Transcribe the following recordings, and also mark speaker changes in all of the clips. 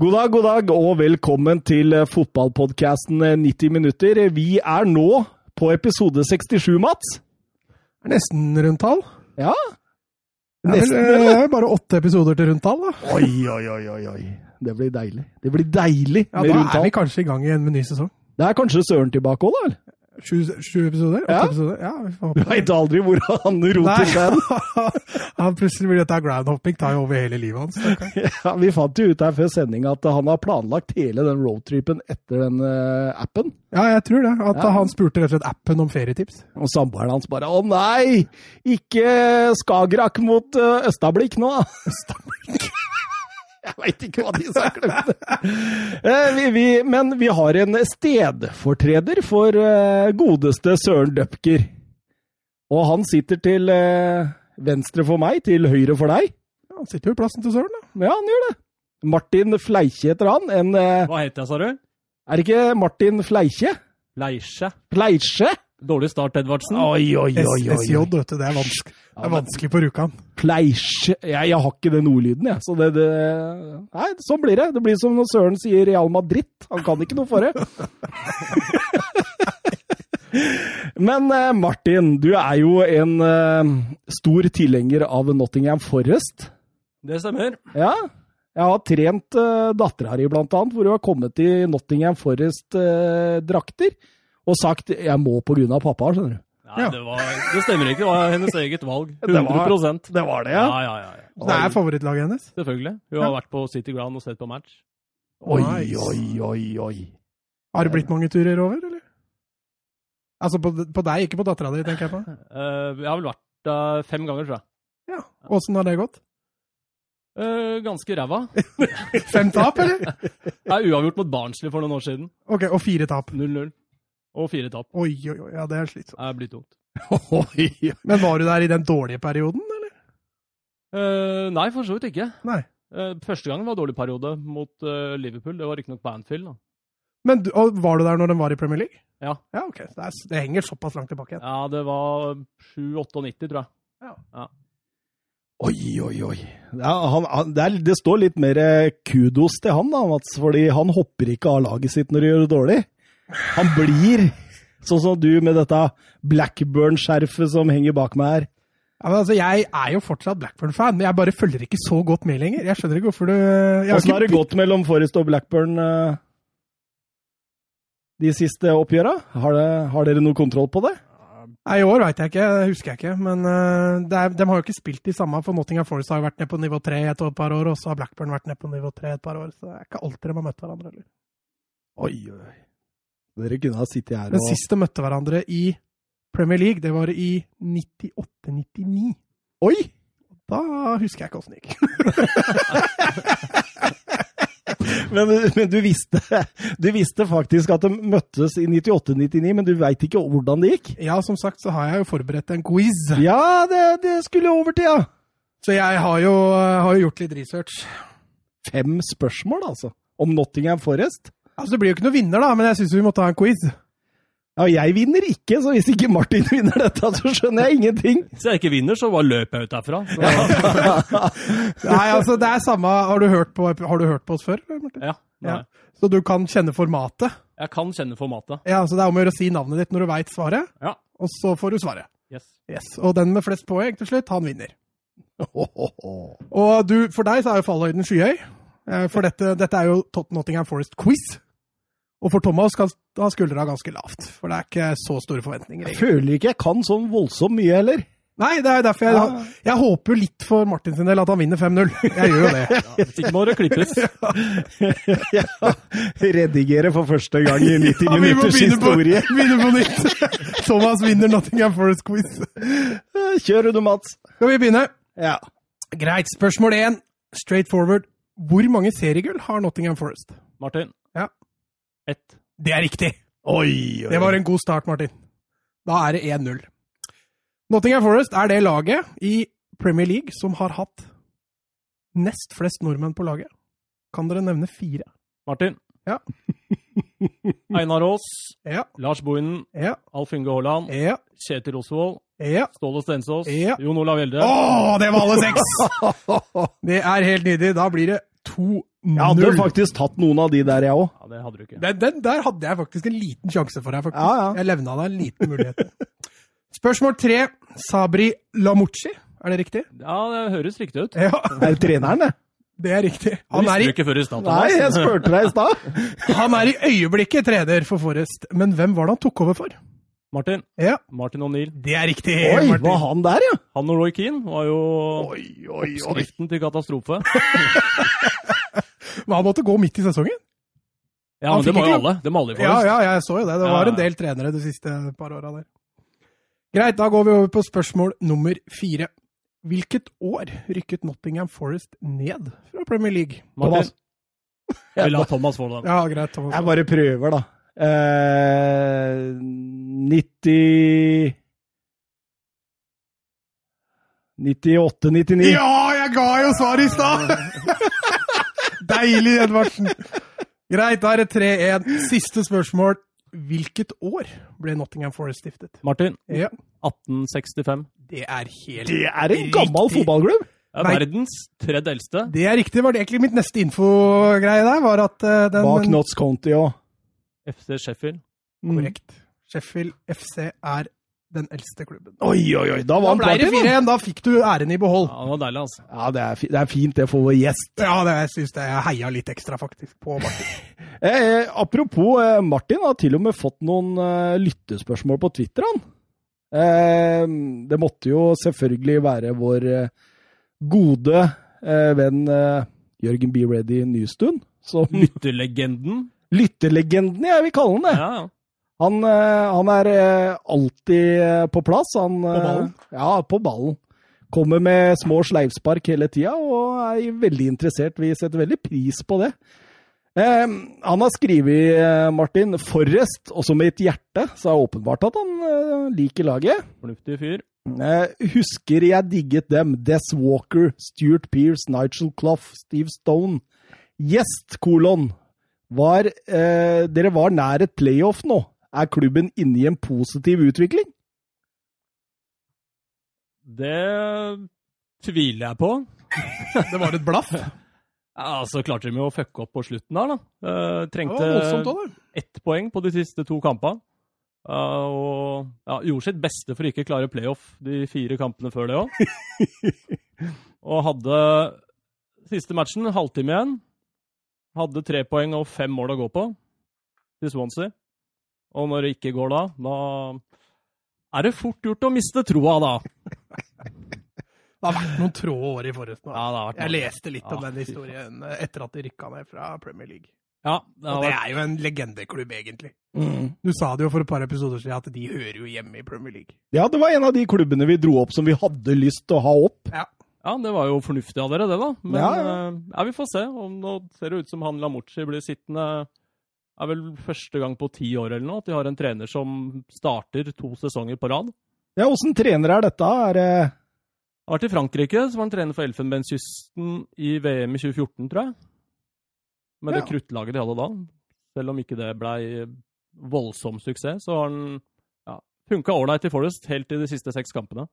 Speaker 1: God dag, god dag, og velkommen til eh, fotballpodkasten 90 minutter. Vi er nå på episode 67, Mats.
Speaker 2: er nesten rundtall.
Speaker 1: Ja.
Speaker 2: Det er,
Speaker 1: Nesten,
Speaker 2: vel, eh, det er jo bare åtte episoder til rundtall, da.
Speaker 1: Oi, oi, oi, oi, oi. Det blir deilig. Det blir deilig
Speaker 2: Ja,
Speaker 1: med
Speaker 2: da
Speaker 1: rundtall.
Speaker 2: er vi kanskje i gang igjen med ny sesong.
Speaker 1: Det er kanskje Søren tilbake òg, da? vel?
Speaker 2: Sju, sju episoder? Åtte
Speaker 1: Ja.
Speaker 2: episoder? Ja, vi får
Speaker 1: Du
Speaker 2: håpe.
Speaker 1: veit aldri hvor han roter seg hen.
Speaker 2: ja, plutselig blir dette groundhopping, tar jo over hele livet hans. stakkar.
Speaker 1: Ja, vi fant jo ut her før sending at han har planlagt hele den roadtripen etter den eh, appen.
Speaker 2: Ja, jeg tror det. At
Speaker 1: Ja.
Speaker 2: han spurte rett og slett appen om ferietips.
Speaker 1: Og samboeren hans bare 'Å nei, ikke Skagerrak mot eh, Østablikk nå', da. Jeg veit ikke hva de sa glemte. Eh, vi, vi, men vi har en stedfortreder for eh, godeste Søren Døpker. Og han sitter til eh, venstre for meg, til høyre for deg.
Speaker 2: Ja, han sitter jo i plassen til Søren, da.
Speaker 1: Ja, han gjør det. Martin Fleikje heter han. En, eh,
Speaker 3: Hva heter jeg, sa du?
Speaker 1: er det ikke Martin Fleikje?
Speaker 3: Leisje.
Speaker 1: Fleisje?
Speaker 3: Dårlig start, Edvardsen.
Speaker 1: Oi, oi, oi, oi.
Speaker 2: SJ,
Speaker 1: oi.
Speaker 2: vet du. Det er vanskelig, det
Speaker 1: Ja,
Speaker 2: er
Speaker 1: men-
Speaker 2: vanskelig på Rjukan.
Speaker 1: Fleisje jeg, jeg har ikke den ordlyden, jeg. Så det, det Nei, sånn blir det. Det blir som når Søren sier Real Madrid. Han kan ikke noe for det. Men eh, Martin, du er jo en eh, stor tilhenger av Nottingham Forest.
Speaker 3: Det stemmer.
Speaker 1: Ja. Jeg har trent uh, dattera di, blant annet, hvor hun har kommet i Nottingham Forest-drakter. og sagt 'jeg må på grunn av pappa', skjønner du.
Speaker 3: Nei,
Speaker 2: Ja.
Speaker 3: det, var, det stemmer ikke. Det var hennes eget valg.
Speaker 1: Det var-
Speaker 3: 100
Speaker 1: Det var det,
Speaker 3: ja. Ja, ja, ja.
Speaker 2: Det er favorittlaget hennes.
Speaker 3: Selvfølgelig. Hun har vært på City Ground og sett på match.
Speaker 1: Oi,
Speaker 2: Nice.
Speaker 1: oi, oi, oi.
Speaker 2: Har det blitt mange turer over, eller? Altså på, på deg, ikke på dattera di, tenker jeg på.
Speaker 3: Eh, jeg har vel vært der fem ganger, tror jeg.
Speaker 2: Ja. Åssen har det gått?
Speaker 3: Eh, ganske ræva.
Speaker 2: Fem tap, eller?
Speaker 3: Jeg er uavgjort mot Barnsley for noen år siden.
Speaker 2: Ok, og fire tap.
Speaker 3: 0-0. Og fire tap.
Speaker 2: Oi, oi, oi. Ja, det er slitsomt.
Speaker 3: Det blir tungt.
Speaker 1: Oi,
Speaker 2: Men var du der i den dårlige perioden, eller?
Speaker 3: Eh, nei, for så vidt ikke.
Speaker 2: Nei.
Speaker 3: Eh, første gangen var en dårlig periode mot eh, Liverpool. Det var riktignok på Anfield. Da.
Speaker 2: Men du, og var du der når den var i Premier League?
Speaker 3: Ja.
Speaker 2: Ja, ok. Det, er, det henger såpass langt tilbake igjen.
Speaker 3: Ja, det var 7-98, tror jeg.
Speaker 1: Oi, oi, oi. Ja, han, han, det, er, det står litt mer eh, kudos til han, da, Mats, fordi han hopper ikke av laget sitt når de gjør det dårlig. Han blir sånn som du med dette Blackburn-skjerfet som henger bak meg her.
Speaker 2: Ja, men altså, jeg er jo fortsatt Blackburn-fan, men jeg bare følger ikke så godt med lenger. Jeg skjønner ikke hvorfor du jeg har
Speaker 1: Åssen
Speaker 2: ikke-
Speaker 1: har det gått mellom Forrest og Blackburn eh, de siste oppgjøra? Har, det- har dere noe kontroll på det?
Speaker 2: Nei, I år veit jeg ikke, det husker jeg ikke. Men øh, det er, de har jo ikke spilt de samme, for Nottingham Forest har jo vært ned på nivå tre et par år, og så har Blackburn vært ned på nivå tre et par år. Så det er ikke alltid de har møtt hverandre. Eller.
Speaker 1: Oi, oi. Dere kunne ha sittet her
Speaker 2: Den
Speaker 1: og
Speaker 2: siste møtte hverandre i Premier League, det var i 98-99.
Speaker 1: Oi!
Speaker 2: Da husker jeg ikke åssen det gikk.
Speaker 1: Men, men du, visste, du visste faktisk at de møttes i 98-99, men du veit ikke hvordan det gikk?
Speaker 2: Ja, som sagt så har jeg jo forberedt en quiz.
Speaker 1: Ja, det, det skulle jeg over til, ja.
Speaker 2: Så jeg har jo, har jo gjort litt research.
Speaker 1: Fem spørsmål, altså. Om Nottingham Forest.
Speaker 2: Altså, Det blir jo ikke noen vinner, da, men jeg syns vi må ta en quiz.
Speaker 1: Ja, jeg vinner ikke, så hvis ikke Martin vinner dette, så skjønner jeg ingenting.
Speaker 3: Hvis jeg ikke vinner, så bare løper jeg ut derfra. Så, ja.
Speaker 2: Nei, altså, det er samme Har du hørt på, har du hørt på oss før? Martin?
Speaker 3: nei.
Speaker 2: Ja. Så du kan kjenne formatet?
Speaker 3: Jeg kan kjenne formatet.
Speaker 2: Ja, så Det er om å gjøre å si navnet ditt når du veit svaret,
Speaker 3: Ja.
Speaker 2: og så får du svaret.
Speaker 3: Yes.
Speaker 2: Yes. Og den med flest poeng til slutt, han vinner. Og du, for deg så er jo fallhøyden skyhøy, eh, for dette, dette er jo Tot- Nottingham Forest-quiz. Og for Thomas kan ha skuldra ganske lavt, for det er ikke så store forventninger.
Speaker 1: Jeg
Speaker 2: egentlig.
Speaker 1: føler ikke jeg kan sånn voldsomt mye heller.
Speaker 2: Nei, det er derfor jeg,
Speaker 1: Ja.
Speaker 2: jeg håper jo litt for Martin sin del at han vinner 5-0. Jeg gjør jo det.
Speaker 3: Ja, hvis ikke må det klippes.
Speaker 1: Ja, Redigere for første gang i 90
Speaker 2: Ja, vi må
Speaker 1: minutters
Speaker 2: begynne på,
Speaker 1: historie.
Speaker 2: begynne på nytt. Thomas vinner Nottingham Forest-quiz.
Speaker 1: Kjør du, Mats.
Speaker 2: Skal vi begynne?
Speaker 1: Ja.
Speaker 2: Greit. Spørsmål én, straight forward. Hvor mange seriegull har Nottingham Forest?
Speaker 3: Martin.
Speaker 2: Ja.
Speaker 3: Ett.
Speaker 2: Det er riktig.
Speaker 1: Oi, oi.
Speaker 2: Det var en god start, Martin. Da er det 1-0. Nottingham Forest er det laget i Premier League som har hatt nest flest nordmenn på laget. Kan dere nevne fire?
Speaker 3: Martin.
Speaker 2: Ja.
Speaker 3: Einar Aas.
Speaker 2: Ja,
Speaker 3: Lars Bohinen.
Speaker 2: ja,
Speaker 3: Alf Inge Haaland.
Speaker 2: ja,
Speaker 3: Kjetil Osvold.
Speaker 2: ja.
Speaker 3: Ståle Stensås.
Speaker 2: Ja.
Speaker 3: Jon Olav Gjelde.
Speaker 2: Å, det var alle seks! Det er helt nydelig. Da blir det 2-1
Speaker 1: Jeg hadde
Speaker 2: Null.
Speaker 1: faktisk tatt noen av de der, jeg òg.
Speaker 3: Ja, det hadde du ikke.
Speaker 2: Den, den der hadde jeg faktisk en liten sjanse for her, faktisk.
Speaker 1: Ja, ja.
Speaker 2: Jeg levna deg en liten mulighet. Spørsmål tre. Sabri Lamucci, er det riktig?
Speaker 3: Ja, det høres riktig ut.
Speaker 2: Ja,
Speaker 1: Er det treneren, det?
Speaker 2: det er riktig.
Speaker 3: Det
Speaker 2: Han er,
Speaker 3: visste du
Speaker 2: i,
Speaker 3: ikke før i stad,
Speaker 1: Nei,
Speaker 3: Thomas.
Speaker 1: jeg spurte deg i stad.
Speaker 2: han er i øyeblikket trener for Forrest, men hvem var det han tok over for?
Speaker 3: Martin.
Speaker 2: Ja,
Speaker 3: Martin O'Neill.
Speaker 2: det er riktig.
Speaker 1: Oi,
Speaker 2: Martin.
Speaker 1: var han der, ja?
Speaker 3: Han og Roy Keane var jo
Speaker 1: Oi, oi, oi.
Speaker 3: oppskriften til katastrofe.
Speaker 2: Men han måtte gå midt i sesongen?
Speaker 3: Ja,
Speaker 2: Han
Speaker 3: men det
Speaker 2: fikk
Speaker 3: må jo
Speaker 2: ikke-
Speaker 3: alle. Det må alle i
Speaker 2: Ja,
Speaker 3: Forrest.
Speaker 2: ja, jeg så jo det. Det
Speaker 3: Ja,
Speaker 2: var en
Speaker 3: ja.
Speaker 2: del trenere de siste par åra der. Greit, da går vi over på spørsmål nummer fire. Hvilket år rykket Nottingham Forest ned fra Premier League?
Speaker 1: Thomas.
Speaker 3: Martin. Vi la Thomas få den.
Speaker 2: Ja, greit. Thomas.
Speaker 1: Jeg bare prøver, da. Eh, 90 98-99.
Speaker 2: Ja, jeg ga jo svar i stad! Deilig, Edvardsen. Greit, da er det 3-1. Siste spørsmål. Hvilket år ble Nottingham Forest stiftet?
Speaker 3: Martin.
Speaker 2: Ja,
Speaker 3: 1865.
Speaker 2: Det er helt
Speaker 1: Det er en gammel fotballklubb!
Speaker 3: Det er
Speaker 2: Nei.
Speaker 3: verdens tredje eldste.
Speaker 2: Det er riktig. var det egentlig mitt neste infogreie der? var at eh, den...
Speaker 1: Bak Notts County òg.
Speaker 3: FC Sheffield.
Speaker 2: Korrekt. Sheffield FC er den eldste klubben.
Speaker 1: Oi, oi, oi! Da
Speaker 2: Da
Speaker 1: vant
Speaker 2: ble det
Speaker 1: Martin! da.
Speaker 2: 4-1. Da fikk du æren i behold.
Speaker 3: Ja, det var deilig, altså.
Speaker 1: Ja, det er, fi- det er fint det for vår gjest.
Speaker 2: Ja, det syns jeg jeg heia litt ekstra faktisk på Martin.
Speaker 1: Eh, apropos eh, Martin, har til og med fått noen eh, lyttespørsmål på Twitter, han. Eh, det måtte jo selvfølgelig være vår eh, gode eh, venn eh, Jørgen B. Ready Nystuen. Som
Speaker 3: Lytterlegenden.
Speaker 1: lytterlegenden, jeg vil kalle han det.
Speaker 3: Ja, ja.
Speaker 1: Han, eh, han er eh, alltid eh, på plass. Han,
Speaker 2: På ballen?
Speaker 1: Eh, ja, på ballen. Kommer med små sleivspark hele tida og er veldig interessert. Vi setter veldig pris på det. Eh, han har skrevet, eh, Martin, 'Forrest', også med et hjerte, så er det åpenbart at han eh, liker laget.
Speaker 3: Fornuftig fyr.
Speaker 1: Eh, husker jeg digget dem. Des Walker, Stuart Pearce, Nigel Clough, Steve Stone. Gjest, kolon. Var, eh, dere var nær et playoff nå. Er klubben inne i en positiv utvikling?
Speaker 3: Det tviler jeg på.
Speaker 2: Det var et blaff.
Speaker 3: Ja, så klarte de jo å fucke opp på slutten der, da. Eh,
Speaker 2: Det
Speaker 3: trengte
Speaker 2: var voldsomt òg, det.
Speaker 3: ett poeng på de siste to kampene. Eh, og ja, gjorde sitt beste for å ikke klare playoff de fire kampene før det òg. og hadde siste matchen, halvtime igjen. Hadde tre poeng og fem mål å gå på til Swansea. Og når det ikke går da, da er det fort gjort å miste troa, da.
Speaker 2: Det har vært noen trå år i Forrest nå.
Speaker 3: Ja, det har vært
Speaker 2: Jeg leste litt om
Speaker 3: Ja,
Speaker 2: den
Speaker 3: fy
Speaker 2: historien eh, etter at de rykka ned fra Premier League.
Speaker 3: Ja, det
Speaker 2: Og
Speaker 3: har
Speaker 2: det
Speaker 3: vært
Speaker 2: er jo en legendeklubb, egentlig. Du sa det jo for et par episoder siden at de hører jo hjemme i Premier League.
Speaker 1: Ja, det var en av de klubbene vi dro opp som vi hadde lyst til å ha opp.
Speaker 3: Ja, det var jo fornuftig av dere, det, da. Men eh,
Speaker 1: Ja,
Speaker 3: ja,
Speaker 1: ja.
Speaker 3: vi får se. Om nå ser det ut som han Lamucci blir sittende er vel første gang på ti år eller noe at de har en trener som starter to sesonger på rad.
Speaker 1: Ja, åssen trener er dette? Er eh, det
Speaker 3: Han har vært i Frankrike, så var han trener for Elfenbenskysten i VM i 2014, tror jeg. Med det
Speaker 1: Ja.
Speaker 3: kruttlaget de hadde da. Selv om ikke det blei voldsom suksess, så har han ja, funka ålreit i Forest helt til de siste seks kampene.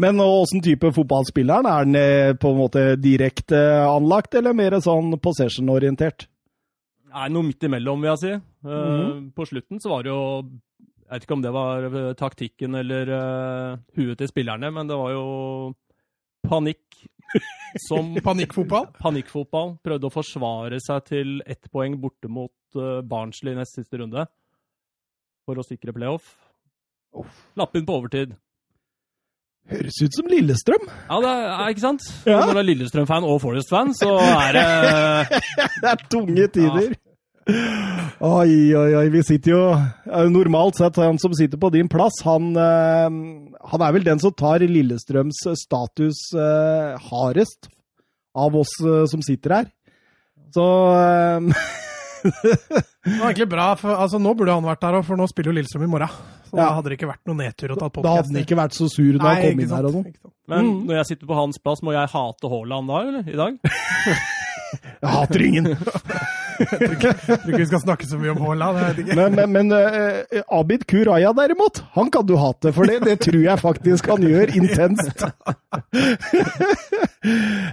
Speaker 1: Men åssen type fotballspiller er han? Er han eh, på en måte direkte anlagt, eller mer sånn possession-orientert?
Speaker 3: Nei, noe midt imellom, vil jeg si. Eh,
Speaker 1: Mhm.
Speaker 3: På slutten så var det jo Jeg vet ikke om det var eh, taktikken eller eh, huet til spillerne, men det var jo panikk som
Speaker 2: Panikkfotball.
Speaker 3: Panikkfotball. Prøvde å forsvare seg til ett poeng borte mot eh, Barnsley i nest siste runde for å sikre playoff. Lapp inn på overtid.
Speaker 1: Høres ut som Lillestrøm.
Speaker 3: Ja, det er, ikke sant?
Speaker 1: Ja.
Speaker 3: Når du er Lillestrøm-fan og Forest-fan, så er det
Speaker 1: Det er tunge tider. Oi, oi, oi. Vi sitter jo eh, Normalt sett, han som sitter på din plass, han, eh, han er vel den som tar Lillestrøms status eh, hardest av oss eh, som sitter her. Så eh,
Speaker 2: Det var egentlig bra, for altså, nå burde han vært der, og for nå spiller jo Lillestrøm i morgen. Så da
Speaker 1: Ja.
Speaker 2: hadde det ikke vært noen nedtur å ta
Speaker 1: Da hadde han ikke vært så sur når han kom inn her og sånn.
Speaker 3: Men når jeg sitter på hans plass, må jeg hate Haaland da, eller? I dag?
Speaker 1: Jeg hater ingen!
Speaker 2: Jeg tror ikke vi skal snakke så mye om Haaland. jeg vet ikke.
Speaker 1: Men, men, men eh, Abid Kuraya derimot, han kan du hate for det. Det tror jeg faktisk han gjør intenst.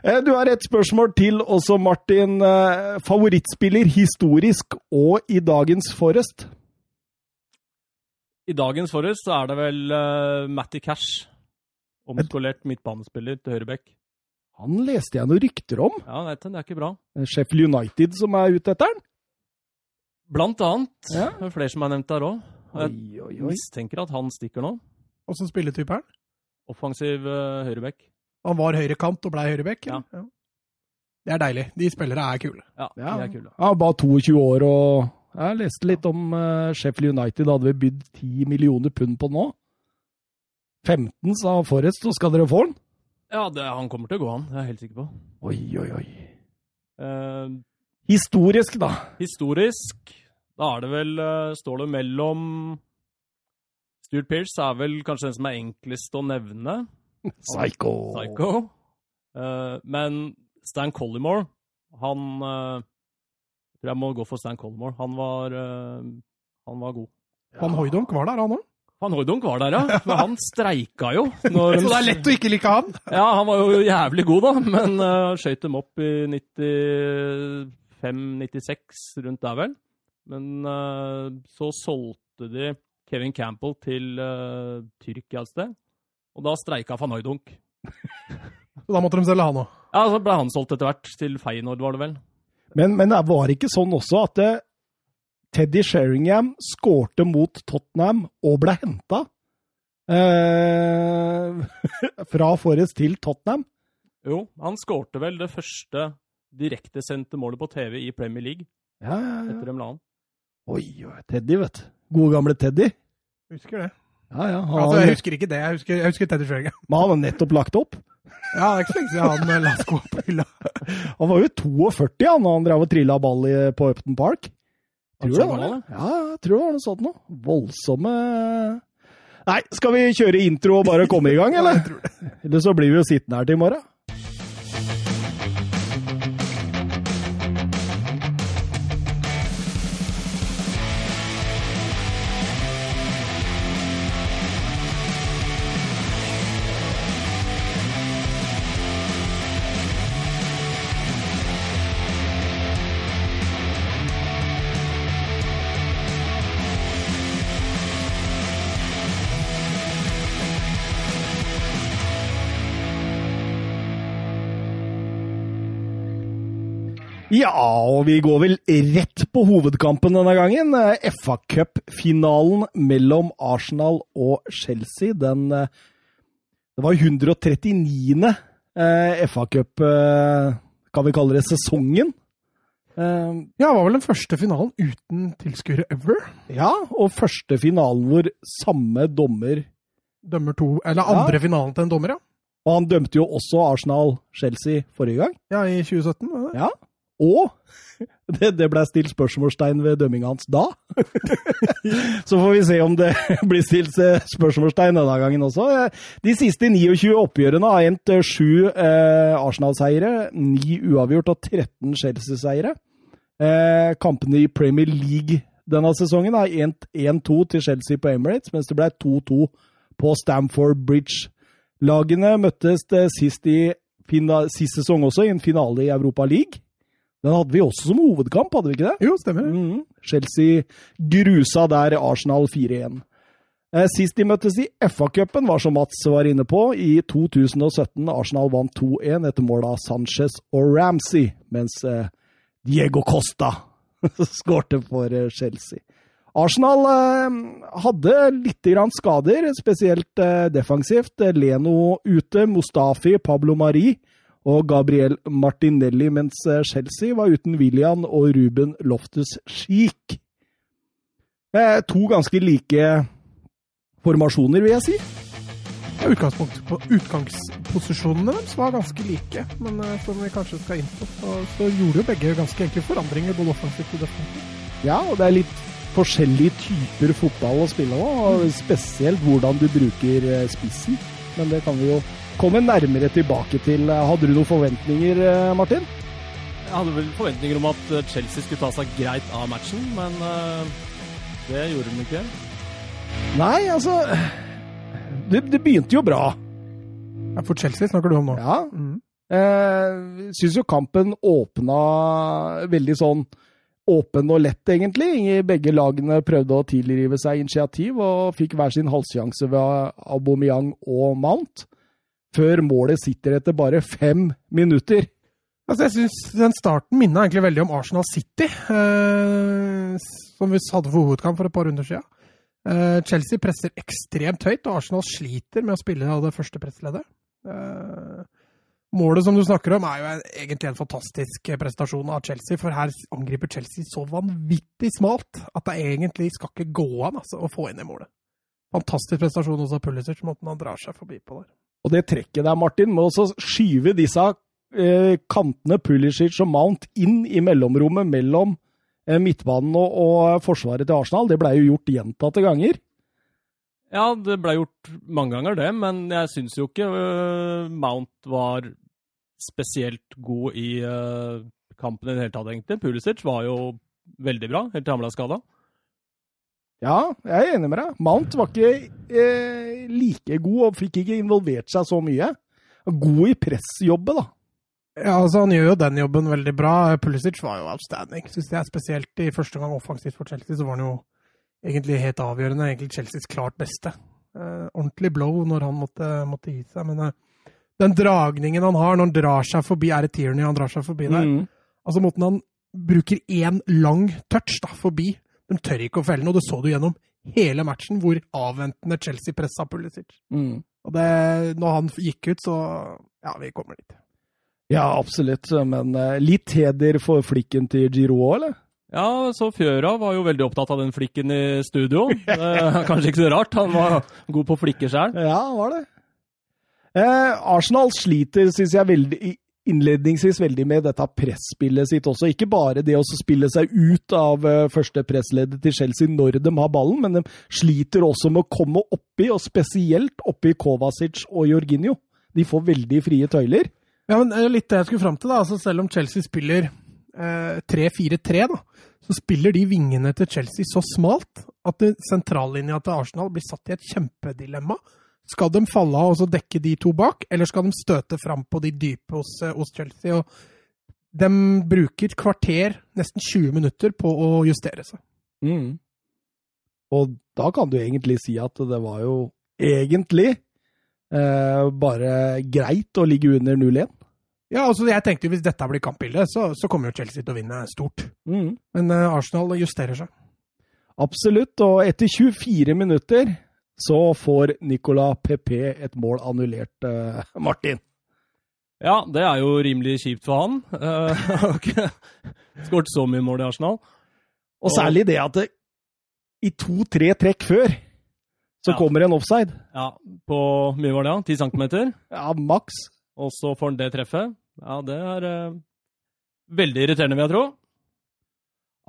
Speaker 1: Eh, Du har et spørsmål til også, Martin. Eh, Favorittspiller historisk og i dagens Forest?
Speaker 3: I dagens Forest så er det vel eh, Matty Cash. Omskolert midtbanespiller til høyrebekk.
Speaker 1: Han leste jeg noen rykter om.
Speaker 3: Ja, nei, det er ikke bra.
Speaker 1: Eh, Sheffield United som er ute etter han.
Speaker 3: Blant annet.
Speaker 1: Ja.
Speaker 3: det er Flere som er nevnt der òg. Jeg
Speaker 1: Oi, oi, oi.
Speaker 3: mistenker at han stikker nå.
Speaker 2: Åssen spilletype er han?
Speaker 3: Offensiv eh, høyrebekk.
Speaker 2: Han var høyrekant og blei høyrebekk? eller? Ja. Det er deilig. De spillere er kule.
Speaker 3: Ja,
Speaker 1: Ja.
Speaker 3: de er kule.
Speaker 1: Han er bare 22 år og jeg leste litt om eh, Sheffield United. Hadde vi bydd 10 millioner pund på nå? 15, sa Forrest, så skal dere få den?
Speaker 3: Ja, det, han kommer til å gå, han. Det er jeg helt sikker på.
Speaker 1: Oi, oi, oi.
Speaker 3: Eh,
Speaker 1: Historisk, da.
Speaker 3: historisk, da er det vel eh, Står det mellom Stuart Pearce er vel kanskje den som er enklest å nevne.
Speaker 1: Psycho.
Speaker 3: Psycho. Eh, men Stan Collymore, han eh, tror jeg må gå for Stan Collymore. Han var, eh, han var god.
Speaker 2: Van Hooydonk var der, han òg.
Speaker 3: Van Hooydonk var der, ja. Men han streika jo. Når
Speaker 2: Så det er lett å ikke like han!
Speaker 3: Ja, han var jo jævlig god, da. Men uh, skøyt dem opp i 95-96, rundt der vel. Men eh, så solgte de Kevin Campbell til eh, Tyrkia et sted. Og da streika van Hooydonk.
Speaker 2: Så da måtte de selge han òg.
Speaker 3: Ja, så ble han solgt etter hvert. Til Feyenoord, var det vel.
Speaker 1: Men, men det var ikke sånn også at eh, Teddy Sheringham skårte mot Tottenham og ble henta eh, fra Forrest til Tottenham.
Speaker 3: Jo, han skårte vel det første direktesendte målet på TV i Premier League
Speaker 1: Ja, ja, ja.
Speaker 3: etter dem la han.
Speaker 1: Oi, oi, Teddy, vet du. Gode gamle Teddy.
Speaker 2: Husker det.
Speaker 1: Ja, ja. Han,
Speaker 2: Altså, jeg husker ikke det. Jeg husker, jeg husker Teddy Schreger.
Speaker 1: men han har nettopp lagt opp.
Speaker 2: Ja, det er ikke så lenge siden han eh, la sko på hylla.
Speaker 1: Han var jo 42 han, når han drev og trilla ball i, på Upton Park.
Speaker 3: Var det
Speaker 1: Tror du det
Speaker 3: sånn
Speaker 1: var det?
Speaker 3: han
Speaker 1: Ja, jeg tror det var noe sånt noe. Voldsomme Nei, skal vi kjøre intro og bare komme i gang, eller?
Speaker 2: Jeg tror det.
Speaker 1: Eller så blir vi jo sittende her til i morgen. Ja, og vi går vel rett på hovedkampen denne gangen. Eh, FA Cup-finalen mellom Arsenal og Chelsea. Den eh, Det var 139. eh, FA Cup eh, Kan vi kalle det sesongen? Eh,
Speaker 2: Ja, det var vel den første finalen uten tilskuere ever.
Speaker 1: Ja, og første finalen hvor samme dommer
Speaker 2: Dømmer to Eller andre finalen til en dommer, ja.
Speaker 1: Og han dømte jo også Arsenal-Chelsea forrige gang.
Speaker 2: Ja, i 2017. var det det?
Speaker 1: Ja. Og det, det ble stilt spørsmålstegn ved dømminga hans da. Så får vi se om det blir stilt eh, spørsmålstegn denne gangen også. Eh, De siste 29 oppgjørene har endt eh, sju eh, Arsenal-seiere, ni uavgjort og 13 Chelsea-seiere. Eh, kampene i Premier League denne sesongen har endt 1-2 til Chelsea på Emirates, mens det ble 2-2 på Stamford Bridge. Lagene møttes eh, sist, i, fina- sist sesong også, i en finale i Europa League. Den hadde vi også som hovedkamp, hadde vi ikke det?
Speaker 2: Jo, stemmer. det.
Speaker 1: Mhm. Chelsea grusa der Arsenal 4-1. Eh, Sist de møttes i FA-cupen, var som Mats var inne på, i 2017. Arsenal vant 2-1 etter mål av Sanchez og Ramsey, mens eh, Diego Costa skårte for eh, Chelsea. Arsenal eh, hadde litt grann skader, spesielt eh, defensivt. Leno ute, Mustafi, Pablo Mari og Gabriel Martinelli, mens eh, Chelsea var uten William og Ruben Loftus-Schiek. Eh, to ganske like formasjoner, vil jeg si.
Speaker 2: Ja, utgangspunkt på Utgangsposisjonene deres var ganske like, men eh, som vi kanskje skal inn på, så, så gjorde jo begge ganske enkle forandringer både offensivt og defensivt.
Speaker 1: Ja, og det er litt forskjellige typer fotball å spille nå, og spesielt hvordan du bruker eh, spissen. Men det kan vi jo komme nærmere tilbake til. Hadde du noen forventninger, eh, Martin?
Speaker 3: Jeg hadde vel forventninger om at eh, Chelsea skulle ta seg greit av matchen, men eh, det gjorde de ikke.
Speaker 1: Nei, altså Det, det begynte jo bra.
Speaker 2: Ja, for Chelsea snakker du om nå.
Speaker 1: Ja.
Speaker 2: Mm.
Speaker 1: Eh, Eh, Syns jo kampen åpna veldig sånn åpen og lett, egentlig. I Begge lagene prøvde å tilrive seg initiativ og fikk hver sin halssjanse ved Aubameyang og Mount. Før målet sitter etter bare fem minutter.
Speaker 2: Altså, jeg synes Den starten minner egentlig veldig om Arsenal City, eh, som vi hadde for hovedkamp for et par runder siden. Eh, Chelsea presser ekstremt høyt, og Arsenal sliter med å spille av det første pressleddet. Eh, målet som du snakker om, er jo en, egentlig en fantastisk prestasjon av Chelsea, for her angriper Chelsea så vanvittig smalt at det egentlig skal ikke gå an altså, å få inn det målet. Fantastisk prestasjon også av Pulisic, måten han drar seg forbi på der.
Speaker 1: Og det trekket der, Martin, med å så skyve disse eh, kantene Pulisic og Mount inn i mellomrommet mellom eh, midtbanen og, og forsvaret til Arsenal, det blei jo gjort gjentatte ganger.
Speaker 3: Ja, det ble gjort mange ganger det, men jeg syns jo ikke øh, Mount var spesielt god i øh, kampen i det hele tatt, egentlig. Pulisic var jo veldig bra, helt til han ble skada.
Speaker 1: Ja, jeg er enig med deg. Mount var ikke eh, like god og fikk ikke involvert seg så mye. God i pressjobbet, da.
Speaker 2: Ja, altså Han gjør jo den jobben veldig bra. Pulisic var jo outstanding. Synes jeg Spesielt i første gang offensivt for Chelsea, så var han jo egentlig helt avgjørende. Egentlig Chelseas klart beste. Eh, ordentlig blow når han måtte, måtte gi seg. Men eh, den dragningen han har når han drar seg forbi Er det Tierney han drar seg forbi der?
Speaker 1: Mm.
Speaker 2: Altså Måten han bruker én lang touch da, forbi De tør ikke å felle noe. Det så du gjennom hele matchen, hvor avventende Chelsea pressa Pulisic.
Speaker 1: Mm.
Speaker 2: Og det, når han gikk ut, så Ja, vi kommer dit.
Speaker 1: Ja, absolutt. Men eh, litt heder for flikken til Giro òg, eller?
Speaker 3: Ja, så Fjøra var jo veldig opptatt av den flikken i studio. Det er kanskje ikke så rart, han var god på flikker sjøl.
Speaker 1: Ja, var det. Eh, Arsenal sliter, syns jeg, veldig, i- innledningsvis veldig med dette presspillet sitt også. Ikke bare det å spille seg ut av eh, første pressleddet til Chelsea når de har ballen, men de sliter også med å komme oppi, og spesielt oppi Kovacic og Jorginho. De får veldig frie tøyler.
Speaker 2: Ja, men eh, litt det jeg skulle fram til, da. Altså, selv om Chelsea spiller eh, 3-4-3, da, så spiller de vingene til Chelsea så smalt at det- sentrallinja til Arsenal blir satt i et kjempedilemma. Skal de falle av og så dekke de to bak, eller skal de støte fram på de dype hos, eh, hos Chelsea? Og de bruker et kvarter, nesten 20 minutter, på å justere seg.
Speaker 1: Og da kan du egentlig si at det var jo egentlig eh, bare greit å ligge under 0-1.
Speaker 2: Ja, altså jeg tenkte jo Hvis dette blir kampbildet, så, så kommer jo Chelsea til å vinne stort. Men eh, Arsenal justerer seg.
Speaker 1: Absolutt, og etter 24 minutter så får Nicola PP et mål annullert, eh, Martin.
Speaker 3: Ja, det er jo rimelig kjipt for han. Eh, han har ikke skåret så mye mål i Arsenal.
Speaker 1: Og særlig det at det, i to-tre trekk før så
Speaker 3: Ja.
Speaker 1: kommer en offside.
Speaker 3: Ja, På mye var det, da? 10 centimeter?
Speaker 1: Ja, maks.
Speaker 3: og så får han det treffet. Ja, det er eh, veldig irriterende, vil jeg tro.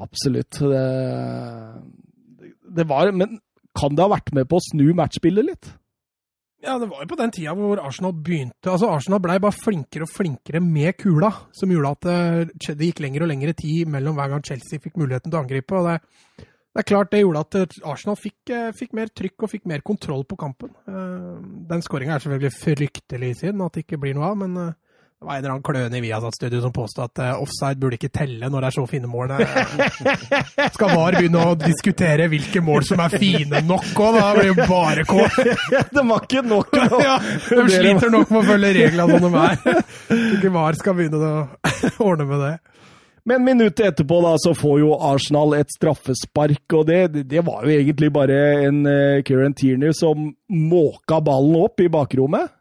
Speaker 1: Absolutt. Det, det var Men kan det ha vært med på å snu matchbildet litt?
Speaker 2: Ja, det var jo på den tida hvor Arsenal begynte. Altså, Arsenal blei bare flinkere og flinkere med kula, som gjorde at eh, Ch- det gikk lengre og lengre tid mellom hver gang Chelsea fikk muligheten til å angripe. og det det er klart det gjorde at eh, Arsenal fikk, eh, fikk mer trykk og fikk mer kontroll på kampen. Eh, Den skåringa er selvfølgelig fryktelig synd at det ikke blir noe av, men eh, det var en eller annen kløne i Viasat-studio som påstod at eh, offside burde ikke telle når det er så fine mål. Eh, Skal VAR begynne å diskutere hvilke mål som er fine nok òg? Da blir det jo bare kål.
Speaker 1: det var ikke nok nå.
Speaker 2: Ja, de sliter nok med å følge reglene som de er. Ikke VAR skal begynne å ordne med det.
Speaker 1: Men minuttet etterpå da, så får jo Arsenal et straffespark, og det, det var jo egentlig bare en uh, Kieran Tierney som måka ballen opp i bakrommet.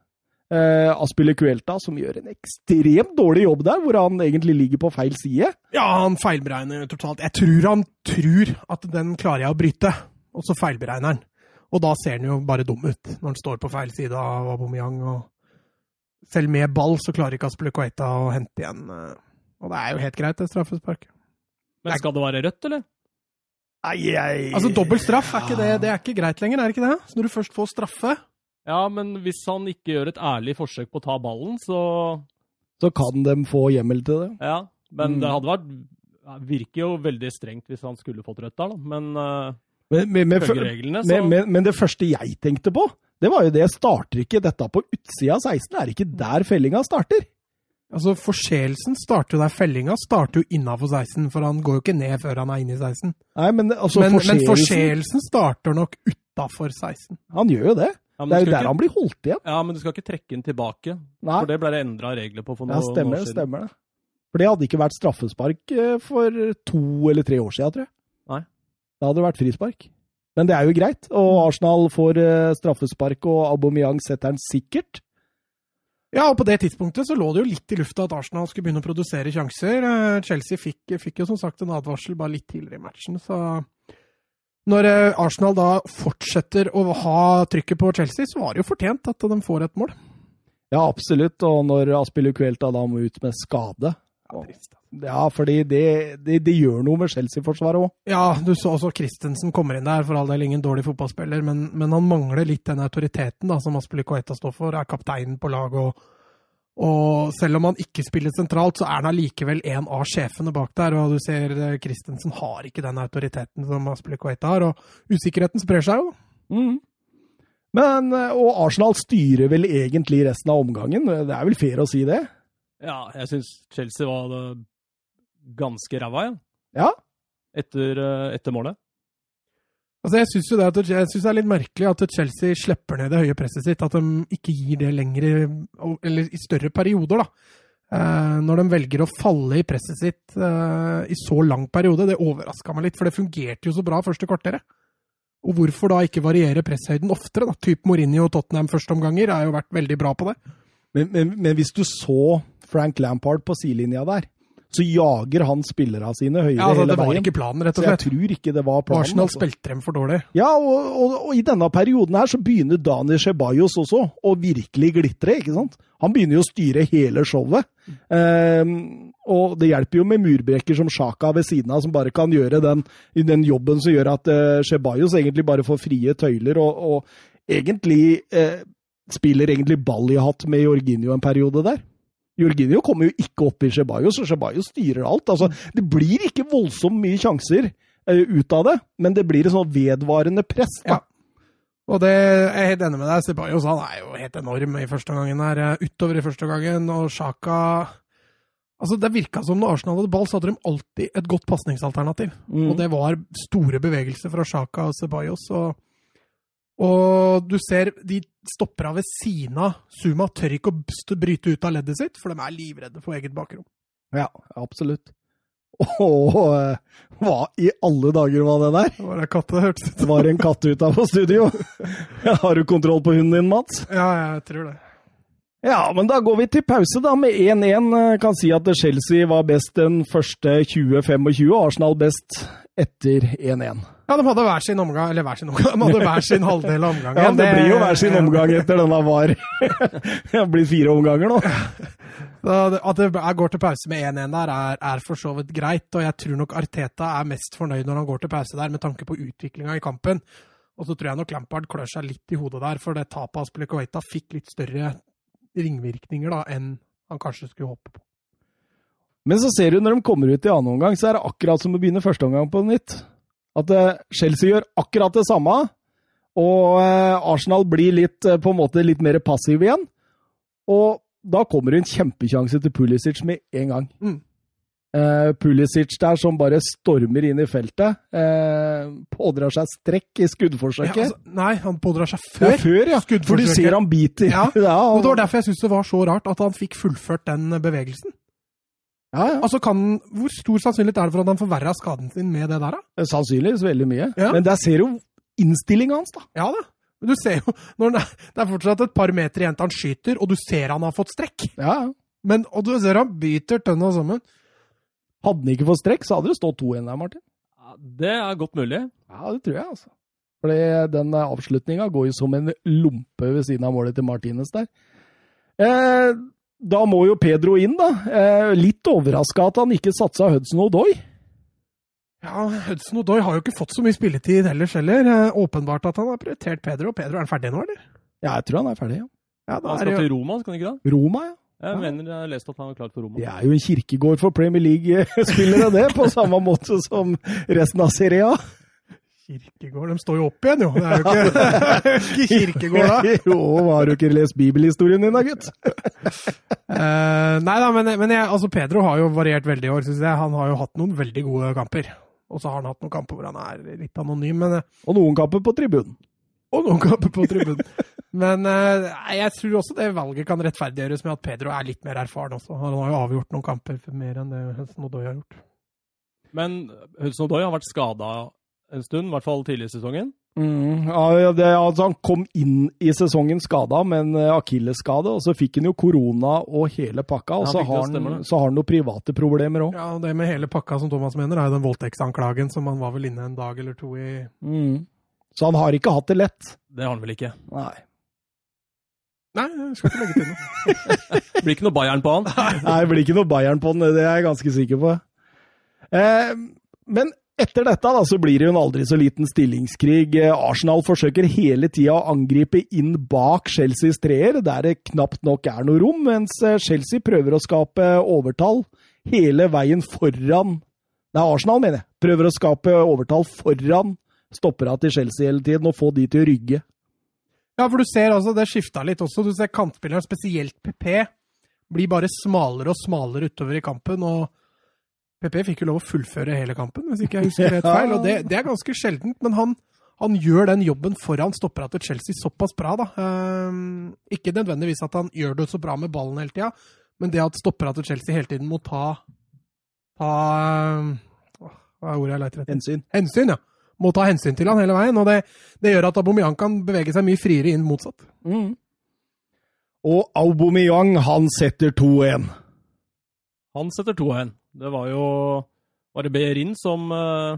Speaker 1: Uh, Aspille Kuelta, som gjør en ekstremt dårlig jobb der, hvor han egentlig ligger på feil side.
Speaker 2: Ja, han feilberegner totalt. Jeg tror han tror at den klarer jeg å bryte, og så feilberegner han. Og da ser han jo bare dum ut, når han står på feil side av Aubameyang. Og selv med ball så klarer ikke Aspelid Koita å hente igjen. eh, Og det er jo helt greit, det straffesparket.
Speaker 3: Men skal det være rødt, eller?
Speaker 1: Nei, jeg...
Speaker 2: Altså, dobbel straff, er ikke det,
Speaker 1: Ah,
Speaker 2: det er ikke greit lenger, er det ikke det? Så når du først får straffe
Speaker 3: Ja, men hvis han ikke gjør et ærlig forsøk på å ta ballen, så
Speaker 1: Så kan de få hjemmel til det.
Speaker 3: Ja. Men
Speaker 1: Mm.
Speaker 3: det hadde vært ja, Virker jo veldig strengt hvis han skulle fått rødt der, da. Men uh,
Speaker 1: Men, men, men,
Speaker 3: følger reglene, så
Speaker 1: men, men, men det første jeg tenkte på, det var jo det starter ikke dette på utsida av 16, er ikke der fellinga starter.
Speaker 2: Altså, Forseelsen starter jo der fellinga starter jo innafor 16, for han går jo ikke ned før han er inne i 16.
Speaker 1: Nei, men altså,
Speaker 2: men, men
Speaker 1: forseelsen-
Speaker 2: forseelsen starter nok utafor 16.
Speaker 1: Han gjør jo det.
Speaker 3: Ja, men
Speaker 1: Det er jo
Speaker 3: du skal
Speaker 1: der
Speaker 3: ikke,
Speaker 1: han blir holdt igjen.
Speaker 3: ja, men du skal ikke trekke den tilbake.
Speaker 1: Nei,
Speaker 3: For det ble det endra regler på for
Speaker 1: ja,
Speaker 3: noen
Speaker 1: stemmer
Speaker 3: år
Speaker 1: det.
Speaker 3: siden.
Speaker 1: stemmer det. For det hadde ikke vært straffespark eh, for to eller tre år siden, tror jeg.
Speaker 3: Nei.
Speaker 1: Da hadde det vært frispark. Men det er jo greit, og Arsenal får eh, straffespark, og Aubameyang setter den sikkert.
Speaker 2: Ja, og på det tidspunktet så lå det jo litt i lufta at Arsenal skulle begynne å produsere sjanser. Eh, Chelsea fikk, fikk jo som sagt en advarsel bare litt tidligere i matchen, så Når eh, Arsenal da fortsetter å ha trykket på Chelsea, så var det jo fortjent at de får et mål.
Speaker 1: Ja, absolutt. Og når Aspillu Kvelta da må ut med skade Ja, fordi det, det, det gjør noe med Chelsea-forsvaret òg.
Speaker 2: Ja, du så også Christensen kommer inn der, for all del ingen dårlig fotballspiller, men, men han mangler litt den autoriteten da, som Aspelikoeta står for, er kapteinen på laget. Og, og selv om han ikke spiller sentralt, så er han allikevel en av sjefene bak der. Og du ser eh, Christensen har ikke den autoriteten som Aspelikoeta har, og usikkerheten sprer seg jo. da.
Speaker 3: Mhm.
Speaker 1: Men, eh, og Arsenal styrer vel egentlig resten av omgangen. Det er vel fair å si det?
Speaker 3: Ja, jeg syns Chelsea var det ganske ræva, ja.
Speaker 1: Ja.
Speaker 3: Etter, eh, etter målet.
Speaker 2: Altså, jeg syns jo det, at, jeg synes det er litt merkelig at Chelsea slipper ned det høye presset sitt. At de ikke gir det lenger, i- eller i større perioder, da. Eh, når de velger å falle i presset sitt eh, i så lang periode. Det overraska meg litt, for det fungerte jo så bra første kvarteret. Og hvorfor da ikke variere presshøyden oftere, da? Typ Mourinho og Tottenham førsteomganger har jo vært veldig bra på det.
Speaker 1: Men, men, men hvis du så Frank Lampard på sidelinja der, så jager han spillerne sine høyere
Speaker 2: Ja, altså,
Speaker 1: hele
Speaker 2: det var
Speaker 1: veien.
Speaker 2: ikke planen, rett
Speaker 1: Så
Speaker 2: og
Speaker 1: jeg
Speaker 2: slett.
Speaker 1: tror ikke det var planen.
Speaker 2: Arsenal
Speaker 1: altså.
Speaker 2: spilte dem for dårlig.
Speaker 1: Ja, og, og, og i denne perioden her så begynner Dani Ceballos også å virkelig glitre, ikke sant? Han begynner jo å styre hele showet. Ehm, og det hjelper jo med murbrekker som Sjaka ved siden av, som bare kan gjøre den, den jobben som gjør at uh, Ceballos egentlig bare får frie tøyler og, og egentlig eh, spiller egentlig ball i hatt med Jorginho en periode der. Jorginho kommer jo ikke opp i Ceballos, og Ceballos styrer alt. Altså, det blir ikke voldsomt mye sjanser eh, ut av det, men det blir et sånn vedvarende press. Da.
Speaker 2: Ja. Og det jeg er helt enig med deg. Sebajos han er jo helt enorm i første gangen her. eh, Utover i første gangen, og Sjaka Altså, Det virka som når Arsenal hadde ball, så hadde de alltid et godt pasningsalternativ.
Speaker 1: Mm.
Speaker 2: Og det var store bevegelser fra Sjaka og Sebajos. Og, og du ser de stopper av ved siden av Zuma. Tør ikke å bst- bryte ut av leddet sitt, for de er livredde for eget bakrom.
Speaker 1: Ja, absolutt. Og eh, hva i alle dager var det der?
Speaker 2: Det var det katta hørtes ut
Speaker 1: Det var en katt ut av studio. Har du kontroll på hunden din, Mats?
Speaker 2: Ja, jeg tror det.
Speaker 1: Ja, men da går vi til pause da med 1-1. Kan si at eh, Chelsea var best den første 20-25, og Arsenal best etter 1-1.
Speaker 2: Ja, de hadde hver sin omgang, eller hver sin omgang, de hadde hver sin halvdel av omgangen.
Speaker 1: Ja, det blir jo hver sin
Speaker 2: Ja.
Speaker 1: omgang etter denne VAR. Det har blitt fire omganger nå.
Speaker 2: Da det- At det er- går til pause med 1-1 der, er, er for så vidt greit. Og jeg tror nok Arteta er mest fornøyd når han går til pause der, med tanke på utviklinga i kampen. Og så tror jeg nok Lampard klør seg litt i hodet der, for det tapet av Splekoveita fikk litt større ringvirkninger da enn han kanskje skulle håpe på.
Speaker 1: Men så ser du når de kommer ut i annen omgang, så er det akkurat som å begynne første omgang på nytt. At eh, Chelsea gjør akkurat det samme, og eh, Arsenal blir litt, eh, på en måte litt mer passiv igjen. Og da kommer det en kjempekjanse til Pulisic med en gang.
Speaker 2: Mm.
Speaker 1: Eh, Pulisic der som bare stormer inn i feltet. eh, pådrar seg strekk i skuddforsøket.
Speaker 2: Ja, altså, nei, han pådrar seg
Speaker 1: før, ja,
Speaker 2: før.
Speaker 1: før, ja. For du
Speaker 2: skuddforsøket.
Speaker 1: ser han biter.
Speaker 2: Ja,
Speaker 1: han-
Speaker 2: Og Det var derfor jeg syns det var så rart at han fikk fullført den bevegelsen.
Speaker 1: ja, ja.
Speaker 2: Altså, kan, Hvor stor sannsynlighet er det for at han forverra skaden sin med det der, da?
Speaker 1: Sannsynligvis veldig mye.
Speaker 2: Ja.
Speaker 1: Men der ser du innstillinga hans, da.
Speaker 2: Ja da. Men du ser jo når han er, Det er fortsatt et par meter igjen til han skyter, og du ser han har fått strekk.
Speaker 1: Ja, ja.
Speaker 2: Men, og du ser han biter tønna sammen.
Speaker 1: Hadde han ikke fått strekk, så hadde det stått 2-1 der, Martin.
Speaker 3: Ja, det er godt mulig.
Speaker 1: Ja, det tror jeg, altså. Fordi den avslutninga går jo som en lompe ved siden av målet til Martinez der. Eh, da må jo Pedro inn, da. Eh, litt overraska at han ikke satsa Hudson Odoi.
Speaker 2: Ja, Hudson Odoi har jo ikke fått så mye spilletid ellers heller. Eh, Åpenbart at han har prioritert Pedro. Pedro er han ferdig nå, eller?
Speaker 1: Ja, jeg tror han er ferdig, ja.
Speaker 2: Ja, da
Speaker 3: Han
Speaker 2: er det
Speaker 3: skal
Speaker 2: jo
Speaker 3: til Roma, skal han ikke det?
Speaker 1: Roma, ja.
Speaker 3: Jeg mener jeg har lest at han er klar for Roma.
Speaker 1: Det er jo en kirkegård for Premier League-spillere, det. På samme måte som resten av Serie A.
Speaker 2: Kirkegård De står jo opp igjen, jo. Det er jo ikke, det er jo ikke Kirkegård da.
Speaker 1: jo, har du ikke lest bibelhistorien din da, gutt?
Speaker 2: Eh, nei da, men, men jeg, altså Pedro har jo variert veldig i år, syns jeg. Han har jo hatt noen veldig gode kamper. Og så har han hatt noen kamper hvor han er litt anonym, men, eh,
Speaker 1: Og noen kamper på tribunen.
Speaker 2: og noen kamper på tribunen. Men eh, nei, jeg tror også det valget kan rettferdiggjøres med at Pedro er litt mer erfaren også. Han har jo avgjort noen kamper for mer enn det Hudson Odoi har gjort.
Speaker 3: Men Hudson Odoi har vært skada en stund, i hvert fall tidlig i sesongen.
Speaker 1: Mm, Ja, det, altså, han kom inn i sesongen skada med en eh, akillesskade, og så fikk han jo korona og hele pakka, og
Speaker 3: Ja,
Speaker 1: så
Speaker 3: fikk det,
Speaker 1: har,
Speaker 3: stemmer
Speaker 1: han,
Speaker 3: det.
Speaker 1: så har han noen private problemer òg.
Speaker 2: Ja, og Det med hele pakka som Thomas mener, er jo den voldtektsanklagen som han var vel inne en dag eller to i.
Speaker 1: Mm. Så han har ikke hatt det lett.
Speaker 3: Det har han vel ikke.
Speaker 1: Nei.
Speaker 2: Nei, jeg skal ikke legge til noe.
Speaker 3: Det blir ikke noe Bayern på han.
Speaker 1: Nei, det blir ikke noe Bayern på den, det er jeg ganske sikker på. Eh, men etter dette da, så blir det jo en aldri så liten stillingskrig. Eh, Arsenal forsøker hele tida å angripe inn bak Chelseas treer, der det knapt nok er noe rom, mens eh, Chelsea prøver å skape overtall hele veien foran Nei, Arsenal, mener jeg. Prøver å skape overtall foran stoppera til Chelsea hele tiden og få de til å rygge.
Speaker 2: Ja, for du ser altså, det skifta litt også. Du ser kantspilleren, spesielt PP, blir bare smalere og smalere utover i kampen. og PP fikk jo lov å fullføre hele kampen, hvis ikke jeg husker helt feil. og Det, det er ganske sjeldent, men han, han gjør den jobben foran stoppera til Chelsea såpass bra, da. Ehm, ikke nødvendigvis at han gjør det så bra med ballen hele tida, men det at stoppera til Chelsea hele tiden må ta, ta ehm, åh, Hva er ordet jeg leter etter?
Speaker 1: Hensyn.
Speaker 2: Hensyn, ja. Må ta hensyn til han hele veien, og det, det gjør at Aubameyang kan bevege seg mye friere inn motsatt.
Speaker 1: Og Aubameyang, han setter 2-1.
Speaker 3: Han setter 2-1. Det var jo Var det Behrin som eh,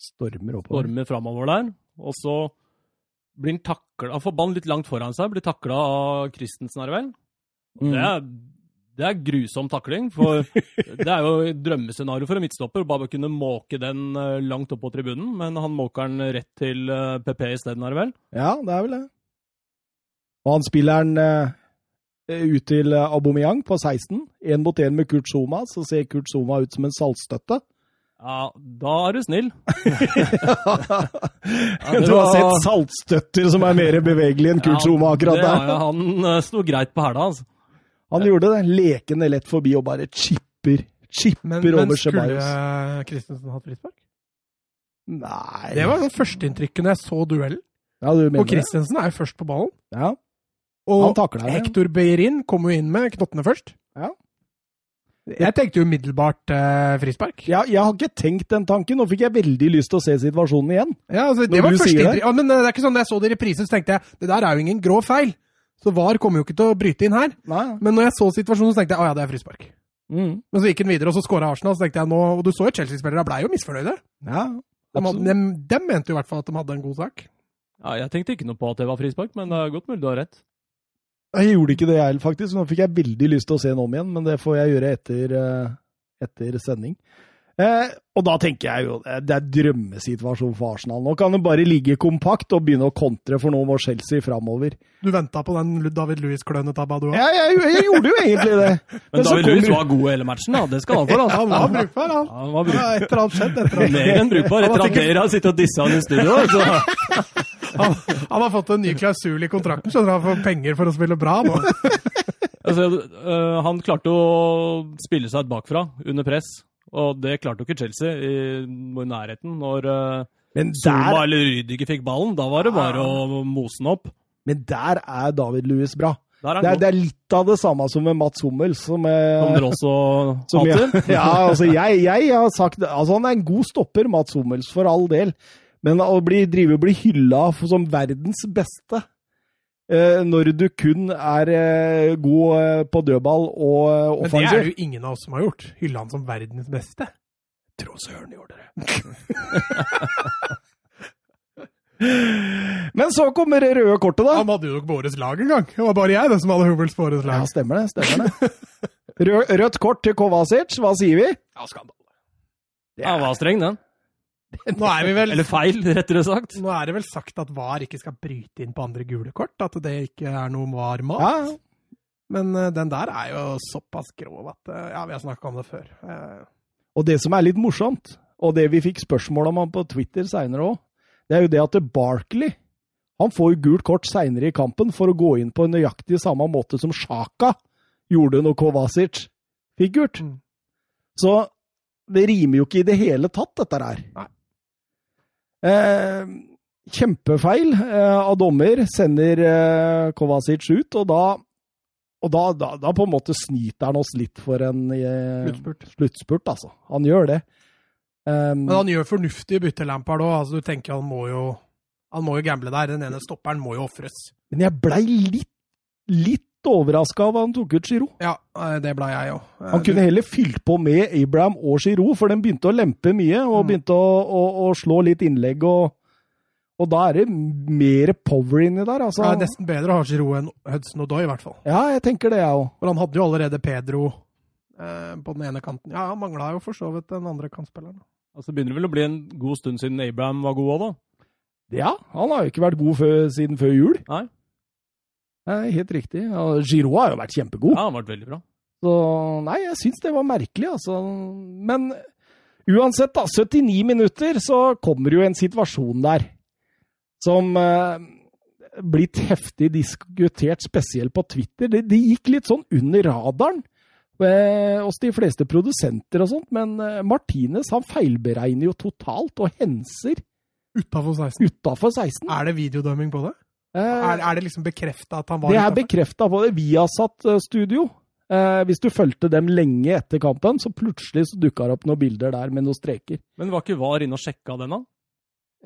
Speaker 1: Stormer oppover.
Speaker 3: stormer framover der? Og så blir han takla Får ballen litt langt foran seg, blir takla av Christensen, er det vel?
Speaker 1: Mm.
Speaker 3: Det er, det er grusom takling, for det er jo et drømmescenario for en midtstopper. Bare å kunne måke den eh, langt opp på tribunen, men han måker den rett til eh, PP isteden, er det vel?
Speaker 1: Ja, det er vel det. Og han spiller den eh, ut til eh, Aubameyang på 16. Én mot én med Kurt Zuma, så ser Kurt Zuma ut som en saltstøtte.
Speaker 3: Ja, da er du snill. det
Speaker 1: du har
Speaker 3: var-
Speaker 1: sett saltstøtter som er mer bevegelige enn Kurt Zuma akkurat
Speaker 3: det har
Speaker 1: der.
Speaker 3: jeg. Han eh, sto greit på hæla, altså.
Speaker 1: Han gjorde det lekende lett forbi og bare chipper.
Speaker 2: Men,
Speaker 1: Chipper
Speaker 2: men
Speaker 1: over
Speaker 2: skulle
Speaker 1: Sebajos.
Speaker 2: Christensen hatt frispark?
Speaker 1: Nei
Speaker 2: Det var sånn førsteinntrykket når jeg så duellen.
Speaker 1: Ja, du
Speaker 2: Og
Speaker 1: mener det?
Speaker 2: Christensen er jo først på ballen.
Speaker 1: Ja. Han
Speaker 2: Og
Speaker 1: takla det.
Speaker 2: Hector Beirin kom jo inn med knottene først.
Speaker 1: Ja.
Speaker 2: Jeg tenkte jo umiddelbart eh, frispark.
Speaker 1: Jeg, jeg har ikke tenkt den tanken. Nå fikk jeg veldig lyst til å se situasjonen igjen.
Speaker 2: Ja, altså, det
Speaker 1: Når
Speaker 2: var
Speaker 1: du
Speaker 2: første
Speaker 1: sier det.
Speaker 2: inntrykk. Ja, men eh, det er ikke sånn da jeg så det i reprise, så tenkte jeg det der er jo ingen grå feil. Så VAR kommer jo ikke til å bryte inn her.
Speaker 1: Nei.
Speaker 2: Men når jeg så situasjonen, så tenkte jeg å ja, det er frispark.
Speaker 1: Mm.
Speaker 2: Men så gikk den videre, og så skåra Arsenal. Så tenkte jeg nå, og Du så jo Chelsea-spillerne blei jo misfornøyde.
Speaker 1: Ja.
Speaker 2: De, hadde,
Speaker 1: absolutt.
Speaker 2: dem, dem mente jo i hvert fall at de hadde en god sak.
Speaker 3: Ja, jeg tenkte ikke noe på at det var frispark, men det er godt mulig du har rett.
Speaker 1: Jeg gjorde ikke det, jeg heller, faktisk. Nå fikk jeg veldig lyst til å se den om igjen, men det får jeg gjøre etter, eh, etter sending. Eh, og da tenker jeg jo eh, det er drømmesituasjon for Arsenal. Nå kan det bare ligge kompakt og begynne å kontre, for nå må Chelsea framover.
Speaker 2: Du venta på den Lu- David Louis-klønetabba, du òg?
Speaker 1: Jeg, jeg, jeg gjorde jo egentlig det.
Speaker 3: Men
Speaker 1: så
Speaker 3: David
Speaker 1: kommer-
Speaker 3: Lewis var god hele matchen, da. Det skal han for.
Speaker 2: Han var brukbar, han.
Speaker 3: Han var
Speaker 2: Det
Speaker 3: brukbar.
Speaker 2: var Et eller annet skjedd etter at
Speaker 3: Mer enn brukbar etter at dere har sittet og dissa han i studio. Altså.
Speaker 2: han, han har fått en ny klausul i kontrakten, skjønner du. Han får penger for å spille bra nå.
Speaker 3: Altså, øh, han klarte å spille seg et bakfra under press, og det klarte jo ikke Chelsea i i nærheten. Når øh,
Speaker 1: Men
Speaker 3: Zuma
Speaker 1: der, Ah.
Speaker 3: eller Rüdiger fikk ballen, da var det bare å mose den opp.
Speaker 1: men der er David Lewis bra.
Speaker 3: Der er
Speaker 1: Det er,
Speaker 3: han
Speaker 1: det
Speaker 3: god.
Speaker 1: er litt av det samme som med Mats Hummel, som, eh,
Speaker 3: Som dere også
Speaker 1: Som jeg,
Speaker 3: hater.
Speaker 1: ja, altså jeg, jeg har sagt altså Han er en god stopper, Mats Hummels, for all del. Men å bli, drive og bli hylla for- som verdens beste eh, når du kun er eh, god eh, på dødball og eh,
Speaker 2: Men det er
Speaker 1: offensiv
Speaker 2: det jo ingen av oss som har gjort. Hylle han som verdens beste. Tror søren gjorde det.
Speaker 1: Men så kommer det røde kortet, da.
Speaker 2: Han hadde jo nok på årets lag en gang. Det var bare jeg det som hadde Hubbles på årets
Speaker 1: Ja,
Speaker 2: lag.
Speaker 1: stemmer det. stemmer det. Rød, rødt kort til Kovacic. Hva sier vi?
Speaker 3: Ja, han var streng, den.
Speaker 2: Nå er, vi vel,
Speaker 3: Eller feil, rettere sagt.
Speaker 2: nå er det vel sagt at VAR ikke skal bryte inn på andre gule kort? At det ikke er noe VAR-mat?
Speaker 1: Ja,
Speaker 2: Men eh, den der er jo såpass grov at eh, Ja, vi har snakka om det før. Eh,
Speaker 1: Og det som er litt morsomt, og det vi fikk spørsmål om på Twitter seinere òg, det er jo det at Barkley han får jo gult kort seinere i kampen for å gå inn på nøyaktig samme måte som Sjaka gjorde når Kovacic fikk gult.
Speaker 2: Mm.
Speaker 1: Så det rimer jo ikke i det hele tatt, dette her.
Speaker 2: Nei.
Speaker 1: Eh, kjempefeil eh, av dommer sender eh, Kovacic ut, og da og da, da, da på en måte snyter han oss litt for en eh,
Speaker 2: Sluttspurt.
Speaker 1: sluttspurt, altså. Han gjør det. Um,
Speaker 2: Men han gjør fornuftige bytter, Lampard òg. Altså, du tenker han må jo han må jo gamble der. Den ene stopperen må jo ofres.
Speaker 1: Men jeg blei litt, litt overraska av at han tok ut Giro.
Speaker 2: Ja, eh, det ble jeg òg.
Speaker 1: Han kunne heller fylt på med Abraham og Giro, for den begynte å lempe mye og
Speaker 2: Mm.
Speaker 1: begynte å, å, å slå litt innlegg. Og, og da er det mer power inni der,
Speaker 2: Det
Speaker 1: altså.
Speaker 2: er nesten bedre å ha Giroud enn Hudson Odoi, i hvert fall.
Speaker 1: Ja, jeg tenker det, jeg òg.
Speaker 2: For han hadde jo allerede Pedro eh, på den ene kanten. Ja, han mangla jo for så vidt den andre kantspilleren.
Speaker 3: Altså, det begynner vel å bli en god stund siden Abraham var god òg, da.
Speaker 1: Ja, han har jo ikke vært god før, siden før jul.
Speaker 3: Nei.
Speaker 1: Nei, helt riktig. Ja, Giro har jo vært kjempegod.
Speaker 3: Ja, han har vært veldig bra.
Speaker 1: Så nei, jeg syns det var merkelig, altså. Men uansett, da. 79 minutter, så kommer jo en situasjon der som eh, blitt heftig diskutert, spesielt på Twitter. Det, det gikk litt sånn under radaren eh, hos de fleste produsenter og sånt, men eh, Martinez han feilberegner jo totalt og henser
Speaker 2: Utafor 16.
Speaker 1: utafor 16.
Speaker 2: Er det videodømming på det?
Speaker 1: Eh,
Speaker 2: Er, er det liksom bekrefta at han var
Speaker 1: Det er
Speaker 2: utenfor?
Speaker 1: bekrefta på det Viasat eh, Studio. Eh, hvis du fulgte dem lenge etter kampen, så plutselig så dukka det opp noen bilder der med noen streker.
Speaker 3: Men var ikke VAR inne og sjekka den, da?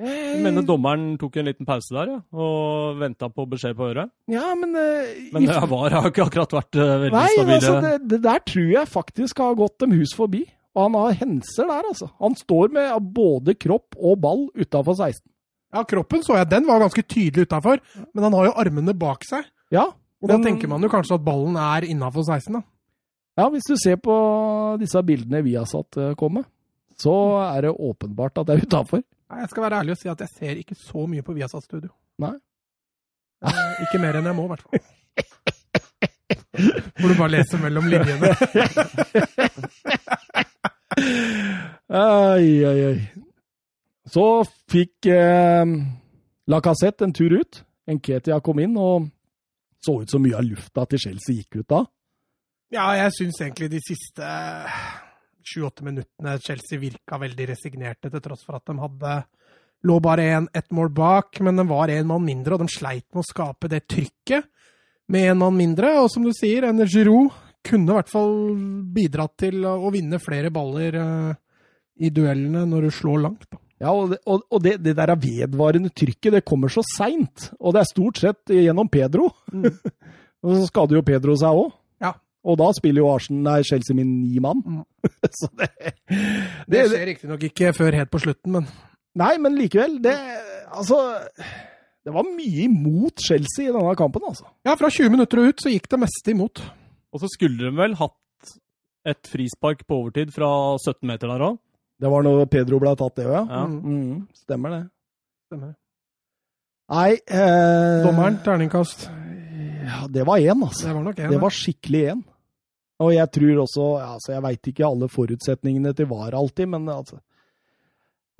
Speaker 1: Eh,
Speaker 3: Jeg mener dommeren tok en liten pause der, ja, og venta på beskjed på øret.
Speaker 1: Ja, men, eh,
Speaker 3: Men
Speaker 1: i-
Speaker 3: ja, VAR har ikke akkurat vært eh, veldig
Speaker 1: Nei,
Speaker 3: stabile.
Speaker 1: altså, det, det der tror jeg faktisk har gått dem hus forbi. Og han har henser der, altså. Han står med både kropp og ball utafor 16.
Speaker 2: Ja, kroppen så jeg. Den var ganske tydelig utafor, men han har jo armene bak seg.
Speaker 1: Ja,
Speaker 2: Og da
Speaker 1: men-
Speaker 2: tenker man jo kanskje at ballen er innafor 16, da.
Speaker 1: ja, hvis du ser på disse bildene Viasat eh, kom med, så er det åpenbart at det er utafor.
Speaker 2: Nei, Jeg skal være ærlig og si at jeg ser ikke så mye på Viasat Studio.
Speaker 1: Nei.
Speaker 2: Eh, Ikke mer enn jeg må, i hvert fall. Hvor du bare leser mellom linjene.
Speaker 1: Ai, ai, ai. Så fikk eh, Lacassette en tur ut. Nketia kom inn og så ut så mye av lufta til Chelsea gikk ut da.
Speaker 2: Ja, jeg syns egentlig de siste sju-åtte minuttene Chelsea virka veldig resignerte, til tross for at de hadde lå bare én, ett mål bak, men den var én mann mindre, og de sleit med å skape det trykket med én mann mindre. Og som du sier, en Giroud kunne i hvert fall bidratt til å vinne flere baller eh, i duellene når du slår langt. Da.
Speaker 1: Ja, og, det- og, og det, det der er vedvarende trykket, det kommer så seint. Og det er stort sett gjennom Pedro.
Speaker 2: Mm.
Speaker 1: og så skader jo Pedro seg òg.
Speaker 2: Ja.
Speaker 1: Og da spiller jo Arsen, nei, Chelsea med ni mann.
Speaker 2: Mm.
Speaker 1: så det,
Speaker 2: Det skjer riktignok ikke før helt på slutten, men
Speaker 1: Nei, men likevel. Det, altså, det var mye imot Chelsea i denne kampen, altså.
Speaker 2: ja, fra 20 minutter og ut så gikk det meste imot.
Speaker 3: Og så skulle de vel hatt et frispark på overtid fra 17 meter der òg.
Speaker 1: Det var når Pedro ble tatt, det òg, ja.
Speaker 3: Ja.
Speaker 2: Mm.
Speaker 1: Mm, stemmer det.
Speaker 2: Stemmer.
Speaker 1: Nei eh,
Speaker 2: Dommeren, terningkast.
Speaker 1: Ja, det var én, altså.
Speaker 2: Det var nok en,
Speaker 1: Det
Speaker 2: ja.
Speaker 1: var skikkelig én. Og jeg tror også ja, altså, Jeg veit ikke alle forutsetningene til VAR alltid, men altså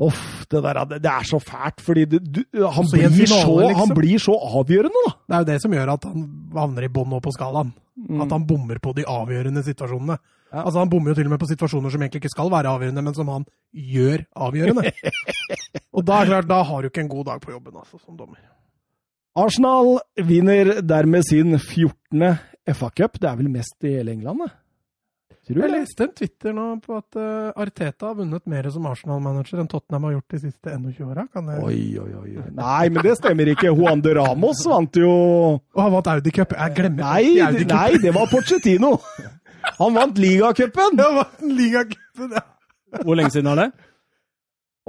Speaker 1: Uff, det der det, det er så fælt, fordi det, du, han,
Speaker 2: Så i en
Speaker 1: blir
Speaker 2: finale,
Speaker 1: så,
Speaker 2: liksom?
Speaker 1: han blir så avgjørende, da!
Speaker 2: Det er jo det som gjør at han havner i bånn nå på skalaen. At han bommer på de avgjørende situasjonene.
Speaker 1: Ja.
Speaker 2: Altså Han bommer jo til og med på situasjoner som egentlig ikke skal være avgjørende, men som han gjør avgjørende. og da er det klart, da har du ikke en god dag på jobben altså, som dommer.
Speaker 1: Arsenal vinner dermed sin 14. FA-cup. Det er vel mest i hele England, det? Tror du,
Speaker 2: Jeg
Speaker 1: eller?
Speaker 2: leste en Twitter nå på at eh, Arteta har vunnet mer som Arsenal-manager enn Tottenham har gjort de siste 21 åra. Og
Speaker 1: Oi, oi, oi. oi. Nei, men det stemmer ikke. Juan de Ramos vant jo
Speaker 2: han vant Audi Cup. Jeg glemmer alltid
Speaker 1: Nei,
Speaker 2: Audi
Speaker 1: det-
Speaker 2: Cup.
Speaker 1: nei, det var Pochettino. Han vant ligacupen!
Speaker 2: Han vant ligacupen. ja.
Speaker 3: Hvor lenge siden er det?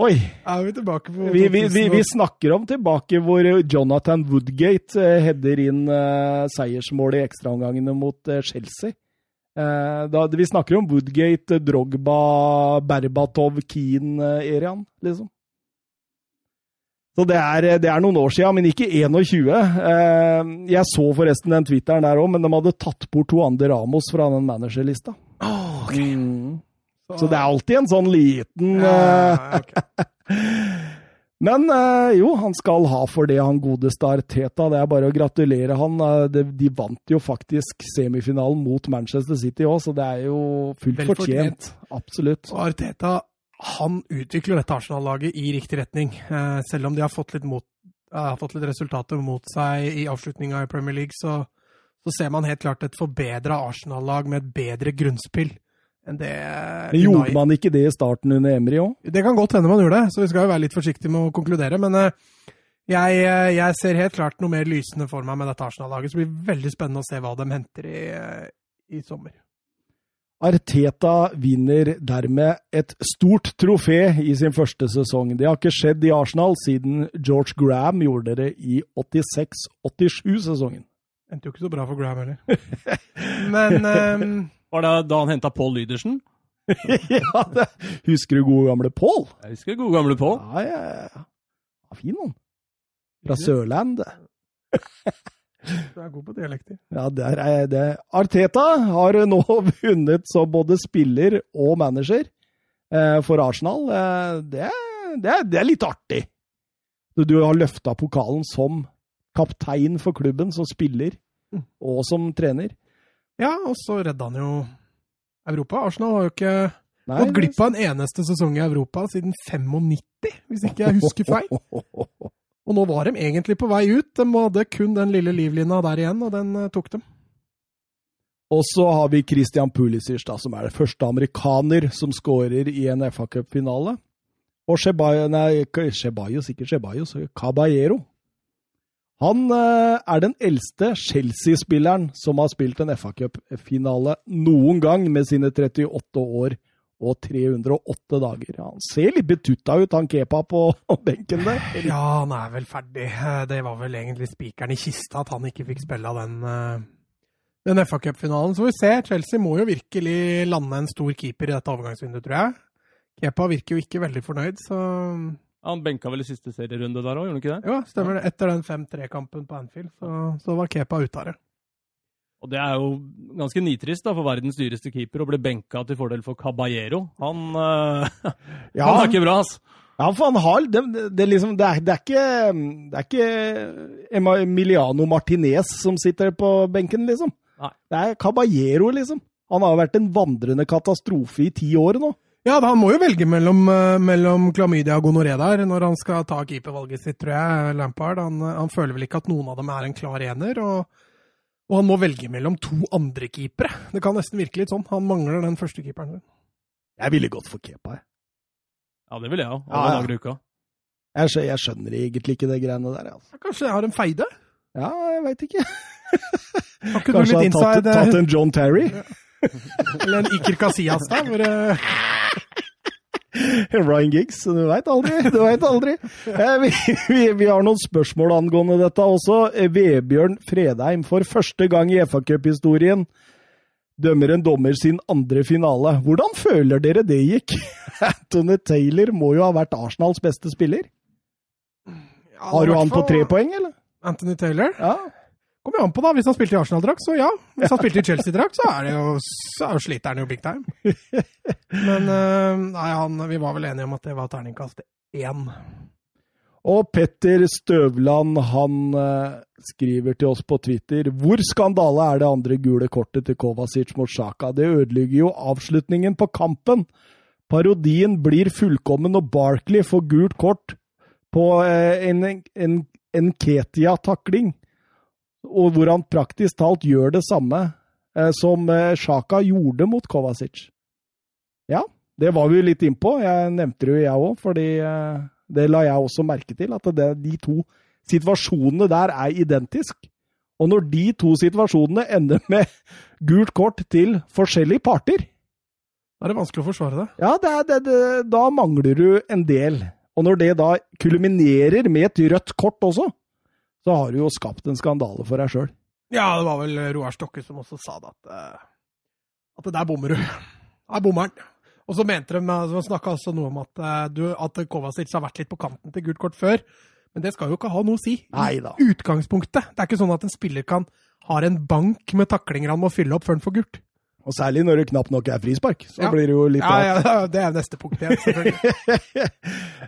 Speaker 1: Oi.
Speaker 2: Er vi tilbake på
Speaker 1: Vi, vi, vi, vi snakker om tilbake hvor Jonathan Woodgate eh, header inn eh, seiersmålet i ekstraomgangene mot eh, Chelsea. Eh, da, vi snakker om Woodgate, eh, Drogba, Berbatov, Keane-eraen, liksom. Så det er, eh, det er noen år siden, men ikke 21. Eh, Jeg så forresten den twitteren der òg, men de hadde tatt bort Juande Ramos fra den managerlista.
Speaker 2: Åh,
Speaker 1: eh, Mm. Så det er alltid en sånn liten eh,
Speaker 2: Ja, ok.
Speaker 1: Men eh, jo, han skal ha for det, han godeste Arteta. Det er bare å gratulere han. Eh, De, de vant jo faktisk semifinalen mot Manchester City òg, så det er jo fullt
Speaker 2: Vel
Speaker 1: fortjent. Absolutt.
Speaker 2: Og Arteta han utvikler dette Arsenal-laget i riktig retning. Eh, selv om de har fått litt, mot, eh, har fått litt resultater mot seg i avslutninga i Premier League, så, så ser man helt klart et forbedra Arsenal-lag med et bedre grunnspill enn det
Speaker 1: Men gjorde man ikke det i starten under Emry òg?
Speaker 2: Det kan godt hende man gjør det, så vi skal jo være litt forsiktige med å konkludere. Men eh, jeg, eh, jeg ser helt klart noe mer lysende for meg med dette Arsenal-laget. Så det blir veldig spennende å se hva de henter i, eh, i sommer.
Speaker 1: Arteta vinner dermed et stort trofé i sin første sesong. Det har ikke skjedd i Arsenal siden George Graham gjorde det i 86-87-sesongen.
Speaker 2: Endte jo ikke så bra for Graham heller. Men ehm,
Speaker 3: Var det da han henta Pål Lydersen?
Speaker 1: ja, det. Husker du gode gamle Paul?
Speaker 3: Jeg husker gode gamle Pål.
Speaker 1: Ja, ja, ja. ja fin han. Fra Sørlandet.
Speaker 2: Du er god på dialekter.
Speaker 1: Ja, der er eh, det. Arteta har nå vunnet som både spiller og manager eh, for Arsenal. Eh, det, er- det, er- det er litt artig. Du, du har løfta pokalen som kaptein for klubben, som spiller
Speaker 2: Mm.
Speaker 1: og som trener.
Speaker 2: Ja, og så redda han jo Europa. Arsenal har jo ikke
Speaker 1: Nei,
Speaker 2: gått glipp av en eneste sesong i Europa siden 95, hvis ikke jeg husker feil. Og nå var de egentlig på vei ut. De hadde kun den lille livlina der igjen, og den eh, tok dem.
Speaker 1: Og så har vi Christian Pulisic, da, som er det første amerikaner som skårer i en FA Cup-finale. Og Chebayo, nei, ikke Ceballos, ikke Ceballos, Caballero. Han eh, er den eldste Chelsea-spilleren som har spilt en FA Cup-finale noen gang med sine 38 år og 308 dager. Ja, han ser litt betutta ut, han Kepa på benken der.
Speaker 2: Ja, han er vel ferdig. Eh, Det var vel egentlig spikeren i kista at han ikke fikk spille den, eh, den FA Cup-finalen. Så får vi se. Chelsea må jo virkelig lande en stor keeper i dette overgangsvinduet, tror jeg. Kepa virker jo ikke veldig fornøyd, så
Speaker 3: Han benka vel i siste serierunde der òg, gjorde han ikke det?
Speaker 2: Jo, stemmer det. Etter den 5-3-kampen på Anfield, så, så var Kepa ute av det.
Speaker 3: Og det er jo ganske nitrist da, for verdens dyreste keeper å bli benka til fordel for Caballero. Han, eh,
Speaker 1: Ja,
Speaker 3: han er ikke bra, ass!
Speaker 1: Ja, for han har det, det, det, er liksom, det, er, det, er ikke, det er ikke Emma- Emiliano Martinez som sitter på benken, liksom.
Speaker 3: Nei.
Speaker 1: Det er Caballero, liksom. Han har vært en vandrende katastrofe i ti år nå.
Speaker 2: Ja, da, han må jo velge mellom, eh, mellom klamydia og gonoré der når han skal ta keepervalget sitt, tror jeg. Lampard. Han, eh, han føler vel ikke at noen av dem er en klar ener. og og han må velge mellom to andre keepere. Det kan nesten virke litt sånn. Han mangler den første keeperen.
Speaker 1: Jeg ville gått for Kepa. jeg.
Speaker 3: Ja, det vil jeg òg.
Speaker 1: Ja, ja.
Speaker 3: Ja,
Speaker 1: Jeg, skjø- jeg skjønner egentlig ikke det greiene der. Altså.
Speaker 2: Kanskje jeg har en feide?
Speaker 1: Ja, jeg veit ikke.
Speaker 2: Har ikke du
Speaker 1: Kanskje
Speaker 2: litt
Speaker 1: han har tatt,
Speaker 2: inside?
Speaker 1: tatt
Speaker 2: eh,
Speaker 1: en John Terry?
Speaker 2: Eller en Iker Casillas der? Hvor, eh,
Speaker 1: Ryan Giggs, du veit aldri. Du vet aldri. Eh, Vi, vi, vi har noen spørsmål angående dette også. Eh, Vebjørn Fredheim, for første gang i FA Cup-historien dømmer en dommer sin andre finale. Hvordan føler dere det gikk? Anthony Taylor må jo ha vært Arsenals beste spiller.
Speaker 2: ja,
Speaker 1: Har
Speaker 2: i
Speaker 1: du
Speaker 2: hvert
Speaker 1: han på
Speaker 2: fall
Speaker 1: tre poeng, eller?
Speaker 2: Anthony Taylor?
Speaker 1: Ja.
Speaker 2: Kommer jo an på, da. Hvis han spilte i Arsenal-drakt, så ja. Hvis han spilte i Chelsea-drakt, så er det jo, så er jo sliter han jo big time. Men eh, nei, han, vi var vel enige om at det var terningkast én.
Speaker 1: Og Petter Støvland han eh, skriver til oss på Twitter Hvor skandale er det andre gule kortet til Kovacic mot Sjaka? Det ødelegger jo avslutningen på kampen. Parodien blir fullkommen, og Barkley får gult kort på eh, en, en, en Ketia-takling. Og hvor han praktisk talt gjør det samme eh, som eh, Sjaka gjorde mot Kovacic. Ja, det var vi jo litt innpå. Jeg nevnte det jo jeg òg, fordi eh, det la jeg også merke til. At det, de to situasjonene der er identiske. Og når de to situasjonene ender med gult kort til forskjellige parter,
Speaker 2: Da er det vanskelig å forsvare det.
Speaker 1: ja, det, er- det, det, da mangler du en del. Og når det da kulminerer med et rødt kort også, så har du jo skapt en skandale for deg sjøl.
Speaker 2: Ja, det var vel Roar Stokke som også sa det, at, eh, at det der bommer du. Der bommer han. Og så mente de, eh, de snakka også noe om at, eh, du, at Kovacic har vært litt på kanten til gult kort før. Men det skal jo ikke ha noe å si.
Speaker 1: Nei da.
Speaker 2: Utgangspunktet. Det er ikke sånn at en spiller kan har en bank med taklinger han må fylle opp før han får gult.
Speaker 1: Og særlig når det knapt nok er frispark. Så
Speaker 2: Ja.
Speaker 1: blir det jo litt
Speaker 2: Ja,
Speaker 1: rart.
Speaker 2: ja, det er neste punkt igjen, selvfølgelig.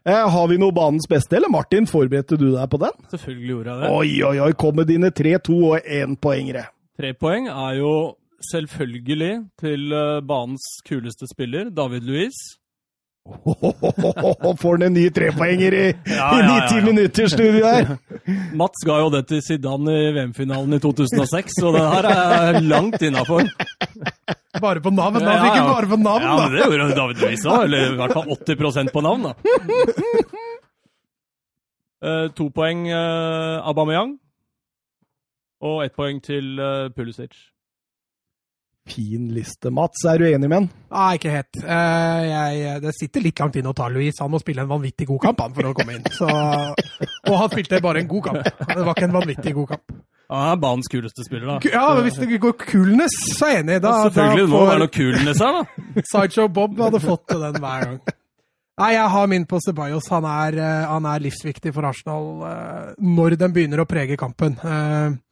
Speaker 1: Eh, Har vi noe banens beste, eller Martin, forberedte du deg på den?
Speaker 3: Selvfølgelig gjorde jeg det.
Speaker 1: Oi, oi, oi, kom med dine tre, to og én poengere.
Speaker 3: Tre poeng er jo selvfølgelig til eh, banens kuleste spiller, David Luiz.
Speaker 1: Får han en ny trepoenger i, i
Speaker 3: Ja, ja,
Speaker 1: ni
Speaker 3: ja,
Speaker 1: ti
Speaker 3: ja.
Speaker 1: minutter studio her?
Speaker 3: Mats ga jo det til Zidane i VM-finalen i 2006, så det her er langt innafor.
Speaker 2: Bare på navn. Da
Speaker 3: Ja,
Speaker 2: fikk han
Speaker 3: ja.
Speaker 2: bare på navn,
Speaker 3: Ja,
Speaker 2: da.
Speaker 3: men det gjorde David Luiz òg, eller i hvert fall 80 på navn, da. Eh, to poeng eh, Aubameyang, og ett poeng til eh, Pulisic.
Speaker 1: Fin liste, Mats. Er du enig med han?
Speaker 2: Nei, ikke helt. Eh, jeg, det sitter litt langt inne å ta Louis. Han må spille en vanvittig god kamp han, for å komme inn. Så, og han spilte bare en god kamp. Det var ikke en vanvittig god kamp.
Speaker 3: Ja, han er banens kuleste spiller, da.
Speaker 2: Ku- Ja, men Hvis det går kulnes, så er jeg enig. Da,
Speaker 3: Ja, selvfølgelig, det
Speaker 2: da
Speaker 3: må være noe kulnes her, da.
Speaker 2: Sideshow Bob hadde fått den hver gang. Nei, jeg har min på Ceballos. Han er, eh, han er livsviktig for Arsenal eh, når den begynner å prege kampen. Eh,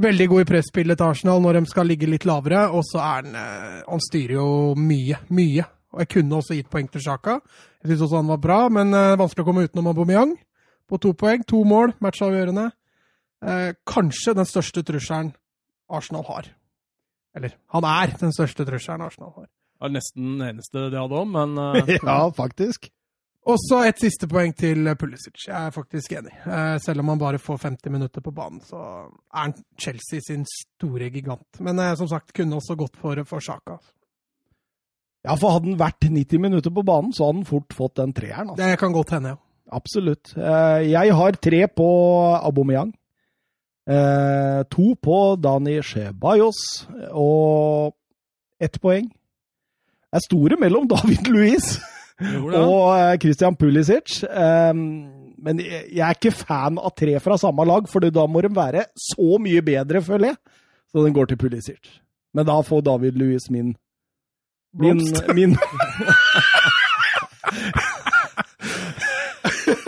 Speaker 2: Veldig god i presspillet til Arsenal når de skal ligge litt lavere, og så er han eh, Han styrer jo mye, mye. Og jeg kunne også gitt poeng til Sjaka. Jeg syns også han var bra, men eh, vanskelig å komme utenom Aubameyang på to poeng. To mål, matchavgjørende. Eh, Kanskje den største trusselen Arsenal har. Eller, han er den største trusselen Arsenal har.
Speaker 3: Det er nesten den eneste det hadde om, men eh,
Speaker 1: Ja, faktisk.
Speaker 2: Og så et siste poeng til eh, Pulisic. Jeg er faktisk enig. Eh, Selv om han bare får 50 minutter på banen, så er han Chelsea sin store gigant. Men eh, som sagt, kunne også gått for, for Sjaka.
Speaker 1: Ja, for hadde han vært 90 minutter på banen, så hadde han fort fått den treeren. Altså.
Speaker 2: Det kan godt hende, ja.
Speaker 1: Absolutt. Eh, Jeg har tre på Aubameyang. eh, To på Dani Ceballos og ett poeng. Det er store mellom David Luiz
Speaker 3: jo, det.
Speaker 1: og eh, Christian Pulisic. Eh, Men jeg jeg er ikke fan av tre fra samme lag, for da må de være så mye bedre, føler jeg. Så den går til Pulisic. Men da får David Luiz min Min,
Speaker 2: Blomst.
Speaker 1: min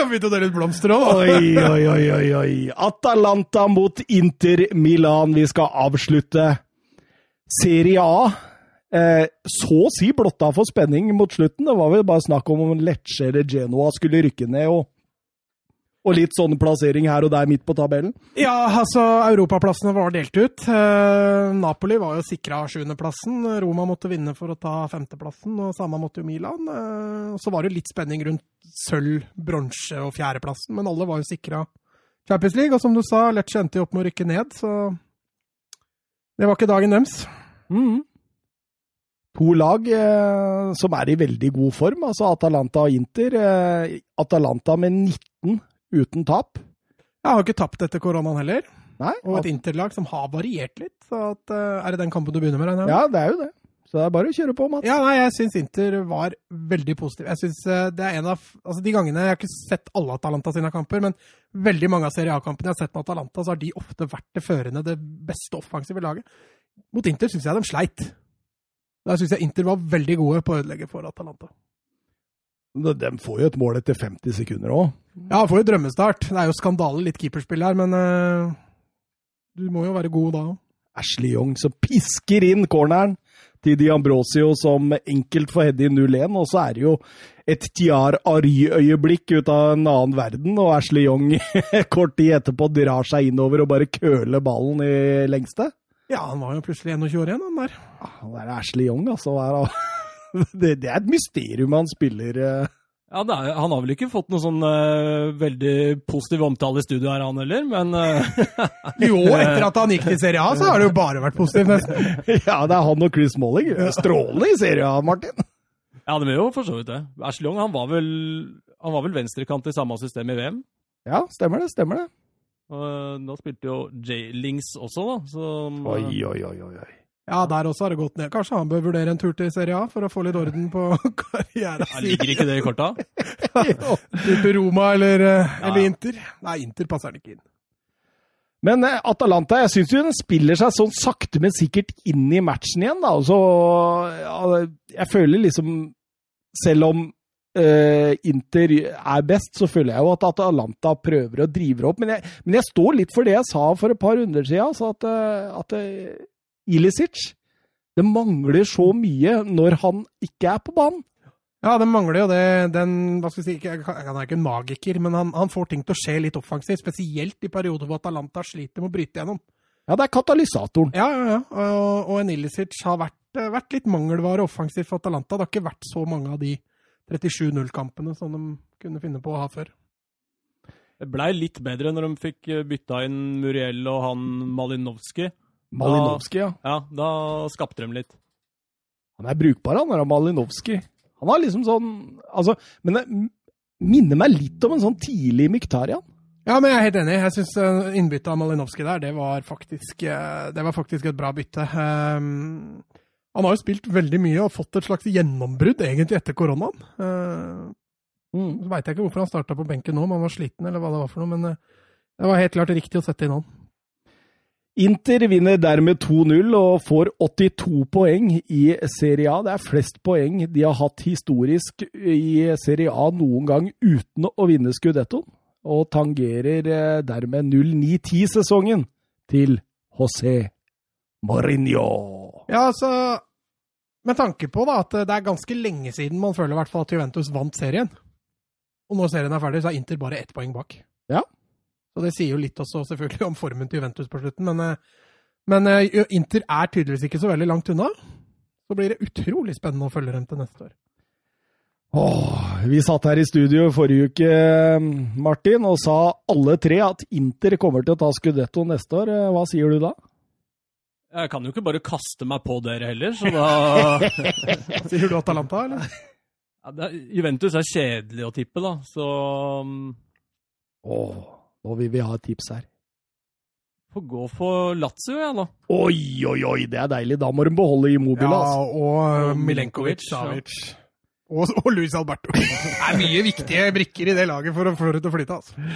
Speaker 2: Begynte å dele ut blomster òg.
Speaker 1: Oi, oi, oi, oi, oi. Atalanta mot Inter Milan. Vi skal avslutte Serie A. Eh, så å si blotta for spenning mot slutten. Det var vel bare snakk om om Lecce eller Genoa skulle rykke ned, og, og litt sånn plassering her og der midt på tabellen.
Speaker 2: Ja, altså, europaplassene var delt ut. Eh, Napoli var jo sikra sjuendeplassen. Roma måtte vinne for å ta femteplassen, og samme måtte jo Milan. Eh, og så var det litt spenning rundt sølv, bronse og fjerdeplassen, men alle var jo sikra Champions League. Og som du sa, Lecce endte jo opp med å rykke ned, så det var ikke dagen deres.
Speaker 1: Mhm. To lag eh, som er i veldig god form, altså Atalanta og Inter. Eh, Atalanta med 19 uten tap.
Speaker 2: Jeg har jo ikke tapt etter koronaen heller,
Speaker 1: Nei,
Speaker 2: og et interlag som har variert litt. Så at, eh, er det den kampen du begynner med? regner jeg med?
Speaker 1: ja, det er jo det. Så det er bare å kjøre på, Mats.
Speaker 2: Ja, nei, jeg syns Inter var veldig positiv. Jeg synes eh, det er en av, altså De gangene Jeg har ikke sett alle Atalanta sine kamper, men veldig mange av Serie A-kampene jeg har sett med Atalanta, så har de ofte vært det førende, det beste offensive laget. Mot Inter syns jeg de sleit. Da syns jeg Inter var veldig gode på å ødelegge for Atalanta.
Speaker 1: De de får jo et mål etter 50 sekunder òg.
Speaker 2: Ja, får jo drømmestart. Det er jo skandale, litt keeperspill her, men eh, du må jo være god da òg.
Speaker 1: Ashley Young som pisker inn corneren til Di Ambrosio som enkelt får heade i 0-1. Og så er det jo et Tiar Ary-øyeblikk ut av en annen verden, og Ashley Young kort tid etterpå drar seg innover og bare køler ballen i lengste.
Speaker 2: Ja, han var jo plutselig 21 år igjen, han der.
Speaker 1: Ah, Det er Ashley Young, altså. Hva er det- Det, det er et mysterium han spiller eh.
Speaker 3: Ja, det er, han har vel ikke fått noen sånn eh, veldig positiv omtale i studio her, han heller, men eh,
Speaker 2: Jo, etter at han gikk til Serie A, så har det jo bare vært positivt, nesten.
Speaker 1: Ja, det er han og Chris Molling. Strålende i serien, Martin.
Speaker 3: ja, det vil jo for så vidt det. Ashley Young, han var vel, han var vel venstrekant i samme system i VM.
Speaker 1: Ja, stemmer det. Stemmer det.
Speaker 3: Og da spilte jo J-Lings også, da. Så, um,
Speaker 1: Oi, oi, oi, oi. oi.
Speaker 2: Ja, der også har det gått ned. Kanskje han bør vurdere en tur til Serie A for å få litt orden på karrieren
Speaker 3: Ja,
Speaker 2: sin.
Speaker 3: ligger ikke det i korta?
Speaker 2: Type Roma eller, eh,
Speaker 3: Ja.
Speaker 2: eller Inter. Nei, Inter passer han ikke inn.
Speaker 1: Men eh, Atalanta, jeg syns jo den spiller seg sånn sakte, men sikkert inn i matchen igjen, da. Og så ja, Jeg føler liksom Selv om eh, Inter er best, så føler jeg jo at Atalanta prøver og driver opp. Men jeg, men jeg står litt for det jeg sa for et par runder siden, altså at, eh, at eh, Ilicic Det mangler så mye når han ikke er på banen.
Speaker 2: Ja, den mangler jo det den, hva skal jeg si, ikke, jeg kan- Han er ikke en magiker, men han, han får ting til å skje litt offensivt. Spesielt i perioder hvor Atalanta sliter med å bryte gjennom.
Speaker 1: Ja, det er katalysatoren.
Speaker 2: Ja, ja, ja. Og, og en Ilicic har vært, eh, vært litt mangelvare offensivt for Atalanta. Det har ikke vært så mange av de 37-0-kampene som de kunne finne på å ha før.
Speaker 3: Det blei litt bedre når de fikk eh, bytta inn Muriel og han Malinowski.
Speaker 1: Malinowski, ja.
Speaker 3: Ja, da skapte de litt.
Speaker 1: Han er brukbar, han der Malinowski. Han har liksom sånn Altså, men det minner meg litt om en sånn tidlig Mykhtarian.
Speaker 2: Ja, men jeg er helt enig. Jeg syns innbyttet av Malinowski der, det var faktisk, eh, det var faktisk et bra bytte. Ehm, Han har jo spilt veldig mye og fått et slags gjennombrudd egentlig etter koronaen. Eh, Så veit jeg ikke hvorfor han starta på benken nå, om han var sliten eller hva det var for noe, men eh, det var helt klart riktig å sette inn han.
Speaker 1: Inter vinner dermed 2-0 og får 82 poeng i Serie A. Det er flest poeng de har hatt historisk i Serie A noen gang uten å vinne Scudettoen, og tangerer eh, dermed 09-10-sesongen til José Mourinho.
Speaker 2: Ja, altså Med tanke på da, at det er ganske lenge siden man føler i hvert fall at Juventus vant serien. Og når serien er ferdig, så er Inter bare ett poeng bak.
Speaker 1: Ja.
Speaker 2: Så det sier jo litt også selvfølgelig om formen til Juventus på slutten, men, eh, men eh, Inter er tydeligvis ikke så veldig langt unna. Så blir det utrolig spennende å følge dem til neste år.
Speaker 1: Åh, vi satt her i studio forrige uke, Martin, og sa alle tre at Inter kommer til å ta Scudetto neste år. Eh, Hva sier du da?
Speaker 3: Jeg kan jo ikke bare kaste meg på dere heller, så da
Speaker 2: Sier du Atalanta, eller?
Speaker 3: ja, det er, Juventus er kjedelig å tippe, da, så um,
Speaker 1: Åh, nå vil vi ha et tips her.
Speaker 3: får gå for Lazio, jeg, da.
Speaker 1: Oi, oi, oi, det er deilig. Da må de beholde Immobile, altså.
Speaker 2: og
Speaker 3: Milenkovic,
Speaker 2: Savic. Og, og Luis Alberto. Det er mye viktige brikker i det laget for å få det til å flyte. altså.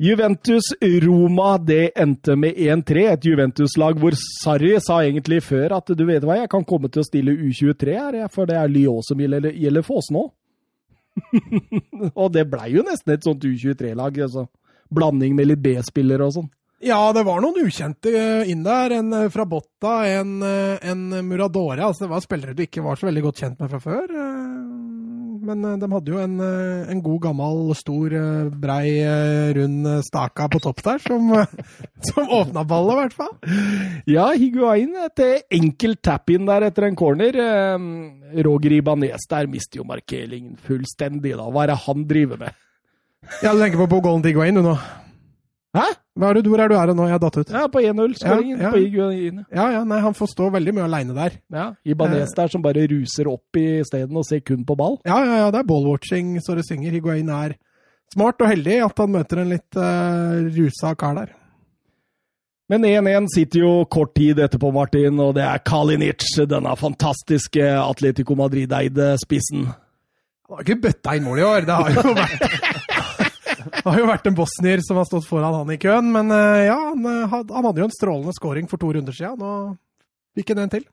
Speaker 1: Juventus-Roma, det endte med 1-3. Et Juventus-lag hvor Sarri sa egentlig før at du vet hva, jeg kan komme til å stille U23 her, jeg, for det er Lyon som gjelder, gjelder for oss nå. og det blei jo nesten et sånt U23-lag. altså. Blanding med litt B-spillere og sånn.
Speaker 2: Ja, det var noen ukjente eh, inn der. En eh, fra Botta, en, eh, en Muradore. Altså, det var spillere du ikke var så veldig godt kjent med fra før. eh, Men eh, de hadde jo en, eh, en god, gammel, stor, eh, brei, eh, rund eh, staka på topp der, som, eh, som åpna ballet, i hvert fall.
Speaker 1: Ja, Higuain etter enkel tap-in der etter en corner. Eh, Roger Ibanez der mister jo markeringen fullstendig, da. Hva er det han driver med?
Speaker 2: Ja, du tenker på på Golden Digwain, du nå?
Speaker 1: Hæ?
Speaker 2: Hva er det, hvor er du er nå? Jeg har datt ut.
Speaker 1: Ja, på 1-0-skåringen
Speaker 2: Ja, ja.
Speaker 1: på Higuain.
Speaker 2: Ja, ja, nei, han får stå veldig mye aleine der.
Speaker 1: Ja, Ibanez der som bare ruser opp isteden og ser kun på ball.
Speaker 2: Ja, ja, ja, det er ballwatching så det synger. Higuain er smart og heldig i at han møter en litt eh, rusa kar der.
Speaker 1: Men 1-1 sitter jo kort tid etterpå, Martin, og det er Kalinic, denne fantastiske Atletico Madrid-eide spissen.
Speaker 2: Han har ikke bøtta inn mål i år. Det har jo vært Det har jo vært en bosnier som har stått foran han i køen, men eh, ja, han, eh, had, han hadde jo en strålende scoring for to runder siden, og fikk en en til.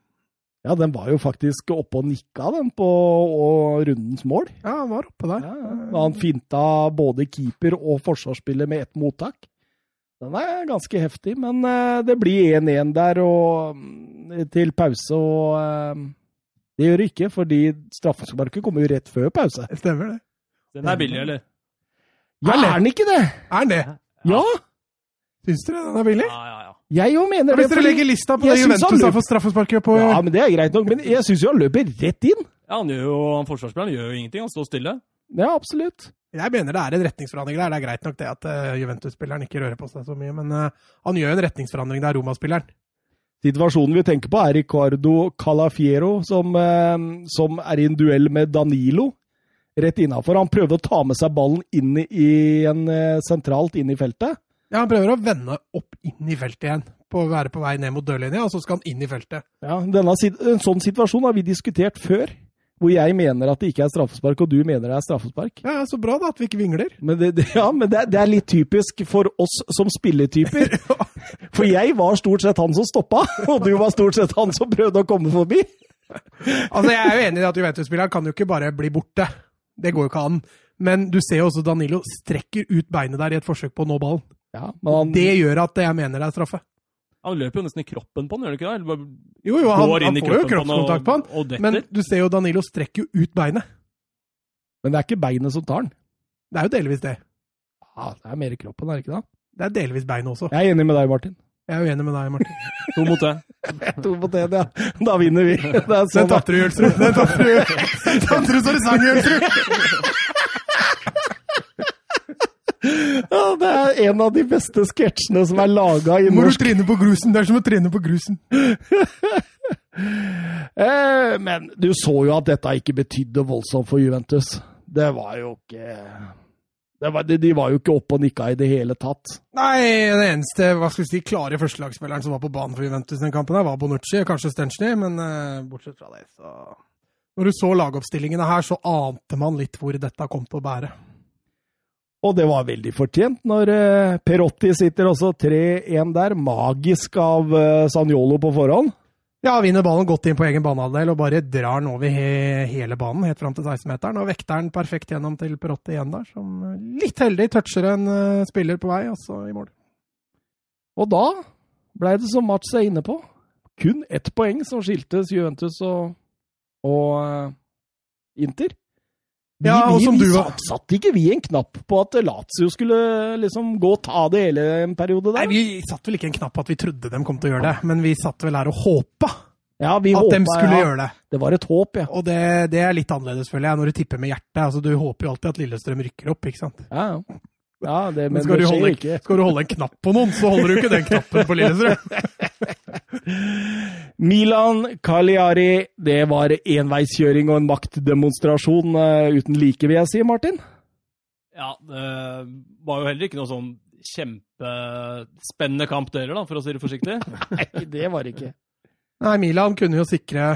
Speaker 1: Ja, den var jo faktisk oppe og nikka, den, på og rundens mål.
Speaker 2: Ja, han var oppe der.
Speaker 1: Ja, ja. Da han finta både keeper og forsvarsspiller med ett mottak. Den er ganske heftig, men eh, det blir 1-1 der og mm, til pause, og eh, det gjør det ikke, fordi straffesparket kommer jo rett før pause.
Speaker 2: Stemmer det.
Speaker 3: Den er billig, eller?
Speaker 1: Ja,
Speaker 2: Eller?
Speaker 1: er den ikke det?
Speaker 2: Er han det?
Speaker 1: Ja!
Speaker 2: Syns dere den er billig?
Speaker 3: Ja, ja, ja.
Speaker 1: Jeg jo mener det.
Speaker 2: Hvis dere
Speaker 1: fordi-
Speaker 2: legger lista på
Speaker 1: jeg
Speaker 2: det
Speaker 1: synes han
Speaker 2: Juventus har
Speaker 1: løp-
Speaker 2: fått straffesparket på
Speaker 1: Ja, men Det er greit nok, men jeg syns jo han løper rett inn.
Speaker 3: ja han, gjør jo, han forsvarsspilleren gjør jo ingenting, han står stille.
Speaker 1: Ja, absolutt.
Speaker 2: Jeg mener det er en retningsforandring der. Det er greit nok det at eh, Juventus-spilleren ikke rører på seg så mye, men eh, han gjør en retningsforandring der, Roma-spilleren.
Speaker 1: Situasjonen vi tenker på, er Ricardo Calafiero, som, eh, som er i en duell med Danilo rett innafor. Han prøver å ta med seg ballen inn i en, eh, sentralt inn i feltet.
Speaker 2: Ja, han prøver å vende opp inn i feltet igjen, på å være på vei ned mot dørlinja, og så skal han inn i feltet.
Speaker 1: Ja, denne, sit- En sånn situasjon har vi diskutert før, hvor jeg mener at det ikke er straffespark, og du mener det er straffespark.
Speaker 2: Ja, så bra da at vi ikke vingler.
Speaker 1: Men det, det, ja, men det, er- det er litt typisk for oss som spilletyper. For jeg var stort sett han som stoppa, og du var stort sett han som prøvde å komme forbi.
Speaker 2: Altså, Jeg er jo enig i at Juventus-spilleren kan jo ikke bare bli borte. Det går jo ikke an. Men du ser jo også Danilo strekker ut beinet der i et forsøk på å nå ballen.
Speaker 1: Ja, men han,
Speaker 2: Mm. Det gjør at jeg mener det er straffe.
Speaker 3: Han løper jo nesten i kroppen på den, gjør han ikke det? Eller bare
Speaker 2: Jo, jo, han,
Speaker 3: går inn
Speaker 2: han
Speaker 3: i
Speaker 2: får jo
Speaker 3: kroppen
Speaker 2: kroppskontakt på han.
Speaker 3: og, og detter.
Speaker 2: Men du ser jo Danilo strekker jo ut beinet.
Speaker 1: Men det er ikke beinet som tar den.
Speaker 2: Det er jo delvis det.
Speaker 1: Ja, det er mer i kroppen, er det ikke det?
Speaker 2: Det er delvis beinet også.
Speaker 1: Jeg er enig med deg, Martin.
Speaker 2: Jeg er uenig med deg, Martin.
Speaker 3: To mot det.
Speaker 1: To mot én, ja. Da vinner vi. Det er
Speaker 2: Den
Speaker 1: sånn,
Speaker 2: tapte du, Jølsrud. Den tapte du. Den tapte du så det sang, Jølsrud.
Speaker 1: ja, det er en av de beste sketsjene som er laga i
Speaker 2: Må du
Speaker 1: norsk
Speaker 2: trene på grusen. Det er som å trene på grusen.
Speaker 1: eh, Men du så jo at dette ikke betydde voldsomt for Juventus. Det var jo ikke det var, de, de var jo ikke oppe og nikka i det hele tatt.
Speaker 2: Nei, den eneste hva skal vi si, klare førstelagsspilleren som var på banen for Juventus den kampen, her var Bonucci, kanskje Stenchny, men eh, bortsett fra det, så Når du så lagoppstillingene her, så ante man litt hvor dette kom til å bære.
Speaker 1: Og det var veldig fortjent når eh, Perotti sitter også 3-1 der, magisk av eh, Sanjolo på forhånd.
Speaker 2: Ja, vinner ballen godt inn på egen banehalvdel og bare drar den over he hele banen, helt fram til 16-meteren. Og vekter den perfekt gjennom til Perotti igjen der, som eh, litt heldig toucher en eh, spiller på vei, altså i mål.
Speaker 1: Og da ble det som Mats er inne på, kun ett poeng som skiltes Juventus og, og eh, Inter. Vi,
Speaker 2: Ja, og
Speaker 1: vi,
Speaker 2: som
Speaker 1: vi
Speaker 2: du var-
Speaker 1: satt, satt ikke vi en knapp på at Lazio skulle liksom gå og ta det hele en periode der?
Speaker 2: Nei, vi satt vel ikke en knapp på at vi trodde de kom til å gjøre det, men vi satt vel her og håpa at
Speaker 1: ja, vi
Speaker 2: de
Speaker 1: ja.
Speaker 2: skulle gjøre det.
Speaker 1: Det var et håp, ja.
Speaker 2: Og det, det er litt annerledes, føler jeg, når du tipper med hjertet. Altså, du håper jo alltid at Lillestrøm rykker opp, ikke sant?
Speaker 1: Ja, ja. ja det,
Speaker 2: Men
Speaker 1: men
Speaker 2: skal,
Speaker 1: det
Speaker 2: du
Speaker 1: skjer
Speaker 2: holde,
Speaker 1: ikke.
Speaker 2: skal du holde en knapp på noen, så holder du ikke den knappen på Lillestrøm.
Speaker 1: Milan Cagliari, det var enveiskjøring og en maktdemonstrasjon eh, uten like, vil jeg si, Martin.
Speaker 3: Ja, det var jo heller ikke noe sånn kjempespennende kamp deler, da, for å si det forsiktig.
Speaker 1: Nei, det var det ikke.
Speaker 2: Nei, Milan kunne jo sikre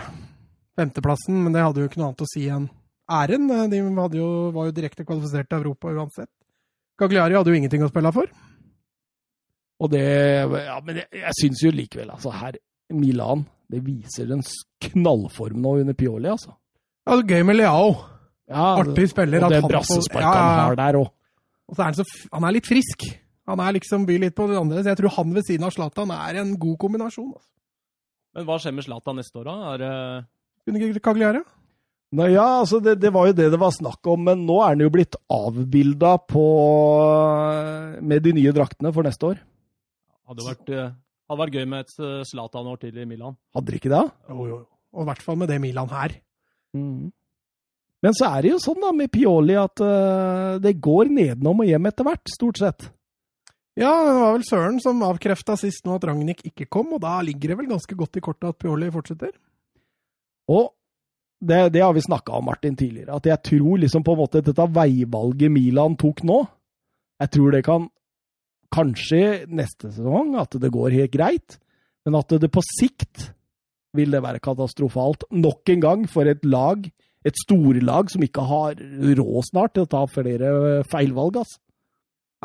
Speaker 2: femteplassen, men det hadde jo ikke noe annet å si enn æren. De hadde jo, var jo direkte kvalifisert til Europa uansett. Gagliari hadde jo ingenting å spille for.
Speaker 1: Og det Ja, men jeg, jeg syns jo likevel, altså, her Milan det viser en s- knallform nå under Pioli, altså.
Speaker 2: Ja, det er gøy med Leao.
Speaker 1: Ja, altså,
Speaker 2: Artig spiller.
Speaker 1: Og
Speaker 2: at
Speaker 1: det
Speaker 2: han får-
Speaker 1: brassesparket
Speaker 2: Ja, ja, ja.
Speaker 1: han har der òg.
Speaker 2: Og så er han, så, f- han er litt frisk. Han er liksom byr litt på det andre. Så jeg tror han ved siden av Zlatan er en god kombinasjon. Altså.
Speaker 3: Men hva skjer med Zlatan neste år, da? Er, eh, det-
Speaker 2: Kunne ikke Cagliari?
Speaker 1: Nå, ja, altså det, det var jo det det var snakk om, men nå er han jo blitt avbilda på eh, med de nye draktene for neste år.
Speaker 3: hadde vært, eh, hadde vært gøy med et eh, Zlatan-år til i Milan.
Speaker 1: Hadde dere ikke det?
Speaker 2: Jo, jo. Og i hvert fall med det Milan her.
Speaker 1: Men så er det jo sånn da med Pioli at eh, det går nedenom og hjem etter hvert, stort sett.
Speaker 2: Ja, det var vel Søren som avkrefta sist nå at Ragnhild ikke kom, og da ligger det vel ganske godt i kortet at Pioli fortsetter.
Speaker 1: Og det, det har vi snakka om, Martin, tidligere. At jeg tror liksom på en måte dette veivalget Milan tok nå Jeg tror det kan Kanskje neste sesong at det går helt greit, men at det på sikt vil det være katastrofalt nok en gang for et lag, et storlag som ikke har råd snart til å ta flere feilvalg, ass.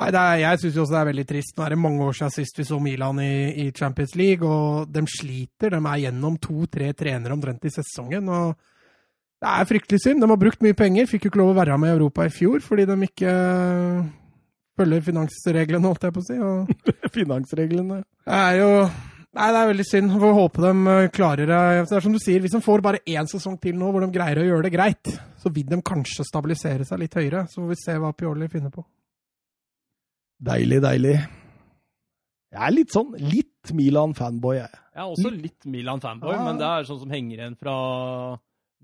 Speaker 2: Nei, det er, Jeg syns også det er veldig trist. Nå er det mange år siden sist vi så Milan i, i Champions League, og de sliter. De er gjennom to-tre trenere omtrent i sesongen. og Det er fryktelig synd. De har brukt mye penger. Fikk jo ikke lov å være med i Europa i fjor fordi de ikke følger finansreglene, holdt jeg på å si. og...
Speaker 1: Finansreglene.
Speaker 2: Det er jo Nei, det er veldig synd. Får håpe de eh, klarer det. Det er som du sier, hvis de får bare én sesong til nå hvor de greier å gjøre det greit, så vil de kanskje stabilisere seg litt høyere. Så får vi se hva Pioli finner på.
Speaker 1: Deilig, deilig. Jeg er litt sånn litt Milan-fanboy, jeg.
Speaker 3: Jeg er
Speaker 2: Mm.
Speaker 3: også litt Milan-fanboy,
Speaker 1: Ja.
Speaker 3: men det er sånn som henger igjen fra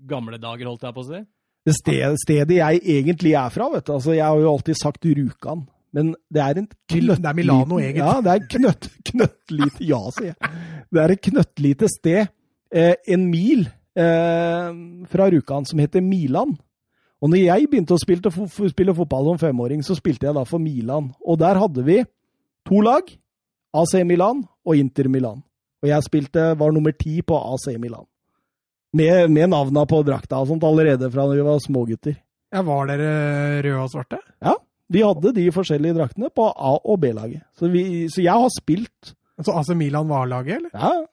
Speaker 3: gamle dager, holdt jeg på å si.
Speaker 1: Det sted, stedet jeg egentlig er fra, vet du. Altså, jeg har jo alltid sagt Rjukan. Men det er en knøttliten
Speaker 2: Det er Milano, egentlig.
Speaker 1: Ja, det er knøtt, knøttlite Ja, sier jeg. Det er et knøttlite sted, eh, en mil eh, fra Rjukan, som heter Milan. Og når jeg begynte å spille, fo- fo- spille fotball som femåring, så spilte jeg da for Milan. Og der hadde vi to lag, AC Milan og Inter Milan. Og jeg spilte, var nummer ti på AC Milan. Med, med navna på drakta og sånt allerede fra da vi var smågutter.
Speaker 2: Ja, Var dere røde og svarte?
Speaker 1: Vi hadde de forskjellige draktene på A- og B-laget. Så, vi- så jeg har spilt
Speaker 2: Så AC Altså, Milan var laget, eller?
Speaker 1: ja.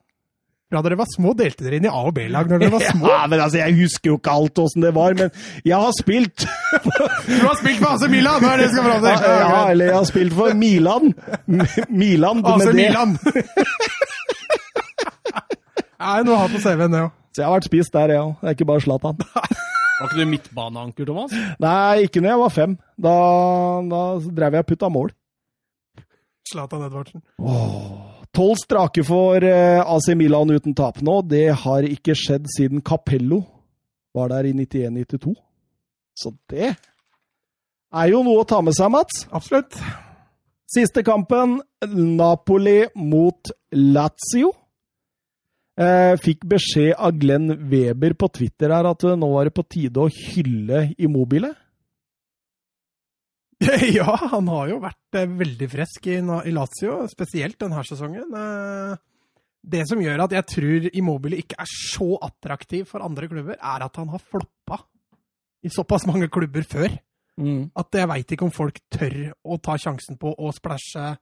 Speaker 2: Fra dere var små, delte dere inn i A- og B-lag når dere var små?
Speaker 1: ja, men altså, Jeg husker jo ikke alt åssen det var, men jeg har spilt
Speaker 2: Du har spilt for AC Milan! Det er det jeg skal fram
Speaker 1: Ja, eller jeg har spilt for Altså, Milan. M- Milan med det.
Speaker 2: Milan! er noe å ha på CV-en, det òg.
Speaker 1: Så jeg har vært spist der, jeg òg. Det er ikke bare Zlatan.
Speaker 3: Var ikke du midtbaneanker, Thomas?
Speaker 1: Nei, ikke når jeg var fem. Da, da drev jeg og putta mål.
Speaker 2: Zlatan Edvardsen.
Speaker 1: Tolv strake for eh, AC Milan uten tap nå. Det har ikke skjedd siden Capello var der i 91-92. Så det er jo noe å ta med seg, Mats.
Speaker 2: Absolutt.
Speaker 1: Siste kampen, Napoli mot Lazio. Eh, fikk beskjed av Glenn Weber på Twitter her at eh, nå var det på tide å hylle Immobile.
Speaker 2: ja, han har jo vært eh, veldig frisk i, Na- i Lazio, spesielt denne sesongen. Eh, Det som gjør at jeg tror Immobile ikke er så attraktiv for andre klubber, er at han har floppa i såpass mange klubber før at jeg veit ikke om folk tør å ta sjansen på å splæsje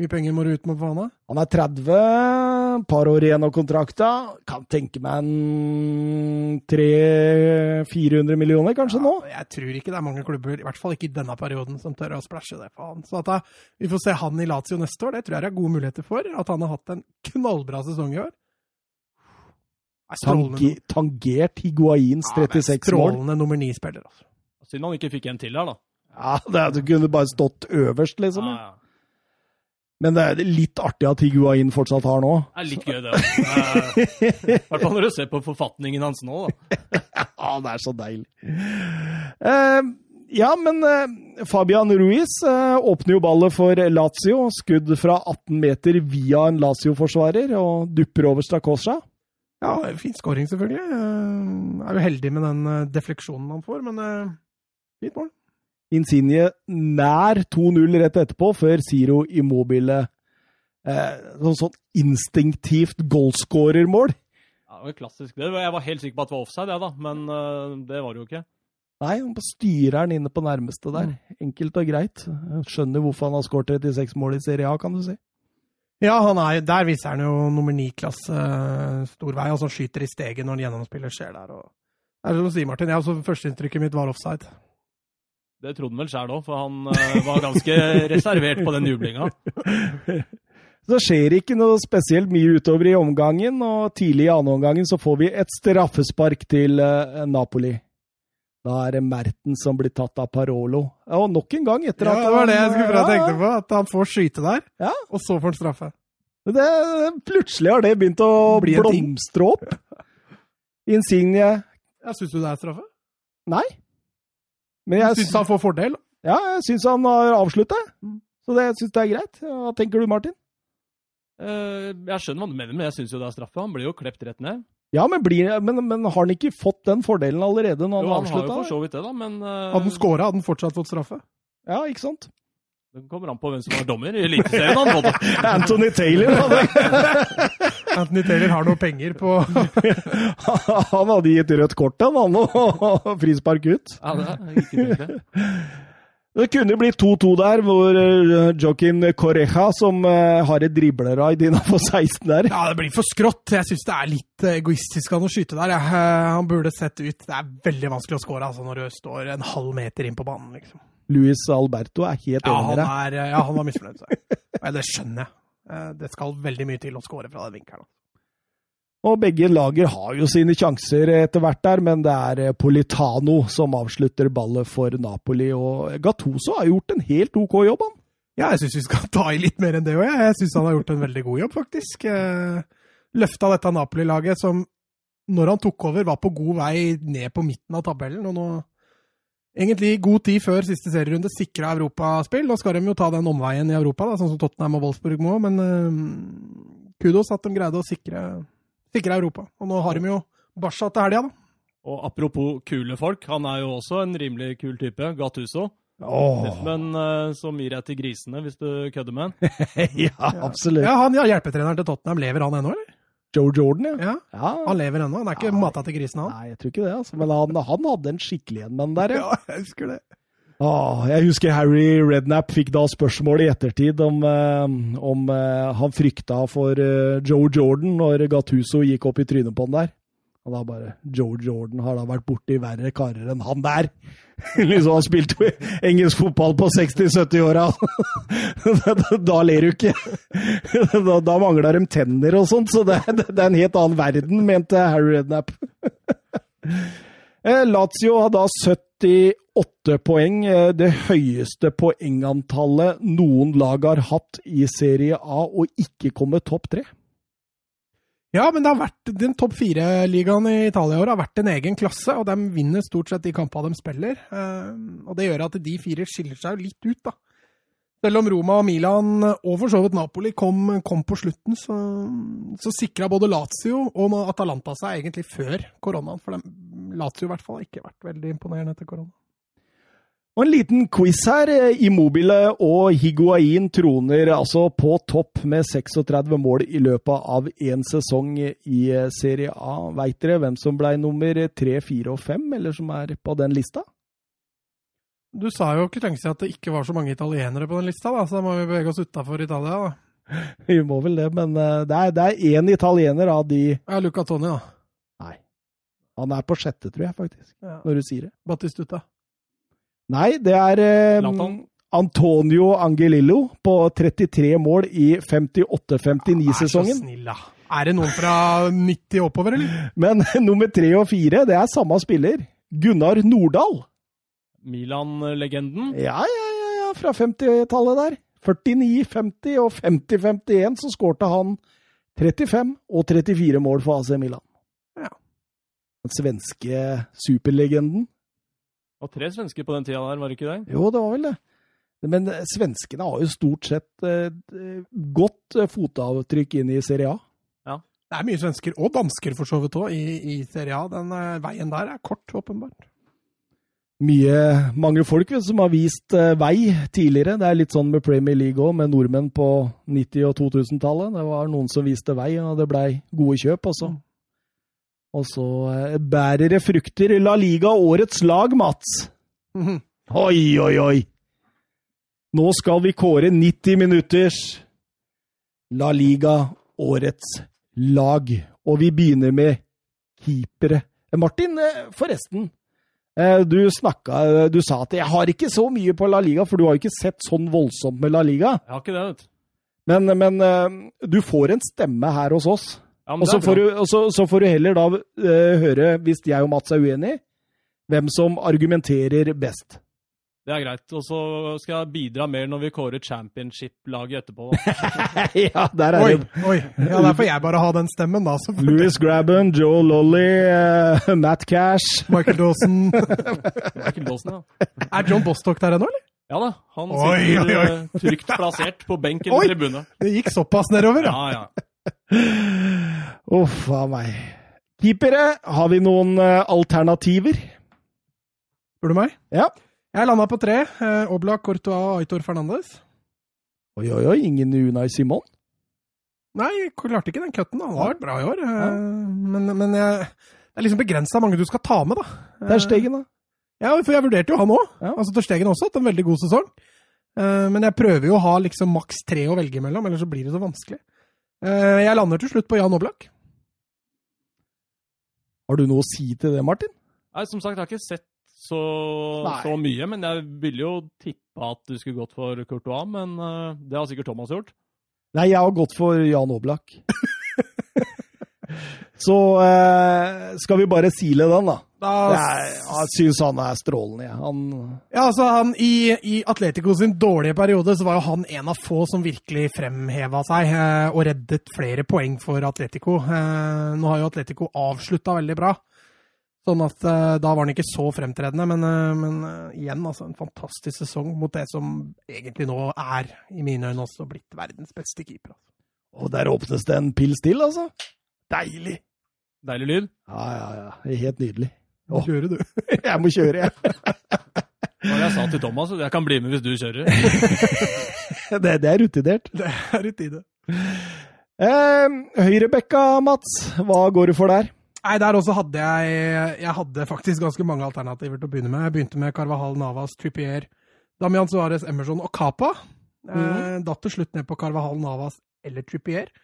Speaker 2: mye penger må du ut med på banen.
Speaker 1: Han er 30, par år igjen av kontrakta. Kan tenke meg en 300-400 millioner kanskje nå.
Speaker 2: Ja, jeg tror ikke det er mange klubber, i hvert fall ikke i denne perioden, som tør å splæsje det på han. Så at jeg, vi får se han i Lazio neste år, det tror jeg det er gode muligheter for. At han har hatt en knallbra sesong i år. Er strålende.
Speaker 1: Tange, tangert Higuains
Speaker 2: Ja, men
Speaker 1: 36 mål.
Speaker 2: Strålende nummer ni-spiller, altså.
Speaker 3: Synd han ikke fikk en til her, da.
Speaker 1: Ja, det du kunne bare stått øverst, liksom.
Speaker 3: Ja, ja.
Speaker 1: Men det er litt artig at Higuain fortsatt har nå.
Speaker 3: Det er litt gøy, det. I hvert fall når du ser på forfatningen hans nå, da.
Speaker 1: Ja, det er så deilig. Eh, ja, men eh, Fabian Ruiz eh, åpner jo ballet for Lazio. Skudd fra 18 meter via en Lazio-forsvarer og dupper over Stakosja.
Speaker 2: Ja, det er en fin scoring, selvfølgelig. Eh, Er jo heldig med den eh, defleksjonen han får, men eh, fint mål.
Speaker 1: Insigne nær 2-0 rett etterpå, før Ziro Immobile eh, Sånn sånn instinktivt goalscorer-mål.
Speaker 3: Ja, det var klassisk. Det var, jeg var helt sikker på at det var offside, jeg, da. Men eh, det var det jo ikke.
Speaker 1: Nei, han bare styrer den inne på nærmeste der.
Speaker 2: Mm.
Speaker 1: Enkelt og greit. Skjønner hvorfor han har skåret 36 mål i Serie A, kan du si.
Speaker 2: Ja, han er, der viser han jo nummer ni-klasse eh, stor vei. Altså han skyter i steget når en gjennomspiller skjer der. Og... Det er som du sier, Martin. Jeg, altså, førsteinntrykket mitt var offside.
Speaker 3: Det trodde han vel sjæl òg, for han eh, var ganske reservert på den jublinga.
Speaker 1: Så skjer ikke noe spesielt mye utover i omgangen, og tidlig i andre omgangen så får vi et straffespark til eh, Napoli. Da er det Merten som blir tatt av Parolo. Og nok en gang etter
Speaker 2: Ja,
Speaker 1: at
Speaker 2: det var det jeg
Speaker 1: han- eh,
Speaker 2: skulle prøve å
Speaker 1: Ja,
Speaker 2: tenke på. At han får skyte der,
Speaker 1: Ja.
Speaker 2: og så får han straffe.
Speaker 1: Det, plutselig har det begynt å
Speaker 2: Bli en ting.
Speaker 1: blomstre opp. Insigne
Speaker 2: Ja, Syns du det er straffe?
Speaker 1: Nei. Men jeg
Speaker 2: Syns han får fordel?
Speaker 1: Ja, jeg syns han har avslutta.
Speaker 2: Mm.
Speaker 1: Så det, jeg syns det er greit. Hva tenker du, Martin?
Speaker 3: Eh, jeg skjønner hva du mener, men jeg syns jo det er straffe. Han blir jo klept rett ned.
Speaker 1: Ja, men, blir, men, men har han ikke fått den fordelen allerede når
Speaker 3: Jo,
Speaker 1: han
Speaker 3: han har jo
Speaker 1: avslutta?
Speaker 3: for så vidt det, da, men eh,
Speaker 2: Hadde han scora, hadde han fortsatt fått straffe?
Speaker 1: Ja, ikke sant?
Speaker 3: det kommer an på hvem som var dommer i Eliteserien. han, både.
Speaker 1: Anthony Taylor hadde,
Speaker 2: Anthony Taylor har noe penger på
Speaker 1: han hadde gitt rødt kort til han, og frispark ut.
Speaker 3: Ja, det er ikke tilfeldig.
Speaker 1: Det kunne blitt 2-2 der, hvor eh, Joaquin Correja, som eh, har et dribleraid innafor 16 der
Speaker 2: Ja, det blir for skrått. Jeg syns det er litt eh, egoistisk av han å skyte der. jeg. Eh, Han burde sett ut Det er veldig vanskelig å score altså, når du står en halv meter inn på banen, liksom.
Speaker 1: Luis Alberto er helt
Speaker 2: Ja,
Speaker 1: enig med
Speaker 2: han,
Speaker 1: deg.
Speaker 2: er, eh, ja, han var misfornøyd. så. Ja, det skjønner jeg. Eh, Det skal veldig mye til å score fra den vinkelen.
Speaker 1: Og begge lager har jo sine sjanser etter hvert der, men det er eh, Politano som avslutter ballet for Napoli. Og Gattuso har gjort en helt OK jobb, han.
Speaker 2: Ja, jeg syns vi skal ta i litt mer enn det òg, jeg. Jeg syns han har gjort en veldig god jobb, faktisk. Eh, Løfta dette Napoli-laget som, når han tok over, var på god vei ned på midten av tabellen. Og nå, egentlig i god tid før siste serierunde, sikra europaspill. Nå skal de jo ta den omveien i Europa, da, sånn som Tottenham og Wolfsburg må. Men eh, kudos at de greide å sikre, sikre Europa. Og nå har de jo Barca til helga, da.
Speaker 3: Og apropos kule folk, han er jo også en rimelig kul type, Gattuso.
Speaker 1: Åh,
Speaker 3: Men eh, som gir deg til grisene, hvis du kødder med han.
Speaker 1: ja, absolutt.
Speaker 2: Ja, han ja, hjelpetreneren til Tottenham, lever han ennå, eller?
Speaker 1: Joe Jordan, ja.
Speaker 2: Ja,
Speaker 1: ja.
Speaker 2: han lever ennå. Han er ikke
Speaker 1: Ja.
Speaker 2: mata til grisen, han.
Speaker 1: Nei, jeg tror ikke det, altså. Men han, han hadde en skikkelig en mann der, ja.
Speaker 2: jeg husker det.
Speaker 1: Åh, Ah, jeg husker Harry Redknapp fikk da spørsmål i ettertid om, eh, om eh, han frykta for eh, Joe Jordan når Gattuso gikk opp i trynet på han der. Han har bare, Joe Jordan har da vært borti verre karer enn han der. liksom Han spilte jo engelsk fotball på 60-70-åra. Da- da- da ler du ikke. da da mangla de tenner og sånt, så det, det, det er en helt annen verden, mente Harry Redknapp. Eh, Lazio har da 78 poeng, eh, det høyeste poengantallet noen lag har hatt i Serie A, og ikke kommet topp tre.
Speaker 2: Ja, men det har vært, den topp fire-ligaen i Italia i år har vært en egen klasse, og de vinner stort sett de kampene de spiller. Eh, og det gjør at de fire skiller seg jo litt ut, da. Selv om Roma og Milan, og for så vidt Napoli, kom, kom på slutten, så, så sikra både Lazio og Atalanta seg egentlig før koronaen. For dem, Lazio i hvert fall har ikke vært veldig imponerende etter korona.
Speaker 1: Og en liten quiz her. Eh, Immobile og Higuain troner altså på topp med 36 mål i løpet av én sesong i eh, Serie A. Veit dere hvem som ble nummer tre, fire og fem, eller som er på den lista?
Speaker 2: Du sa jo ikke lenge siden at det ikke var så mange italienere på den lista, da, så da må vi bevege oss utafor Italia, da.
Speaker 1: Vi må vel det, men eh, det er- det er én italiener av de
Speaker 2: Ja, Luca Toni, da.
Speaker 1: Nei. Han er på sjette, tror jeg, faktisk,
Speaker 2: Ja.
Speaker 1: når du sier det.
Speaker 2: Battistuta.
Speaker 1: Nei, det er eh,
Speaker 3: Zlatan.
Speaker 1: Antonio Angelillo på 33 mål i 58-59-sesongen.
Speaker 2: Vær så snill, da. Er det noen fra 90 oppover, eller?
Speaker 1: Men nummer tre og fire, det er samme spiller. Gunnar Nordahl.
Speaker 3: Milan-legenden.
Speaker 1: Ja, ja, ja, ja fra 50-tallet der. 49-50 og 50-51 så skårte han 35 og 34 mål for AC Milan.
Speaker 2: Ja.
Speaker 1: Den svenske superlegenden.
Speaker 3: Og tre svensker på den tida der, var det ikke det?
Speaker 1: Jo, det var vel det. Men svenskene har jo stort sett eh, godt eh, fotavtrykk inn i Serie A.
Speaker 2: Det er mye svensker, og dansker for så vidt òg, i, i Serie A. Den eh, veien der er kort, åpenbart.
Speaker 1: mye, mange folk vet, du, som har vist eh, vei tidligere. Det er litt sånn med Premier League òg, med nordmenn på 90- og 2000-tallet. Det var noen som viste vei, og det blei gode kjøp også. Og så eh, bærer det frukter. La Liga årets lag, Mats!
Speaker 2: Mhm.
Speaker 1: Oi, oi, oi! Nå skal vi kåre 90 minutters La Liga årets lag. Og vi begynner med keepere. Eh, Martin, eh, forresten. Eh, Du, snakka, eh, du sa at jeg har ikke så mye på La Liga, for du har jo ikke sett sånn voldsomt med La Liga.
Speaker 3: Jeg har ikke det, vet du.
Speaker 1: Men, men eh, du får en stemme her hos oss.
Speaker 3: Ja, men
Speaker 1: Og
Speaker 3: det er
Speaker 1: så får,
Speaker 3: bra.
Speaker 1: du, og så, så får du heller da eh, høre, hvis jeg og Mats er uenige, hvem som argumenterer best.
Speaker 3: Det er greit. Og så skal jeg bidra mer når vi kårer championship-laget etterpå. da.
Speaker 1: ja, der er
Speaker 2: Oi,
Speaker 1: det.
Speaker 2: oi. Ja, der får jeg bare ha den stemmen, da. Så
Speaker 1: Louis Grabben, Joe Lolly, eh, Matt Cash
Speaker 2: Michael Dawson
Speaker 3: Michael Dawson, ja.
Speaker 2: Er John Bostock der ennå, eller?
Speaker 3: Ja da, han
Speaker 2: Oi,
Speaker 3: sitter
Speaker 2: oi, oi.
Speaker 3: eh, trygt plassert på benk
Speaker 2: Oi.
Speaker 3: eller tribune.
Speaker 2: Det gikk såpass nedover, ja.
Speaker 3: Ja, ja.
Speaker 1: Uff a meg. Keepere, har vi noen eh, alternativer?
Speaker 2: Spør du meg?
Speaker 1: Ja.
Speaker 2: Jeg landa på tre. Eh, Oblak, Courtois og Aitor Fernandes.
Speaker 1: Oi, oi, oi, ingen Unai Simon?
Speaker 2: Nei, jeg klarte ikke den cutten. da. Han har vært bra i år. eh, Men, men jeg, det er liksom begrensa mange du skal ta med, da. Eh,
Speaker 1: Der stegen, da.
Speaker 2: Ja, for jeg vurderte jo han òg.
Speaker 1: Ja.
Speaker 2: Altså Ter Stegen har også hatt en veldig god sesong. Eh, men jeg prøver jo å ha liksom maks tre å velge mellom, ellers så blir det så vanskelig. Eh, jeg lander til slutt på Jan Oblak.
Speaker 1: Har du noe å si til det, Martin?
Speaker 3: Nei, som sagt, jeg har ikke sett så,
Speaker 1: Nei.
Speaker 3: så mye, men jeg ville jo tippe at du skulle gått for Courtois, men eh, det har sikkert Thomas gjort.
Speaker 1: Nei, jeg har gått for Jan Oblak. Så eh, skal vi bare sile den, da.
Speaker 2: Da,
Speaker 1: Jeg, jeg syns han er strålende, jeg. Han
Speaker 2: ja, altså han i, I Atletico sin dårlige periode så var jo han en av få som virkelig fremheva seg eh, og reddet flere poeng for Atletico. Eh, nå har jo Atletico avslutta veldig bra, sånn at eh, da var han ikke så fremtredende. Men, eh, men eh, igjen, altså en fantastisk sesong mot det som egentlig nå er, i mine øyne, også blitt verdens beste keeper. Altså.
Speaker 1: Og der åpnes det en pils til, altså. Deilig!
Speaker 3: Deilig lyd.
Speaker 1: Ja, ja, ja. Det er Helt nydelig.
Speaker 2: Nå
Speaker 1: Åh.
Speaker 2: kjører du.
Speaker 1: Jeg må kjøre, jeg.
Speaker 3: Og jeg sa til Thomas at jeg kan bli med hvis du kjører.
Speaker 1: Det, det er rutinert.
Speaker 2: Det er i tide.
Speaker 1: Eh, Høyrebekka, Mats. Hva går du for der?
Speaker 2: Nei, der også hadde jeg Jeg hadde faktisk ganske mange alternativer til å begynne med. Jeg begynte med Carvahal Navas, Trippier, Damian Suárez, Emerson og Capa. Eh, datt til slutt ned på Carvahal Navas eller Trippier.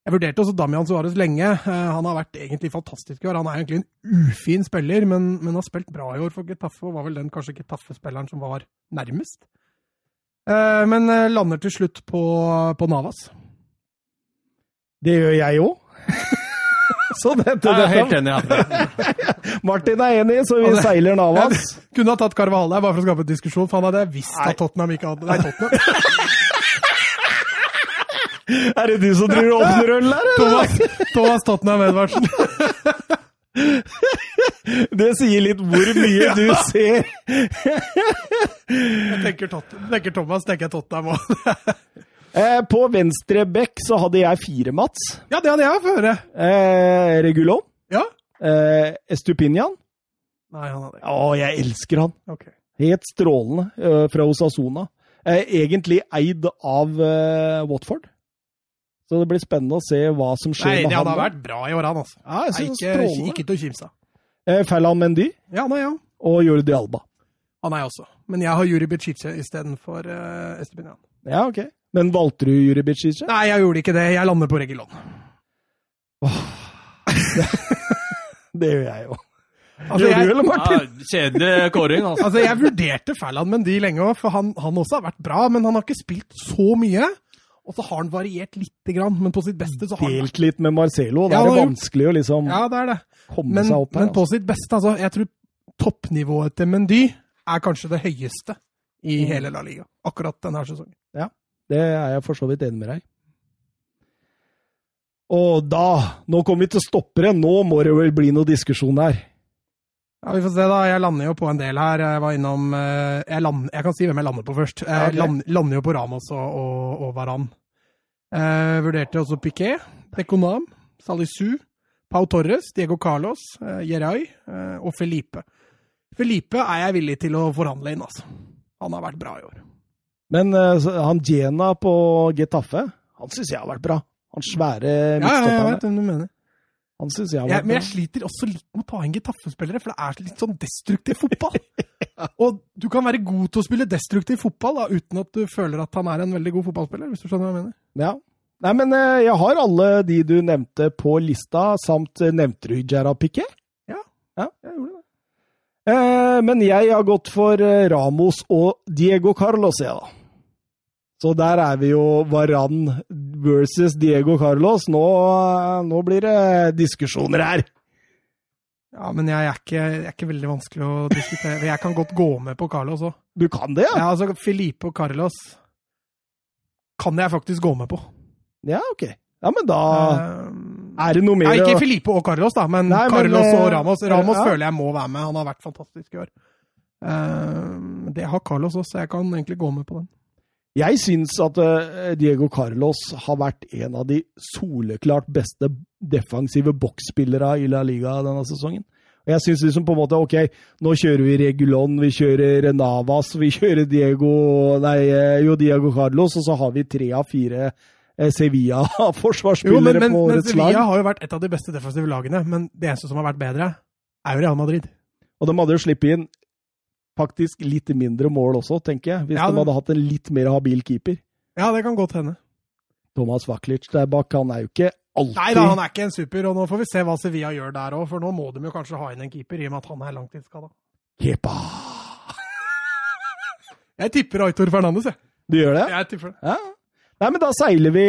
Speaker 2: Jeg vurderte også Damian Suárez lenge. Eh, Han har vært egentlig fantastisk i år. Han er egentlig en ufin spiller, men, men har spilt bra i år for Getafe, og var vel den kanskje Getafe-spilleren som var nærmest. Eh, Men eh, lander til slutt på, på Navas.
Speaker 1: Det gjør jeg òg. Så dette,
Speaker 3: Jeg er helt
Speaker 1: dette
Speaker 3: enig. Ja.
Speaker 1: Martin er enig, så vi
Speaker 2: Ja, det-
Speaker 1: seiler Navas.
Speaker 2: Kunne ha tatt Carvahal der bare for å skape diskusjon, for han hadde visst
Speaker 1: Nei.
Speaker 2: at Tottenham ikke hadde Nei, Tottenham.
Speaker 1: Er det du som driver og åpner øl her? eller?
Speaker 2: Thomas, Thomas Tottenham Edvardsen.
Speaker 1: Det sier litt hvor mye du ser.
Speaker 2: Jeg tenker, Tottenham, tenker Thomas, tenker jeg Tottenham òg.
Speaker 1: Eh, på venstre bekk så hadde jeg fire Mats.
Speaker 2: Ja, det hadde jeg fått høre.
Speaker 1: Eh, Regulon.
Speaker 2: Ja?
Speaker 1: Eh, Estupinian.
Speaker 2: Nei, han hadde
Speaker 1: Å, jeg elsker han.
Speaker 2: Ok.
Speaker 1: Helt strålende eh, fra Osasuna. Eh, egentlig eid av eh, Watford. Så det blir spennende å se hva som
Speaker 2: Nei,
Speaker 1: skjer
Speaker 2: det
Speaker 1: med han.
Speaker 2: hadde
Speaker 1: da.
Speaker 2: vært bra i år, han altså.
Speaker 1: Ja, jeg
Speaker 2: Nei,
Speaker 1: synes
Speaker 2: ikke,
Speaker 1: strålende.
Speaker 2: ikke til å kimse av.
Speaker 1: Eh, Ferland Mendy
Speaker 2: Ja, nei, ja.
Speaker 1: og Jordi Alba.
Speaker 2: Han er jeg også. Men jeg har Juri Becice istedenfor uh, Estepinian.
Speaker 1: Ja, ok. Men valgte du Juri Bicic?
Speaker 2: Nei, jeg gjorde ikke det. Jeg lander på Regulon.
Speaker 1: Det gjør jeg jo.
Speaker 2: Altså,
Speaker 1: gjør du,
Speaker 2: jeg,
Speaker 1: eller, Martin?
Speaker 3: Ja, kjedelig kåring, altså.
Speaker 2: altså, jeg vurderte Ferland Mendy lenge òg, for han, han også har vært bra. Men han har ikke spilt så mye. Og så har han variert lite grann, men på sitt beste så har han
Speaker 1: Delt litt med Marcelo. Da er
Speaker 2: Ja, han
Speaker 1: det
Speaker 2: har gjort-
Speaker 1: vanskelig å liksom
Speaker 2: Ja, det er det.
Speaker 1: komme
Speaker 2: Men,
Speaker 1: seg opp her.
Speaker 2: men på sitt beste, altså. Jeg tror toppnivået til Mendy er kanskje det høyeste i
Speaker 1: Mm.
Speaker 2: hele La Liga. Akkurat denne sesongen.
Speaker 1: altså. Det er jeg for så vidt enig med deg i. Og da Nå kommer vi til stoppere. Nå må det vel bli noe diskusjon her.
Speaker 2: Ja, Vi får se, da. Jeg lander jo på en del her. Jeg var innom eh, Jeg, land, jeg kan si hvem jeg lander på først. Jeg
Speaker 1: Ja, ok.
Speaker 2: land, lander jo på Ramos og, og, og Varan. Eh, vurderte også Piquet, Bekonam, Salisu, Pau Torres, Diego Carlos, uh, Jeray og Felipe. Felipe er jeg villig til å forhandle inn, altså. Han har vært bra i år.
Speaker 1: Men eh, så- han Jena på Getafe, han syns jeg har vært bra. Han svære
Speaker 2: Ja, ja, jeg
Speaker 1: midtstopperen.
Speaker 2: vet hvem du mener.
Speaker 1: han syns jeg har
Speaker 2: Jeg,
Speaker 1: vært
Speaker 2: men
Speaker 1: bra.
Speaker 2: jeg sliter også litt med å ta inn Getafe-spillere, for det er litt sånn destruktiv fotball. Og du kan være god til å spille destruktiv fotball da, uten at du føler at han er en veldig god fotballspiller, hvis du skjønner hva jeg mener.
Speaker 1: Ja. Nei, men eh, jeg har alle de du nevnte på lista, samt eh, nevnte du Gerard Piquet?
Speaker 2: Jeg gjorde det.
Speaker 1: Eh, men jeg har gått for eh, Ramos og Diego Carlos, jeg, da. Så der er vi jo Varan versus Diego Carlos. Nå, eh, nå blir det diskusjoner her.
Speaker 2: Ja, men jeg er, ikke, jeg er ikke veldig vanskelig å diskutere. Jeg kan godt gå med på Carlos òg.
Speaker 1: Du kan det, ja?
Speaker 2: Ja, altså, Felipe og Carlos kan jeg faktisk gå med på.
Speaker 1: Ja, ok. Ja, men da
Speaker 2: Eh,
Speaker 1: er det noe mer
Speaker 2: Nei,
Speaker 1: å-
Speaker 2: ikke Felipe og Carlos, da, men
Speaker 1: Nei, men,
Speaker 2: Carlos og
Speaker 1: eh,
Speaker 2: Ramos. Ramos
Speaker 1: ja.
Speaker 2: føler jeg må være med. Han har vært fantastisk i år. Eh, det har Carlos også, så jeg kan egentlig gå med på den.
Speaker 1: Jeg syns at eh, Diego Carlos har vært en av de soleklart beste defensive boksspillere i La Liga denne sesongen. Og jeg syns liksom på en måte OK, nå kjører vi Regulon, vi kjører Navas, vi kjører Diego Nei, eh, jo, Diego Carlos, og så har vi tre av fire eh,
Speaker 2: Jo, men,
Speaker 1: Sevilla-forsvarsspillere
Speaker 2: men,
Speaker 1: på
Speaker 2: men
Speaker 1: årets
Speaker 2: Sevilla
Speaker 1: lag.
Speaker 2: har jo vært et av de beste defensive lagene, men det eneste som har vært bedre, er jo Real Madrid.
Speaker 1: Og de hadde jo sluppet inn faktisk litt mindre mål også, tenker jeg, hvis
Speaker 2: Ja,
Speaker 1: de
Speaker 2: men-
Speaker 1: hadde hatt en litt mer habil keeper.
Speaker 2: Ja, det kan godt hende.
Speaker 1: Thomas Waklic der bak, han er jo ikke alltid
Speaker 2: Nei da, han er ikke en super, og nå får vi se hva Sevilla gjør der òg, for nå må de jo kanskje ha inn en keeper, i og med at han er langtidsskada.
Speaker 1: Kepa!
Speaker 2: Jeg tipper Aitor Fernandes, jeg.
Speaker 1: Du gjør det?
Speaker 2: jeg tipper det.
Speaker 1: Ja. Nei, men da seiler vi,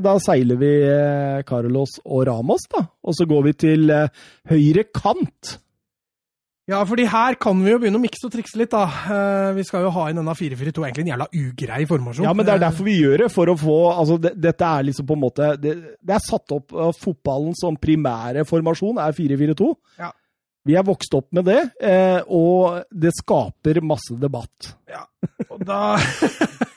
Speaker 1: da seiler vi eh, Carlos og Ramos, da. Og så går vi til eh, høyre kant.
Speaker 2: Ja, fordi her kan vi jo begynne å mikse og trikse litt, da. Eh, Vi skal jo ha inn denne 4-4-2, egentlig en jævla ugrei formasjon. Eh,
Speaker 1: Ja, men det er derfor vi gjør det. For å få Altså, det, dette er liksom på en måte Det, det er satt opp av fotballen som primære formasjon, er 4-4-2.
Speaker 2: Ja.
Speaker 1: Vi er vokst opp med det, eh, og det skaper masse debatt.
Speaker 2: Eh, og Da...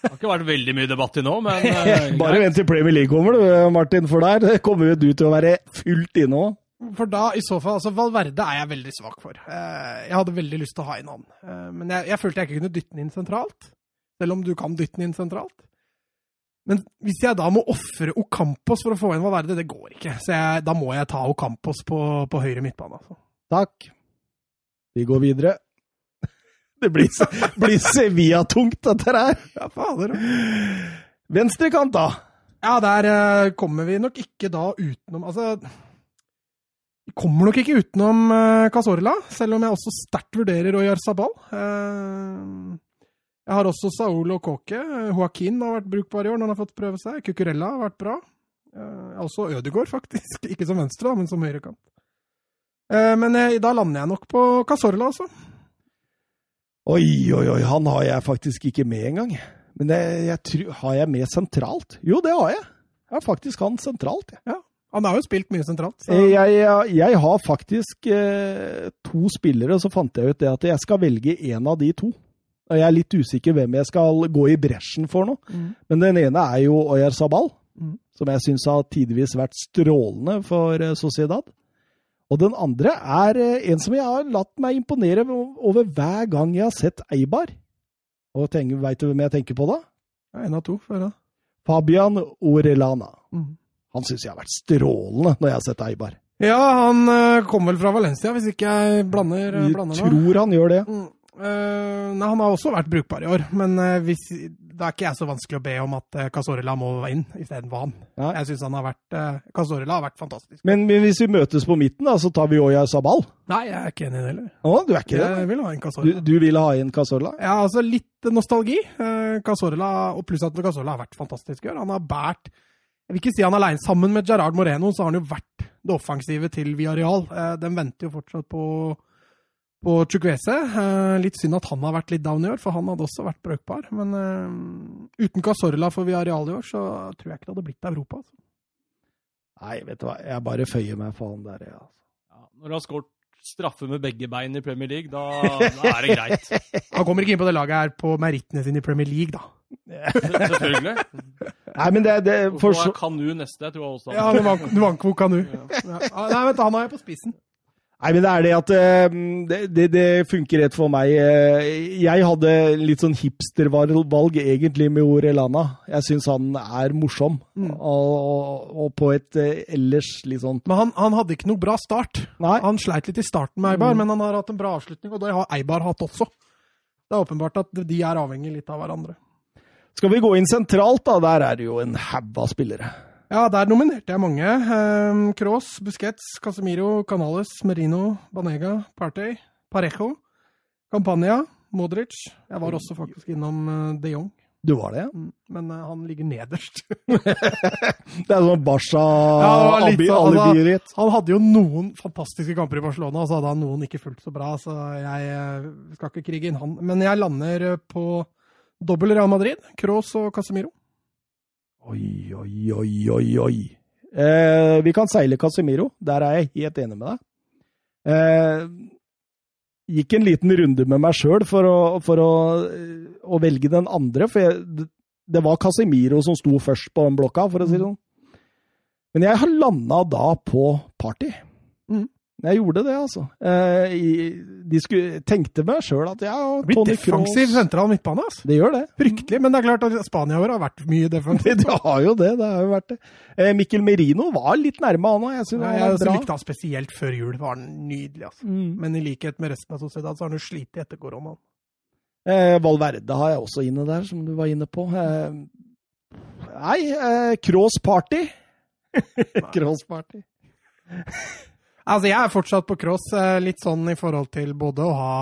Speaker 3: Det har ikke vært veldig mye debatt til nå, men eh,
Speaker 1: Bare vent til Premier League kommer, du, Martin, for der kommer jo du til å være fullt inne òg.
Speaker 2: For da, i så fall, altså Valverde er jeg veldig svak for. Eh, Jeg hadde veldig lyst til å ha inn han. Eh, Men jeg, jeg følte jeg ikke kunne dytte den inn sentralt. Selv om du kan dytte den inn sentralt. Men hvis jeg da må ofre Ocampos for å få inn Valverde, det går ikke. Så jeg, da må jeg ta Ocampos på, på høyre midtbane. Altså.
Speaker 1: Takk. Vi går videre. Det blir, blir Sevilla-tungt, dette her.
Speaker 2: Ja, fader.
Speaker 1: Venstrekant, da.
Speaker 2: Ja, Ja, der eh, kommer vi nok ikke da utenom Altså vi kommer nok ikke utenom eh, Cazorla, selv om jeg også sterkt vurderer Oyar Sabal. Eh, jeg har også Saul og Kåke. Joaquin har vært brukbar i år når han har fått prøve seg. Cucurella har vært bra. Eh, også Ødegaard, faktisk. Ikke som venstre, da, men som høyrekant. Eh, men eh, da lander jeg nok på Cazorla, altså.
Speaker 1: Oi, oi, oi, han har jeg faktisk ikke med engang. Men det, jeg tror, har jeg med sentralt? Jo, det har jeg. Jeg har faktisk han sentralt. Jeg,
Speaker 2: Han har jo spilt mye sentralt. Så.
Speaker 1: Eh, jeg, jeg, jeg har faktisk eh, to spillere, så fant jeg ut det at jeg skal velge en av de to. Og Jeg er litt usikker hvem jeg skal gå i bresjen for nå.
Speaker 2: Mm.
Speaker 1: Men den ene er jo Oyer Sabal,
Speaker 2: Mm.
Speaker 1: som jeg syns har tidvis vært strålende for eh, Sociedad. Og den andre er eh, en som jeg har latt meg imponere over hver gang jeg har sett Eibar. Og veit du hvem jeg tenker på da?
Speaker 2: Ja, En av to. Før, da.
Speaker 1: Fabian Orellana.
Speaker 2: Mm.
Speaker 1: Han syns jeg har vært strålende når jeg har sett Eibar.
Speaker 2: Ja, han eh, kom vel fra Valencia, hvis ikke jeg blander, eh,
Speaker 1: Jeg
Speaker 2: blander nå.
Speaker 1: tror han gjør det.
Speaker 2: Mm. Eh, nei, han har også vært brukbar i år, men eh, hvis, da er ikke jeg så vanskelig å be om at uh, Casorella må inn istedenfor han.
Speaker 1: Nei.
Speaker 2: Jeg syns han har vært uh, Casorella har vært fantastisk.
Speaker 1: Men, men hvis vi møtes på midten, da, så tar vi Oyar Sabal.
Speaker 2: Nei, jeg er ikke enig i det heller.
Speaker 1: Å, du er ikke det?
Speaker 2: Jeg vil ha en
Speaker 1: Du,
Speaker 2: Casorella.
Speaker 1: du ville ha inn Casorla?
Speaker 2: Ja, altså litt nostalgi. Uh, Casorella, og pluss at Casorella har vært fantastisk i år. Han har båret Jeg vil ikke si han er alene. Sammen med Gerard Moreno så har han jo vært det offensive til Villarreal. Eh, den venter jo fortsatt på på Chukwese. Eh, litt synd at han har vært litt down i år, for han hadde også vært brukbar. Men eh, uten Casorla for Villarreal i år, så tror jeg ikke det hadde blitt Europa. Altså.
Speaker 1: Nei, vet du hva, jeg bare føyer meg for han der, ja.
Speaker 3: Ja, når du har skåret straffe med begge bein i Premier League, da, da er det greit.
Speaker 2: Han kommer ikke inn på det laget her på merittene sine i Premier League, da.
Speaker 3: Selvfølgelig.
Speaker 1: Nei, men det, det
Speaker 3: Og
Speaker 1: for,
Speaker 3: så
Speaker 1: så-
Speaker 3: er Kanu neste, jeg tror jeg også.
Speaker 2: Ja,
Speaker 3: han-
Speaker 2: Du vant hvor kan du? Ja. Ah, Nei, vent, da, han har jeg på spissen.
Speaker 1: Nei, men det er det at eh, det, det, det funker rett for meg. Eh, Jeg hadde litt sånn hipstervalg egentlig med Orellana. Jeg syns han er morsom,
Speaker 2: Mm.
Speaker 1: og, og, og på et eh, ellers litt sånn
Speaker 2: Men han, han hadde ikke noe bra start.
Speaker 1: Nei.
Speaker 2: Han sleit litt i starten med Eibar, men han har hatt en bra avslutning, og det har Eibar hatt også. Det er åpenbart at de er avhengig litt av hverandre.
Speaker 1: Skal vi gå inn sentralt, da? Der er det jo en haug av spillere.
Speaker 2: Ja, der nominerte jeg mange. Ehm, Kroos, Busquets, Casemiro, Canales, Merino, Banega, Partey, Parejo, Campania, Modric. Jeg var også faktisk innom eh, de Jong,
Speaker 1: Du var det?
Speaker 2: Mm, men eh, han ligger nederst.
Speaker 1: Det er sånn Barca
Speaker 2: Ja, det var litt
Speaker 1: alibi-
Speaker 2: sånn, altså-
Speaker 1: alibier i et.
Speaker 2: Han hadde jo noen fantastiske kamper i Barcelona, og så hadde han noen ikke fullt så bra, så jeg eh, skal ikke krige inn han. Men jeg lander eh, på dobbel Real Madrid, Kroos og Casemiro.
Speaker 1: Oi, oi, oi, oi, oi. Eh, vi kan seile Casemiro. Der er jeg helt enig med deg. Eh, gikk en liten runde med meg sjøl for, å, for å, eh, å velge den andre, for jeg, det var Casemiro som sto først på den blokka, for å si det sånn. Men jeg har landa da på party.
Speaker 2: Mm.
Speaker 1: Jeg gjorde det, altså. Eh, i, de skulle, tenkte meg sjøl at ja,
Speaker 2: Det blir
Speaker 1: Tony
Speaker 2: defensiv
Speaker 1: Cross
Speaker 2: sentral midtbane, altså.
Speaker 1: Det gjør det.
Speaker 2: Fryktelig, men det er klart at Spania i år har vært mye defensiv.
Speaker 1: Det har jo det, det har jo vært det. Eh, Mikkel Merino var litt nærme han òg, jeg synes
Speaker 2: Nei,
Speaker 1: han
Speaker 2: Jeg
Speaker 1: var
Speaker 2: også
Speaker 1: bra. Mm.
Speaker 2: likte han spesielt før jul, var han nydelig, altså. Men i likhet med resten av Sociedad, så har han jo slitt etter korona.
Speaker 1: Eh, Valverde har jeg også inne der, som du var inne på. Eh, nei, eh, Cross Party. Cross Party.
Speaker 2: Altså, jeg er fortsatt på cross, eh, litt sånn i forhold til både å ha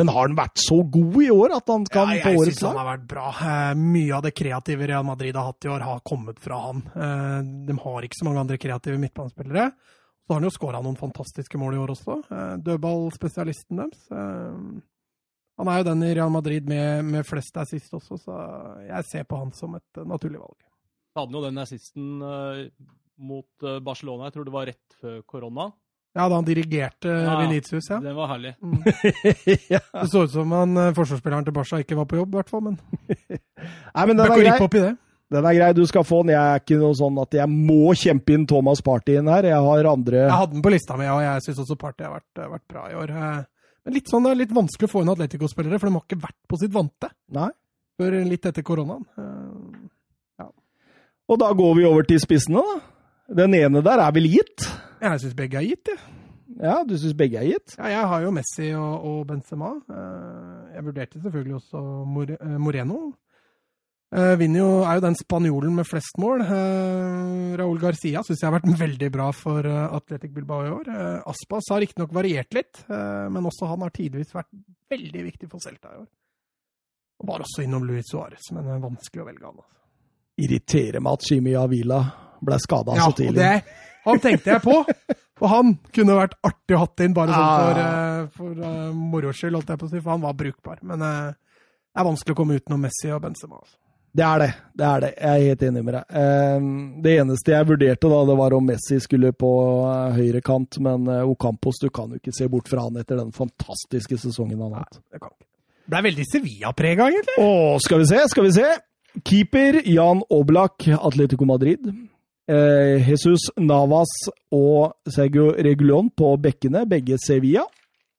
Speaker 1: Men har han vært så god i år at han kan
Speaker 2: ja,
Speaker 1: på
Speaker 2: jeg
Speaker 1: årets
Speaker 2: synes
Speaker 1: lag?
Speaker 2: han har vært bra. Eh, Mye av det kreative Real Madrid har hatt i år, har kommet fra han. Eh, De har ikke så mange andre kreative midtbanespillere. Så har han jo skåra noen fantastiske mål i år også. Eh, Dødballspesialisten deres. eh, Han er jo den i Real Madrid med, med flest assist også, så jeg ser på han som et eh, naturlig valg.
Speaker 3: Han hadde jo den assisten eh, mot eh, Barcelona, jeg tror det var rett før korona.
Speaker 2: Ja, da han dirigerte
Speaker 3: Ja, ja.
Speaker 2: Vinicius, ja.
Speaker 3: Den var herlig.
Speaker 2: Mm.
Speaker 1: ja.
Speaker 2: Det så ut som han eh, forsvarsspilleren til Barca ikke var på jobb, i hvert fall. Men
Speaker 1: Nei, men
Speaker 2: det
Speaker 1: den
Speaker 2: er
Speaker 1: er,
Speaker 2: ikke å
Speaker 1: grei.
Speaker 2: rippe opp i det.
Speaker 1: den er grei. Du skal få den. Jeg er ikke noe sånn at jeg må kjempe inn Thomas Party inn her. Jeg har andre
Speaker 2: Jeg hadde den på lista mi, og jeg syns også Party har vært, vært bra i år. Eh, Men litt sånn, det er litt vanskelig å få inn Atletico-spillere, for de har ikke vært på sitt vante
Speaker 1: Nei.
Speaker 2: før litt etter koronaen. Eh,
Speaker 1: Og da går vi over til spissene, da. Den ene der er vel gitt?
Speaker 2: Jeg syns begge er gitt, jeg.
Speaker 1: Ja, du syns begge er gitt?
Speaker 2: Ja, jeg har jo Messi og, og Benzema. Eh, Jeg vurderte selvfølgelig også More- eh, Moreno. Eh, vinner jo, er jo den spanjolen med flest mål. Eh, Raúl Garcia syns jeg har vært veldig bra for eh, Atletic Bilbao i år. Eh, Aspas har riktignok variert litt, eh, men også han har tidvis vært veldig viktig for Celta i år. Og var også innom Luis Suárez, men det er vanskelig å velge han. Altså.
Speaker 1: Irriterer meg at Jimmy Avila ble skada
Speaker 2: Ja,
Speaker 1: så
Speaker 2: og
Speaker 1: tidlig.
Speaker 2: det, han tenkte jeg på! For han kunne vært artig å hatt inn, bare sånn for,
Speaker 1: Ja.
Speaker 2: eh, for eh, moro skyld, holdt jeg på å si, for han var brukbar. Men eh, det er vanskelig å komme utenom Messi og Benzema. Altså.
Speaker 1: Det er det. det er det. Jeg er helt enig med deg. Ehm, Det eneste jeg vurderte, da, det var om Messi skulle på eh, høyre kant, men eh, Ocampos du kan jo ikke se bort fra han etter den fantastiske sesongen han har hatt.
Speaker 2: Det kan ikke. Ble veldig Sevilla-prega, egentlig.
Speaker 1: Å, skal vi se, skal vi se. Keeper Jan Oblak, Atletico Madrid. Eh, Jesus Navas og Sergio Regulon på bekkene, begge Sevilla.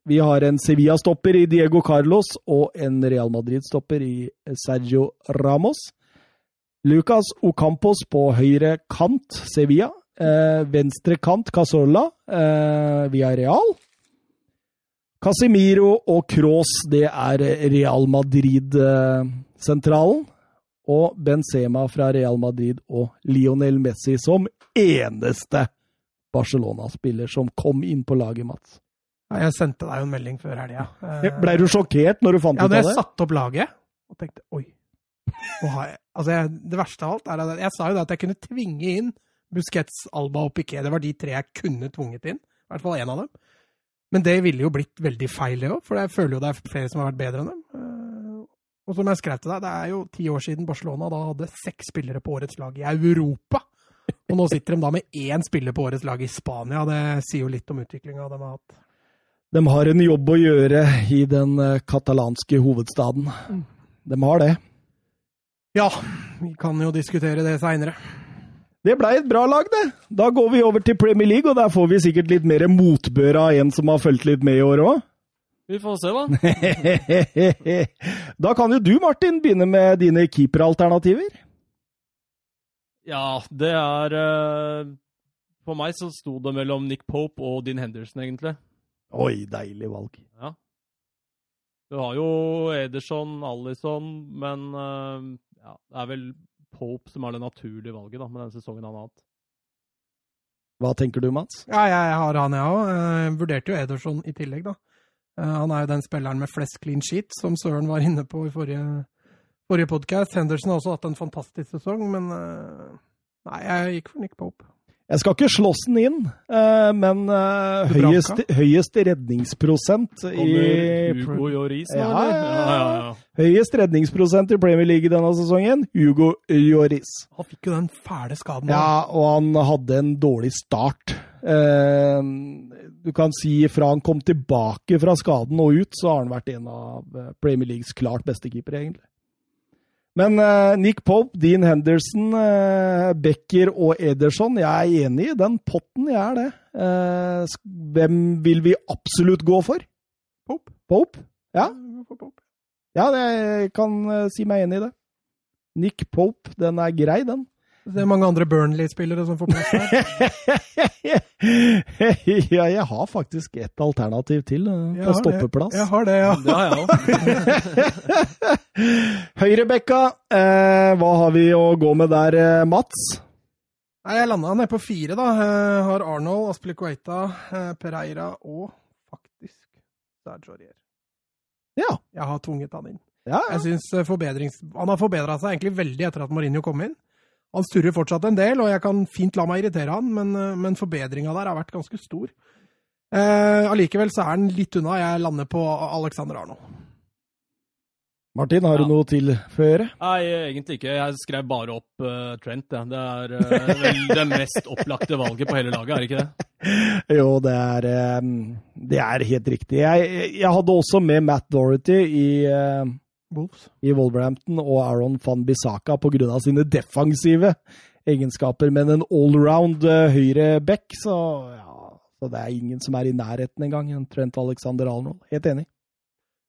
Speaker 1: Vi har en Sevilla-stopper i Diego Carlos og en Real Madrid-stopper i Sergio Ramos. Lucas Ocampos på høyre kant, Sevilla. Eh, venstre kant, Casola, eh, via Real. Casimiro og Cross, det er Real Madrid-sentralen. Og Benzema fra Real Madrid og Lionel Messi som eneste Barcelona-spiller som kom inn på laget, Mats.
Speaker 2: Ja, jeg sendte deg jo en melding før Eh, helga.
Speaker 1: Blei du sjokkert når du fant
Speaker 2: Ja,
Speaker 1: ut
Speaker 2: da
Speaker 1: av
Speaker 2: jeg
Speaker 1: det?
Speaker 2: satte opp laget og tenkte oi nå har jeg, altså jeg, Det verste av alt er at jeg sa jo det at jeg kunne tvinge inn Busquets, Alba og Piquet. Det var de tre jeg kunne tvunget inn. I hvert fall én av dem. Men det ville jo blitt veldig feil, det òg, for jeg føler jo det er flere som har vært bedre enn dem. Eh, Og som jeg skrev til deg, det er jo ti år siden Barcelona da hadde seks spillere på årets lag i Europa. Og nå sitter de da med én spiller på årets lag i Spania. Det sier jo litt om utviklinga de har hatt.
Speaker 1: De har en jobb å gjøre i den eh, katalanske hovedstaden. De har det.
Speaker 2: Ja, vi kan jo diskutere det seinere.
Speaker 1: Det blei et bra lag, det. Da går vi over til Premier League, og der får vi sikkert litt mer motbør av en som har fulgt litt med i år òg.
Speaker 3: Vi får se, da.
Speaker 1: Da kan jo du, Martin, begynne med dine keeperalternativer.
Speaker 3: Ja, det er eh, For meg så sto det mellom Nick Pope og Dean Henderson, egentlig.
Speaker 1: Oi, deilig valg.
Speaker 3: Du har jo Ederson, Alison, men eh, ja, det er vel Pope som er det naturlige valget da, med den sesongen han har hatt.
Speaker 1: Hva tenker du, Mats?
Speaker 2: Ja, jeg har han, jeg òg. Jeg vurderte jo Ederson i tillegg, da. Eh, Han er jo den spilleren med flest clean sheet, som Søren var inne på i forrige, forrige podkast. Henderson har også hatt en fantastisk sesong, men eh, Nei, jeg gikk for Nick Pope.
Speaker 1: Jeg skal ikke slåss den inn, eh, men eh,
Speaker 2: Du
Speaker 1: høyest, høyest redningsprosent
Speaker 3: Kommer
Speaker 1: i
Speaker 3: Hugo Lloris nå,
Speaker 1: Ja,
Speaker 3: eller?
Speaker 1: ja, ja.
Speaker 3: Ja, ja, ja.
Speaker 1: Høyest redningsprosent i Premier League denne sesongen, Hugo Lloris.
Speaker 2: Han fikk jo den fæle skaden. da.
Speaker 1: Ja, og han hadde en dårlig start. Eh, Du kan si fra han kom tilbake fra skaden og ut, så har han vært en av eh, Premier Leagues klart beste keepere, egentlig. Men eh, Nick Pope, Dean Henderson, eh, Becker og Ederson, jeg er enig i den potten, jeg er det. Eh, sk- Hvem vil vi absolutt gå for?
Speaker 2: Pope.
Speaker 1: Pope? Ja.
Speaker 2: Jeg går for Pope.
Speaker 1: Ja, det- jeg kan eh, si meg enig i det. Nick Pope, den er grei, den.
Speaker 2: Det er mange andre Burnley-spillere som får plass her.
Speaker 1: ja, jeg har faktisk et alternativ til eh, på
Speaker 2: Jeg har det.
Speaker 1: stoppeplass.
Speaker 2: Jeg har det, ja.
Speaker 3: Det har jeg òg.
Speaker 1: Høyrebekka, eh, hva har vi å gå med der, eh, Mats?
Speaker 2: Nei, jeg landa ned på fire, da. Eh, Har Arnold, Aspilicueta, eh, Pereira og faktisk Sergio Aurier.
Speaker 1: Ja.
Speaker 2: Jeg har tvunget han inn.
Speaker 1: Ja,
Speaker 2: Jeg synes eh, forbedrings... Han har forbedra seg egentlig veldig etter at Mourinho kom inn. Han surrer fortsatt en del, og jeg kan fint la meg irritere han, men, eh, men forbedringa der har vært ganske stor. Eh, Allikevel så er han litt unna. Jeg lander på Alexander Arnold.
Speaker 1: Martin, har du
Speaker 3: Ja.
Speaker 1: noe til før?
Speaker 3: Nei, egentlig ikke. Jeg skrev bare opp eh, Trent. jeg. Det er eh, vel det mest opplagte valget på hele laget, er det ikke det?
Speaker 1: Jo, det er, eh, det er helt riktig. Jeg, jeg hadde også med Matt Dorothy i, eh,
Speaker 2: Wolves.
Speaker 1: i Wolverhampton og Aaron van Bissaka pga. sine defensive egenskaper, men en allround eh, høyre back, så ja så det er ingen som er i nærheten engang. en Trent Alexander Arnold. Helt enig.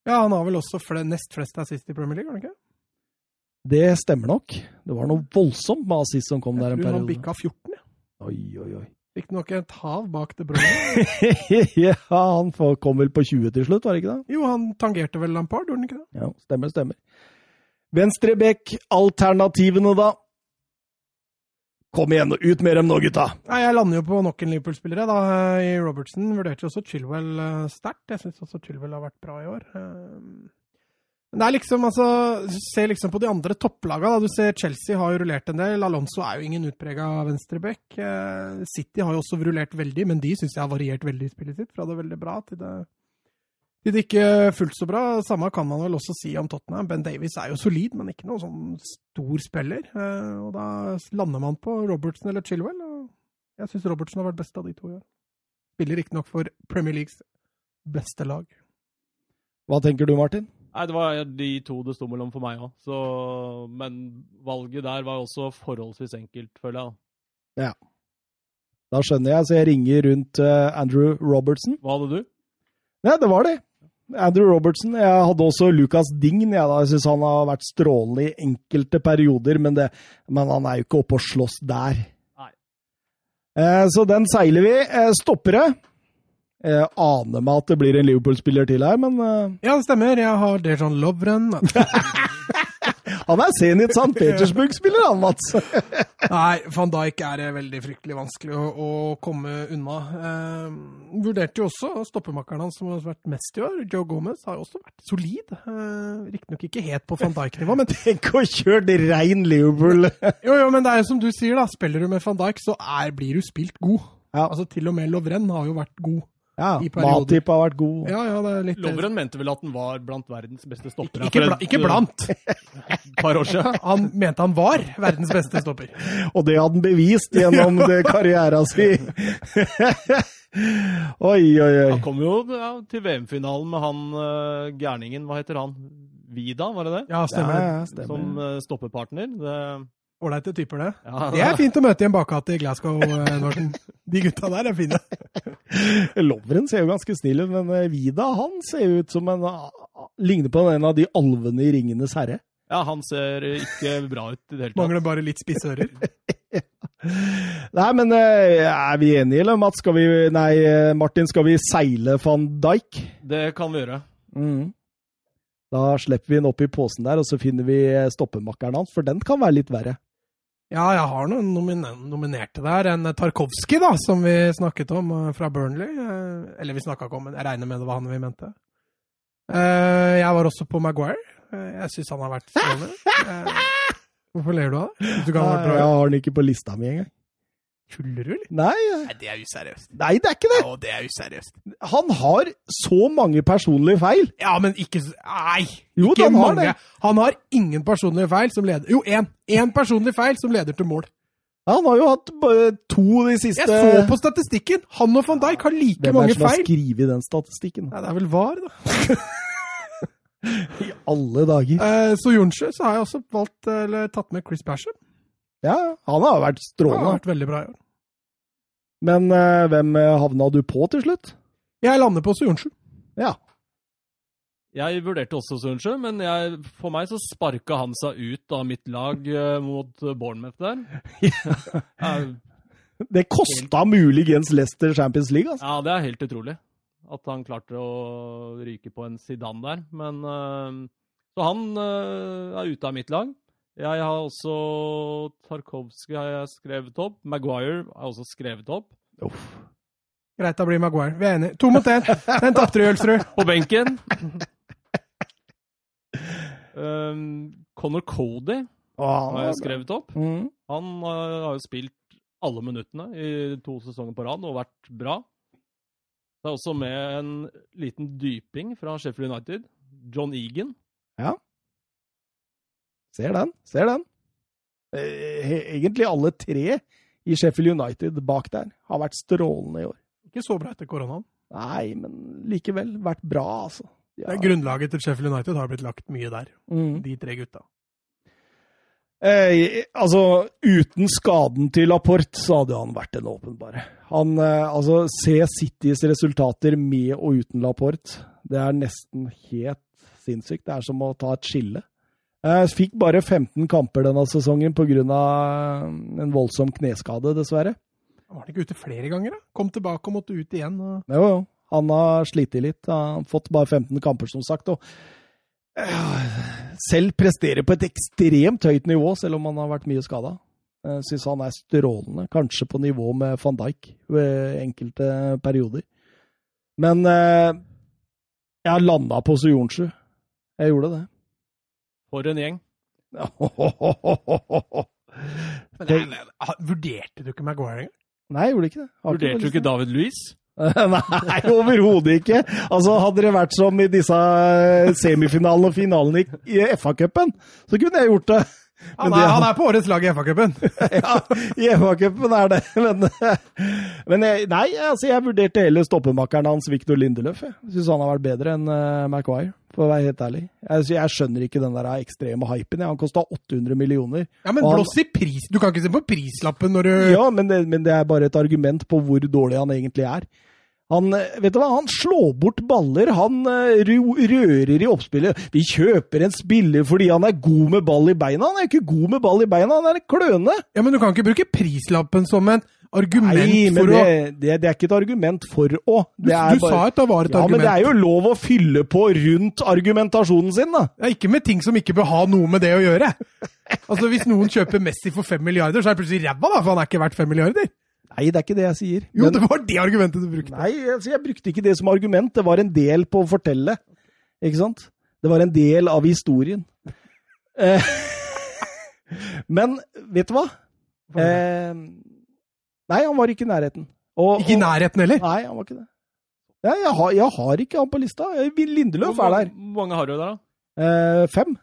Speaker 2: Ja, han har vel også fle nest flest assist i Premier League, har han ikke?
Speaker 1: Det stemmer nok. Det var noe voldsomt med assist som kom der en
Speaker 2: Jeg tror han
Speaker 1: periode.
Speaker 2: bikka 14, ja.
Speaker 1: Oi, oi, oi.
Speaker 2: Riktignok et hav bak det brødet.
Speaker 1: ja, han får- kom vel på 20 til slutt, var det ikke det?
Speaker 2: Jo, han tangerte vel Lampard, gjorde han ikke det?
Speaker 1: Ja, stemmer, stemmer. Venstrebekk-alternativene, da? Kom igjen, ut med dem nå, gutta!
Speaker 2: Nei, Jeg lander jo på nok en Liverpool-spiller. jeg, da. Eh, I Robertson vurderte jo også Chilwell eh, sterkt. Jeg syns også Chilwell har vært bra i år. Eh, Men det er liksom, altså, du ser liksom på de andre topplaga. Da. Du ser Chelsea har jo rullert en del. Alonso er jo ingen utprega venstreback. Eh, City har jo også rullert veldig, men de syns jeg har variert veldig i spillet sitt. Fra det veldig bra til det, til det ikke fullt så bra. Samme kan man vel også si om Tottenham. Ben Davies er jo solid, men ikke noen sånn stor spiller. Eh, Og da lander man på Robertson eller Chilwell. og jeg syns Robertsen har vært best av de to i år. Spiller riktignok for Premier Leagues beste lag.
Speaker 1: Hva tenker du, Martin?
Speaker 3: Nei, det var de to det sto mellom for meg òg. Men valget der var også forholdsvis enkelt, føler jeg. da.
Speaker 1: Da skjønner jeg, så jeg ringer rundt eh, Andrew Robertson.
Speaker 3: Hva hadde du?
Speaker 1: Ja, det var det. Andrew Robertson. Jeg hadde også Lucas Dign. Jeg, da. jeg syns han har vært strålende i enkelte perioder, men, det, men han er jo ikke oppe og slåss der.
Speaker 3: Nei.
Speaker 1: Eh, så den seiler vi. Eh, stoppere. Jeg aner meg at det blir en Liverpool-spiller til her, men eh,
Speaker 2: Ja, det stemmer. Jeg har Dejan Lovren.
Speaker 1: han er Zenit St. Petersburg-spiller, han, Mats.
Speaker 2: Nei, van Dijk er det veldig fryktelig vanskelig å, å komme unna. Eh, vurderte jo også stoppemakeren hans som har vært mest i år, Joe Gomez, har jo også vært solid. Eh, Riktignok ikke helt på van Dijk-nivå, men
Speaker 1: Tenk å kjøre det rein Liverpool.
Speaker 2: jo, jo, men det er jo som du sier, da. Spiller du med van Dijk, så er, blir du spilt god.
Speaker 1: Ja.
Speaker 2: Altså, til og med Lovren har jo vært god.
Speaker 1: Ja,
Speaker 2: I perioder.
Speaker 1: Matip har vært god.
Speaker 2: Ja, ja, det er litt
Speaker 3: Lovren mente vel at den var blant verdens beste stoppere
Speaker 2: Ikke, bla, ikke blant.
Speaker 3: et par år siden.
Speaker 2: Han mente han var verdens beste stopper.
Speaker 1: Og det hadde han bevist gjennom det karriera si. oi, oi, oi.
Speaker 3: Han kom jo ja, til VM-finalen med han eh, gærningen, hva heter han? Vida, var det det?
Speaker 2: Ja,
Speaker 1: Ja,
Speaker 2: stemmer.
Speaker 1: ja, stemmer.
Speaker 3: Som eh, stoppepartner. Det,
Speaker 2: Ålreite typer, det.
Speaker 3: ja,
Speaker 2: Det er fint å møte i en bakgate i Glasgow, eh, Norsen. De gutta der er fine.
Speaker 1: Lovren ser jo ganske snill ut, men eh, Vida han ser ut som en ah, Ligner på en av de alvene i Ringenes herre.
Speaker 3: ja, han ser ikke bra ut i det hele tatt.
Speaker 2: Mangler bare litt spisse ører.
Speaker 1: Nei, men eh, er vi enige, eller, Mats? Skal vi, nei, eh, Martin, skal vi seile van Dijk?
Speaker 3: Det kan vi gjøre.
Speaker 2: Mm.
Speaker 1: Da slipper vi den opp i posen der, og så finner vi eh, stoppemakkeren hans, for den kan være litt verre.
Speaker 2: Ja, jeg har noen nomine- nominerte der. En Tarkovskij, da, som vi snakket om eh, fra Burnley. Eh, Eller vi snakka ikke om, men jeg regner med det var han vi mente. Eh, Jeg var også på Maguire. Eh, Jeg syns han har vært strålende. Eh, Hvorfor ler du av det? Synes Du ikke han har vært
Speaker 1: Nei,
Speaker 2: bra?
Speaker 1: jeg har den ikke på lista mi engang.
Speaker 2: Tuller du, eller?
Speaker 1: Nei, eh,
Speaker 2: Nei, det er useriøst.
Speaker 1: nei, det er ikke det!
Speaker 2: Å, det er useriøst.
Speaker 1: Han har så mange personlige feil.
Speaker 2: Ja, men ikke s- Nei!
Speaker 1: Jo,
Speaker 2: ikke
Speaker 1: han har
Speaker 2: mange.
Speaker 1: det.
Speaker 2: Han har ingen personlige feil som leder Jo, én! Én personlig feil som leder til mål.
Speaker 1: Han har jo hatt bare to de siste
Speaker 2: Jeg så på statistikken! Han og van Dijk har like
Speaker 1: Hvem er det
Speaker 2: mange
Speaker 1: som har
Speaker 2: feil.
Speaker 1: skrevet den statistikken?
Speaker 2: Nei, det er vel VAR, da.
Speaker 1: I alle dager.
Speaker 2: Eh, så Jonsjø så har jeg også valgt, eller tatt med Chris Basham.
Speaker 1: Ja, han har vært
Speaker 2: Han har
Speaker 1: strålende.
Speaker 2: vært veldig bra i år.
Speaker 1: Men eh, hvem eh, havna du på til slutt?
Speaker 2: Jeg lander på Sojonsjø.
Speaker 1: Ja.
Speaker 3: Jeg vurderte også Sundsjø, men jeg, for meg så sparka han seg ut av mitt lag eh, mot Bournemouth der. Eh,
Speaker 1: Det kosta muligens Leicester Champions League, altså.
Speaker 3: Ja, det er helt utrolig at han klarte å ryke på en Zidane der. Men eh, Så han eh, er ute av mitt lag. Jeg har også Tarkovskij har jeg skrevet opp. Maguire er også skrevet opp.
Speaker 2: Greit, da blir Maguire. Vi er enige. To mot én. Den tapte du, Jølsrud.
Speaker 3: På benken um, Connor Cody
Speaker 1: Ah,
Speaker 3: har jeg skrevet opp.
Speaker 1: Mm.
Speaker 3: Han eh, har jo spilt alle minuttene i to sesonger på rad og vært bra. Det er også med en liten dyping fra Sheffield United. John Egan.
Speaker 1: Ser den, ser den. Eh, he- Egentlig alle tre i Sheffield United bak der har vært strålende i år.
Speaker 2: Ikke så bra etter koronaen.
Speaker 1: Nei, men likevel vært bra, altså. Ja.
Speaker 2: Det er Grunnlaget til Sheffield United har blitt lagt mye der.
Speaker 1: Mm.
Speaker 2: De tre gutta.
Speaker 1: Eh, altså, uten skaden til Laporte, så hadde han vært en åpenbare. Han, eh, altså, se Citys resultater med og uten Laporte. Det er nesten helt sinnssykt. Det er som å ta et skille. Eh, fikk bare 15 kamper denne sesongen pga. en voldsom kneskade, dessverre.
Speaker 2: Han var ikke ute flere ganger, da? Kom tilbake og måtte ut igjen. Og...
Speaker 1: Jo, jo. Han har slitt litt. Han har fått bare 15 kamper, som sagt. Og selv presterer på et ekstremt høyt nivå, selv om han har vært mye skada. Syns han er strålende. Kanskje på nivå med van Dijk ved enkelte perioder. Men eh, jeg landa på Sujonsju. Jeg gjorde det.
Speaker 3: For en gjeng.
Speaker 2: Men det, er- ha- vurderte du ikke Maguire engang?
Speaker 1: Nei, jeg gjorde ikke det. Har
Speaker 3: Vurderte du
Speaker 1: noe
Speaker 3: ikke David Louise?
Speaker 1: Nei, overhodet ikke. Altså, hadde det vært som i disse eh, semifinalene og finalene i i FA-cupen, så kunne jeg gjort det. Men
Speaker 2: Han,
Speaker 1: det-
Speaker 2: er- han er på årets lag i FA-cupen!
Speaker 1: Ja, i FA-cupen er det. Men, men jeg, nei, altså, jeg vurderte heller stoppemakeren hans, Victor Lindeløf. Jeg syns han har vært bedre enn uh, Maguire, for å være helt ærlig. Jeg, jeg skjønner ikke den der ekstreme hypen. jeg. Han kosta 800 millioner.
Speaker 2: Ja, men
Speaker 1: Og han-
Speaker 2: blås i pris! Du kan ikke se på prislappen når du
Speaker 1: Ja, men det, men det er bare et argument på hvor dårlig han egentlig er. Han, eh, vet du hva, han slår bort baller, han eh, ru- rører i oppspillet. Vi kjøper en spiller fordi han er god med ball i beina. Han er ikke god med ball i beina, han er en kløne.
Speaker 2: Ja, men du kan ikke bruke prislappen som et argument
Speaker 1: Nei, men
Speaker 2: for
Speaker 1: det,
Speaker 2: å
Speaker 1: det, det er ikke et argument for å.
Speaker 2: Du,
Speaker 1: Det er
Speaker 2: du sa at det var et
Speaker 1: ja, men
Speaker 2: argument.
Speaker 1: det er jo lov å fylle på rundt argumentasjonen sin, da.
Speaker 2: Ja, ikke med ting som ikke bør ha noe med det å gjøre. Altså, Hvis noen kjøper Messi for fem milliarder, så er det plutselig ræva, da, for han er ikke verdt fem milliarder.
Speaker 1: Nei, det er ikke det jeg sier.
Speaker 2: Jo,
Speaker 1: Men-
Speaker 2: det var det argumentet du brukte.
Speaker 1: Nei, altså jeg brukte ikke det som argument. Det var en del på å fortelle. Ikke sant? Det var en del av historien. Eh, Men vet du hva? Eh, Nei, han var ikke i nærheten. Og-
Speaker 2: Ikke i
Speaker 1: og-
Speaker 2: nærheten heller.
Speaker 1: Nei, han var ikke det. Ja, jeg, har, jeg har ikke han på lista. Øyvind Lindeløf
Speaker 3: Hvor
Speaker 1: er
Speaker 3: mange-
Speaker 1: der.
Speaker 3: Hvor mange har du der, da?
Speaker 1: Eh, fem.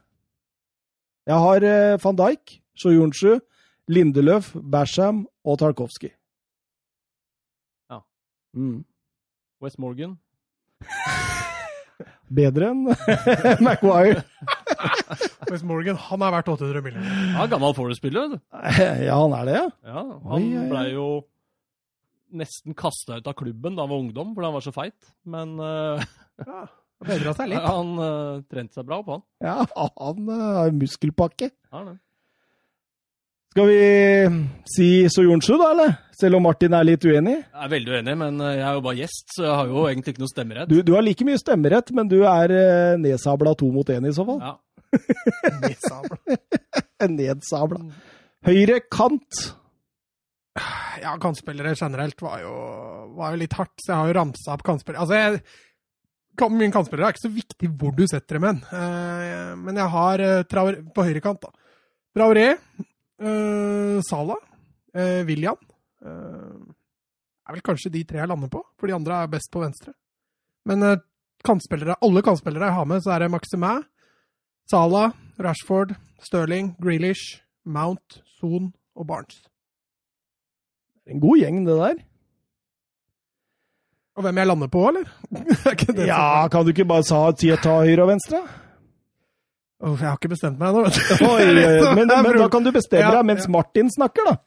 Speaker 1: Jeg har eh, van Dijk, Sjojonsju, Lindeløf, Basham og Tarkovskij.
Speaker 3: Ja.
Speaker 1: Mm.
Speaker 3: West Morgan?
Speaker 1: Bedre enn Maguire.
Speaker 2: West Morgan han er verdt 800 millioner.
Speaker 3: Ja, gammel Forest-spiller. vet du.
Speaker 1: Ja, han er det, ja.
Speaker 3: Ja, han
Speaker 1: Oi, oi, oi.
Speaker 3: ble jo nesten kasta ut av klubben da han var ungdom, fordi han var så feit. Men eh,
Speaker 2: Det Bedra seg litt.
Speaker 3: han eh, trente seg bra opp, han.
Speaker 1: Ja, han eh, har en muskelpakke.
Speaker 3: Ja, det.
Speaker 1: Skal vi si Sojonsju, da, eller? Selv om Martin er litt uenig.
Speaker 3: Jeg er veldig uenig, men eh, jeg er jo bare gjest, så jeg har jo egentlig ikke noe stemmerett.
Speaker 1: Du, du har like mye stemmerett, men du er eh, nedsabla to mot én i så fall.
Speaker 3: Ja.
Speaker 1: Nedsabla. Høyre kant.
Speaker 2: Ja, kantspillere generelt var jo, var jo litt hardt, så jeg har jo ramsa opp kantspillere. Altså, jeg, kan- mine kantspillere er ikke så viktig hvor du setter dem hen, Eh, men jeg har eh, Traoré på høyrekant, da. Traoré, eh, Salah, eh, William. Eh, er vel kanskje de tre jeg lander på, for de andre er best på venstre. Men eh, kantspillere, alle kantspillere jeg har med, så er det Maximin, Salah, Rashford, Sterling, Grealish, Mount, Son og Barnes.
Speaker 1: En god gjeng, det der.
Speaker 2: Og hvem jeg lander på, eller? Er ikke det
Speaker 1: Ja, kan du ikke bare sa, si ta høyre og venstre?
Speaker 2: som- Åh, jeg har ikke bestemt meg ennå, vet du.
Speaker 1: Oi, eh, men, men da kan du bestemme
Speaker 2: Ja,
Speaker 1: deg mens
Speaker 2: ja.
Speaker 1: Martin snakker, da.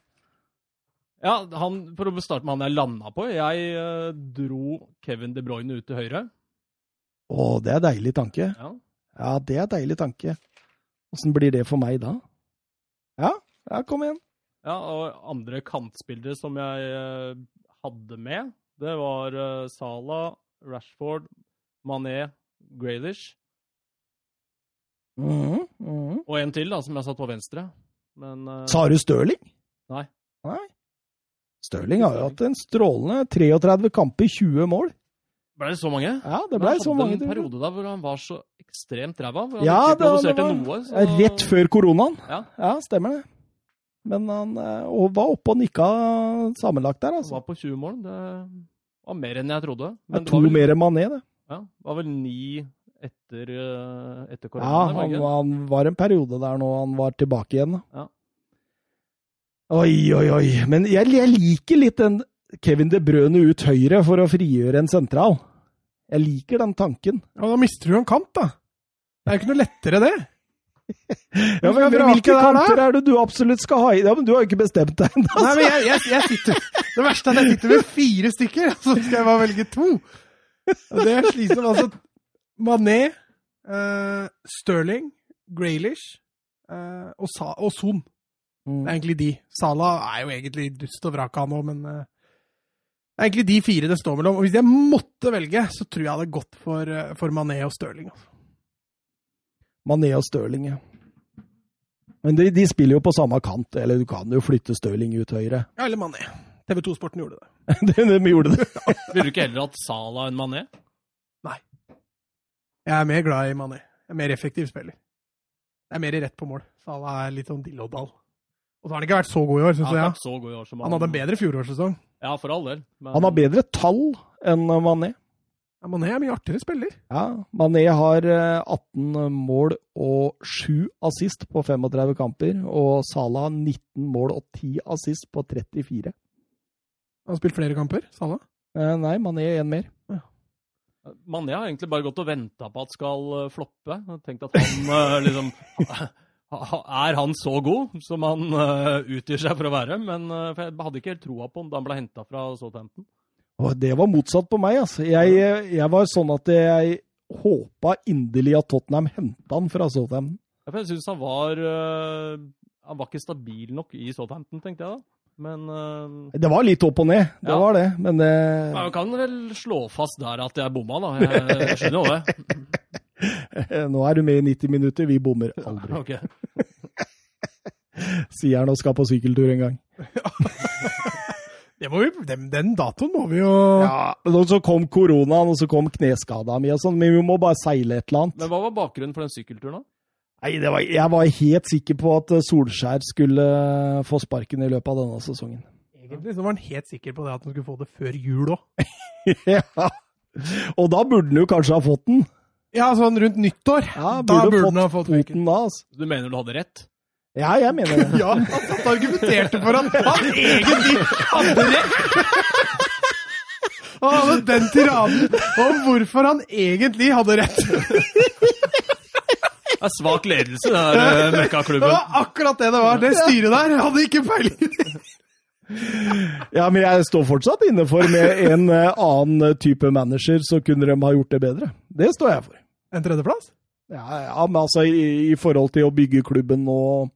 Speaker 3: Ja, han, For å starte med han jeg landa på. Jeg eh, dro Kevin De Bruyne ut til høyre.
Speaker 1: Å, det er deilig tanke.
Speaker 3: Ja.
Speaker 1: Ja, det er deilig tanke. Åssen blir det for meg da? Ja, ja, kom igjen.
Speaker 3: Ja, og andre kantspillere som jeg eh, hadde med, det var eh, Salah, Rashford, Mané, Graylish
Speaker 1: Mhm, mhm.
Speaker 3: og en til da, som jeg satt på venstre. Men eh,
Speaker 1: Sa du Stirling?
Speaker 3: Nei.
Speaker 1: Nei. Stirling har jo hatt en strålende 33 kamper, 20 mål.
Speaker 3: ble det så mange?
Speaker 1: Ja, det ble så mange.
Speaker 3: en
Speaker 1: tror jeg.
Speaker 3: periode der hvor han var så ekstremt ræva. Hvor han
Speaker 1: Ja,
Speaker 3: ikke
Speaker 1: det var- det
Speaker 3: produserte
Speaker 1: var-
Speaker 3: noe.
Speaker 1: Ja, Eh, Rett før koronaen.
Speaker 3: Ja.
Speaker 1: stemmer det. Men han eh, og var oppe og nikka sammenlagt der,
Speaker 3: Han
Speaker 1: altså.
Speaker 3: var på 20 mål. Det var mer enn jeg trodde.
Speaker 1: Det er
Speaker 3: det
Speaker 1: to
Speaker 3: var vel,
Speaker 1: mer enn Mané, det.
Speaker 3: ja, var vel ni etter, eh, etter
Speaker 1: Ja,
Speaker 3: korona.
Speaker 1: han,
Speaker 3: Norge.
Speaker 1: han var en periode der nå han var tilbake igjen. da.
Speaker 3: Ja.
Speaker 1: Oi, oi, oi. Men jeg, jeg liker litt den Kevin De Brøne ut høyre for å frigjøre en sentral. Jeg liker den tanken.
Speaker 2: Ja, da mister du jo en kant, da. Det er jo ikke noe lettere, det.
Speaker 1: Ja, men,
Speaker 2: Hvilke
Speaker 1: hvilke
Speaker 2: kanter
Speaker 1: kanter er det du absolutt skal ha i? Ja, men Du har jo ikke bestemt deg ennå.
Speaker 2: Nei, men jeg, jeg, jeg sitter, Det verste er at jeg sitter med fire stykker, så skal jeg bare velge to. Og det er slitsomt. Altså, Mané, eh, Sterling, Graylish eh, og, Sa og Son. Det er egentlig de. Sala er jo egentlig dust og vrak av nå, men eh, det er egentlig de fire det står mellom. Og hvis jeg måtte velge, så tror jeg jeg hadde gått for, eh, for Mané og Stirling. Altså.
Speaker 1: Mané og Stirling. ja. Men de, de spiller jo på samme kant, eller du kan jo flytte Stirling ut høyre.
Speaker 2: Ja, eller Mané. TV 2-sporten gjorde det.
Speaker 1: Det de gjorde det.
Speaker 3: Ville du ikke heller hatt Sala enn Mané?
Speaker 2: Jeg er mer glad i Mané. Jeg er mer effektiv spiller. Jeg er mer rett på mål. Salah er litt sånn dillodal. Og så har han ikke vært så god i år,
Speaker 3: Ja,
Speaker 2: syns
Speaker 3: han har
Speaker 2: jeg.
Speaker 3: vært så god i år som
Speaker 2: Han hadde en bedre fjorårssesong.
Speaker 3: Ja, for all del. Men-
Speaker 1: Han har bedre tall enn Mané.
Speaker 2: Ja, Mané er mye artigere spiller.
Speaker 1: Ja, Mané har eh, 18 mål og 7 assist på 35 kamper, og Salah 19 mål og 10 assist på 34.
Speaker 2: Han har spilt flere kamper, Salah.
Speaker 1: Eh, Nei, Mané én mer.
Speaker 3: Mané har egentlig bare gått og venta på at skal eh, floppe. Jeg tenkte at han eh, liksom Er han så god som han eh, utgir seg for å være? Men eh, for jeg hadde ikke helt troa på ham da han ble henta fra Southampton.
Speaker 1: Og det var motsatt på meg, altså. Jeg, jeg var sånn at jeg håpa inderlig at Tottenham henta han fra Southampton.
Speaker 3: Ja, for Jeg syns han var eh, Han var ikke stabil nok i Southampton, tenkte jeg da. Men eh,
Speaker 1: Det var litt opp og ned, det
Speaker 3: Ja.
Speaker 1: var det. Men eh, det,
Speaker 3: jeg kan vel slå fast der at jeg bomma, da. Jeg skjønner jo det.
Speaker 1: nå er du med i 90 minutter, vi bommer aldri.
Speaker 3: Ok.
Speaker 1: Sier han og skal på sykkeltur en gang.
Speaker 2: Det må vi, den, den datoen må vi jo
Speaker 1: Ja, og så kom koronaen, og så kom kneskada mi og sånn, men vi må bare seile et eller annet.
Speaker 3: Men hva var bakgrunnen for den sykkelturen, da?
Speaker 1: Nei, det var, jeg var helt sikker på at eh, Solskjær skulle eh, få sparken i løpet av denne sesongen.
Speaker 2: Egentlig så var han helt sikker på det at han skulle få det før jul òg.
Speaker 1: ja. Og da burde han jo kanskje ha fått den.
Speaker 2: Ja, sånn rundt nyttår.
Speaker 1: Ja,
Speaker 2: da burde han ha fått fyken.
Speaker 1: foten da, altså.
Speaker 3: Du mener du hadde rett?
Speaker 1: Ja, jeg mener det.
Speaker 2: Ja, han satt og argumenterte for han. Han egentlig hadde rett! Han hadde den tiraden om hvorfor han egentlig hadde rett.
Speaker 3: Det er svak ledelse, det her eh,
Speaker 2: Det
Speaker 3: møkkaklubben.
Speaker 2: var akkurat det det var. Det styret der hadde ikke peiling.
Speaker 1: Ja, men jeg står fortsatt inne for med en eh, annen type manager, så kunne de ha gjort det bedre. Det står jeg for.
Speaker 2: En tredjeplass?
Speaker 1: Ja, ja men altså i, i forhold til å bygge klubben og,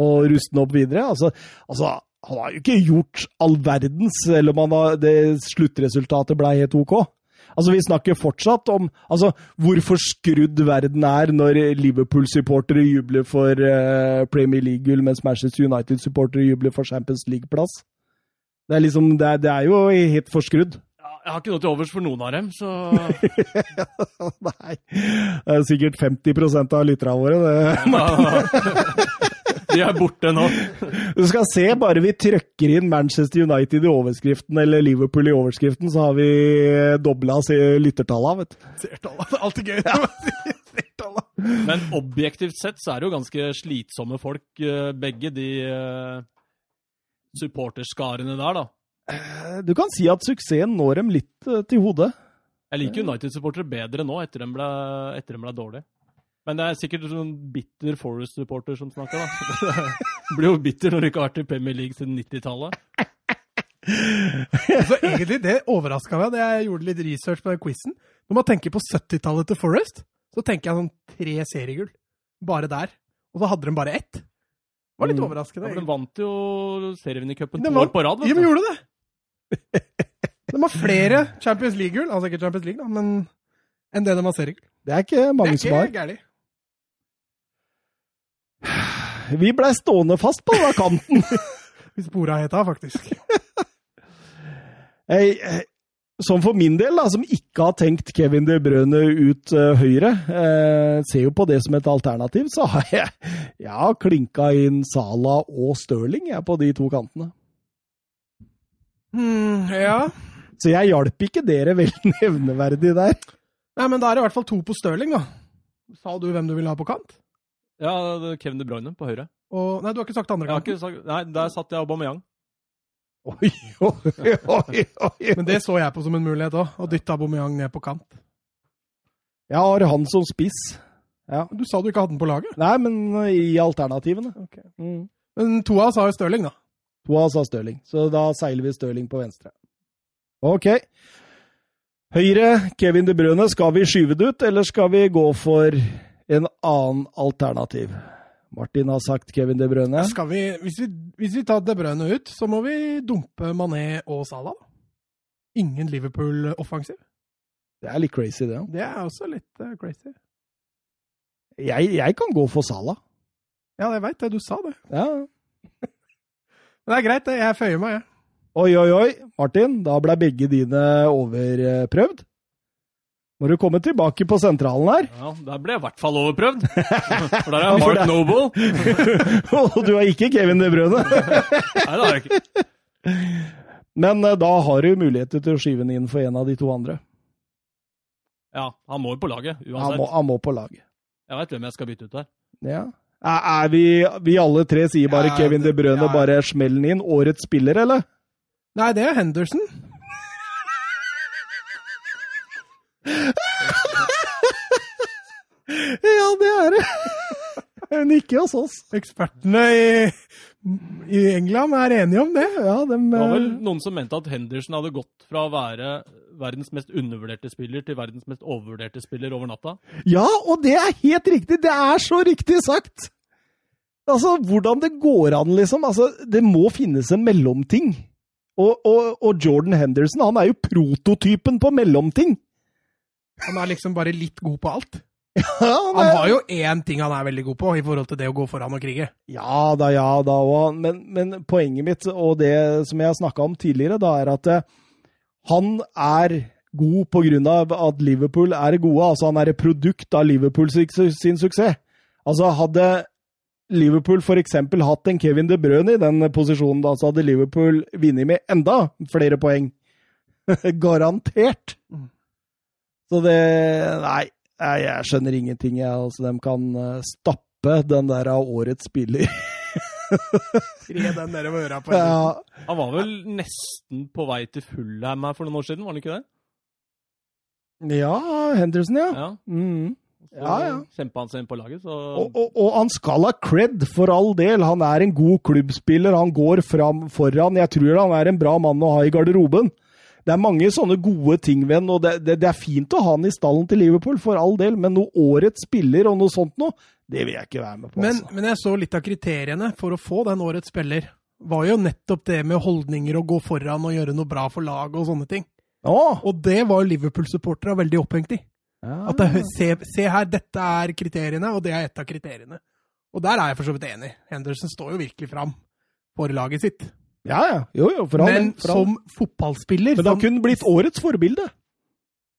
Speaker 1: og ruste den opp videre. Altså, altså, han har jo ikke gjort all verdens, selv om han har, det sluttresultatet ble helt OK. Altså, Vi snakker fortsatt om altså, hvor forskrudd verden er når Liverpool-supportere jubler for eh, Premier League-gull, mens Manchester United-supportere jubler for Champions League-plass. Det er liksom, det er, det er jo helt forskrudd.
Speaker 3: Ja, Jeg har ikke noe til overs for noen av dem, så
Speaker 1: Nei. Det er sikkert 50 av lytterne våre. det...
Speaker 3: Ah. De er borte nå.
Speaker 1: Du skal se, bare vi trøkker inn Manchester United i overskriften, eller Liverpool i overskriften, så har vi dobla lyttertallet, vet du.
Speaker 2: Sertallet. Det er alltid gøy. når man sier Sertallet.
Speaker 3: Men objektivt sett så er det jo ganske slitsomme folk, eh, begge de eh, supporterskarene der, da.
Speaker 1: Eh, Du kan si at suksessen når dem litt eh, til hodet.
Speaker 3: Jeg liker United-supportere bedre nå, etter de ble, etter de ble dårlige. Men det er sikkert sånn bitter Forest-supporter som snakker, da. Blir jo bitter når du ikke har vært i Premier League siden 90-tallet.
Speaker 2: Så egentlig, det overraska meg da jeg gjorde litt research på den quizen. Når man tenker på 70-tallet til Forest, så tenker jeg sånn tre seriegull. Bare der. Og så hadde de bare ett. Det var litt
Speaker 1: Mm.
Speaker 3: Ja,
Speaker 2: overraskende.
Speaker 3: for de vant jo serievinnercupen
Speaker 2: De
Speaker 3: to
Speaker 2: vant-
Speaker 3: år på rad.
Speaker 2: Ja,
Speaker 3: vet
Speaker 2: men
Speaker 3: du.
Speaker 2: gjorde det! De har flere Champions League-gull, altså ikke Champions League, da, men enn det de har seriegull.
Speaker 1: Det er ikke
Speaker 2: Det
Speaker 1: mange
Speaker 2: er
Speaker 1: som
Speaker 2: ikke
Speaker 1: har.
Speaker 2: gærent.
Speaker 1: Vi blei stående fast på denne kanten.
Speaker 2: Vi spora heta, faktisk.
Speaker 1: Jeg, eh, som for min del, da, som ikke har tenkt Kevin De Brøne ut eh, høyre, eh, ser jo på det som et alternativ, så har jeg, jeg har klinka inn Sala og Stirling jeg, på de to kantene.
Speaker 2: Hmm, ja.
Speaker 1: Så jeg hjalp ikke dere veldig nevneverdig der.
Speaker 2: Nei, men da er det i hvert fall to på Stirling, da. Sa du hvem du ville ha på kant?
Speaker 3: Ja, det er Kevin De Bruyne på høyre.
Speaker 2: Og, nei, du har ikke sagt andre
Speaker 3: Jeg har
Speaker 2: kanten.
Speaker 3: ikke sagt, nei, der satt jeg Aubameyang.
Speaker 1: Oi, oi, oi, oi.
Speaker 2: Men det så jeg på som en mulighet òg, å dytte Aubameyang ned på kant.
Speaker 1: Jeg har han som spiss.
Speaker 2: Du sa du ikke hadde den på laget.
Speaker 1: Nei, men eh, i alternativene. Mm.
Speaker 2: Men to av oss har jo Stirling, da.
Speaker 1: To av oss har Stirling, så da seiler vi Stirling på venstre. Ok. Høyre, Kevin De Brøne, skal vi skyve det ut, eller skal vi gå for en annen alternativ? Martin har sagt Kevin De Brøne.
Speaker 2: Skal vi, hvis, vi, hvis vi tar De Bruyne ut, så må vi dumpe Mané og Salah. da. Ingen Liverpool-offensiv.
Speaker 1: Det er litt crazy, det. ja.
Speaker 2: Det er også litt eh, crazy.
Speaker 1: Jeg, jeg kan gå for Sala.
Speaker 2: Ja, jeg veit det. Du sa det.
Speaker 1: Ja.
Speaker 2: Men det er greit, det. Jeg føyer meg, jeg.
Speaker 1: Oi, oi, oi, Martin. Da ble begge dine overprøvd. Må du komme tilbake på sentralen her.
Speaker 3: Ja, Der ble jeg i hvert fall overprøvd. For der er
Speaker 1: for
Speaker 3: Mark
Speaker 1: det-
Speaker 3: Noble.
Speaker 1: Og du er ikke Kevin De Bruyne.
Speaker 3: Nei, det er jeg ikke.
Speaker 1: Men eh, da har du muligheter til å skyve den inn for en av de to andre.
Speaker 3: Ja, han må jo på laget
Speaker 1: Han må,
Speaker 3: uansett.
Speaker 1: han må på laget.
Speaker 3: Jeg veit hvem jeg skal bytte ut der.
Speaker 1: Ja. Er, er vi, vi alle tre sier bare
Speaker 2: Ja,
Speaker 1: Kevin De
Speaker 2: det-
Speaker 1: Bruyne,
Speaker 2: ja.
Speaker 1: bare smell den inn. Årets spiller, eller?
Speaker 2: Nei, det er Henderson.
Speaker 1: Ja, det er det. Hun ikke hos oss.
Speaker 2: Ekspertene i, i England er enige om det.
Speaker 1: Ja, dem,
Speaker 3: Det var vel
Speaker 1: eh,
Speaker 3: noen som mente at Henderson hadde gått fra å være verdens mest undervurderte spiller til verdens mest overvurderte spiller over natta.
Speaker 1: eh, ja, og det er helt riktig. Det er så riktig sagt. Altså, hvordan det går an, liksom. Altså, det må finnes en mellomting. Og, og, og Jordan Henderson, han er jo prototypen på mellomting.
Speaker 2: Han er liksom bare litt god på alt.
Speaker 1: Ja,
Speaker 2: Han har jo én ting han er veldig god på, i forhold til det å gå foran og krige.
Speaker 1: Ja da, ja da. Og, men, men poenget mitt, og det som jeg har snakka om tidligere, da er at eh, han er god på grunn av at Liverpool er gode. Altså han er et produkt av Liverpool sin, sin suksess. Altså hadde Liverpool f.eks. hatt en Kevin De Bruyne i den posisjonen, da, så hadde Liverpool vunnet med enda flere poeng. Garantert! Så det Nei, jeg, jeg skjønner ingenting. Jeg, altså, de kan eh, stappe den der av årets spiller
Speaker 2: Skri den der med øra på. Henderson.
Speaker 1: Ja,
Speaker 3: Han var vel nesten på vei til Fulham her for noen år siden, var han ikke det?
Speaker 1: ja Henderson, ja.
Speaker 3: Ja.
Speaker 1: Mm.
Speaker 3: Så
Speaker 1: Ja, ja.
Speaker 3: kjempa han seg inn på laget, så
Speaker 1: Og, og, og han skal ha cred, for all del. Han er en god klubbspiller, han går fram foran. Jeg tror han er en bra mann å ha i garderoben. Det er mange sånne gode ting ved han, og det, det, det er fint å ha han i stallen til Liverpool, for all del, men noe årets spiller og noe sånt noe, det vil jeg ikke være med på.
Speaker 2: Men,
Speaker 1: altså.
Speaker 2: men jeg så litt av kriteriene for å få den årets spiller. Var jo nettopp det med holdninger og gå foran og gjøre noe bra for laget og sånne ting.
Speaker 1: Å!
Speaker 2: Og det var Liverpool-supporterne veldig opphengt i. At det,
Speaker 1: Mm.
Speaker 2: er- se, se her, dette er kriteriene, og det er et av kriteriene. Og der er jeg for så vidt enig. Henderson står jo virkelig fram for laget sitt.
Speaker 1: Ja, ja. Jo, jo, for all
Speaker 2: Men
Speaker 1: del, for all del.
Speaker 2: som
Speaker 1: Men
Speaker 2: fotballspiller
Speaker 1: det
Speaker 2: som-
Speaker 1: har kun blitt årets forbilde.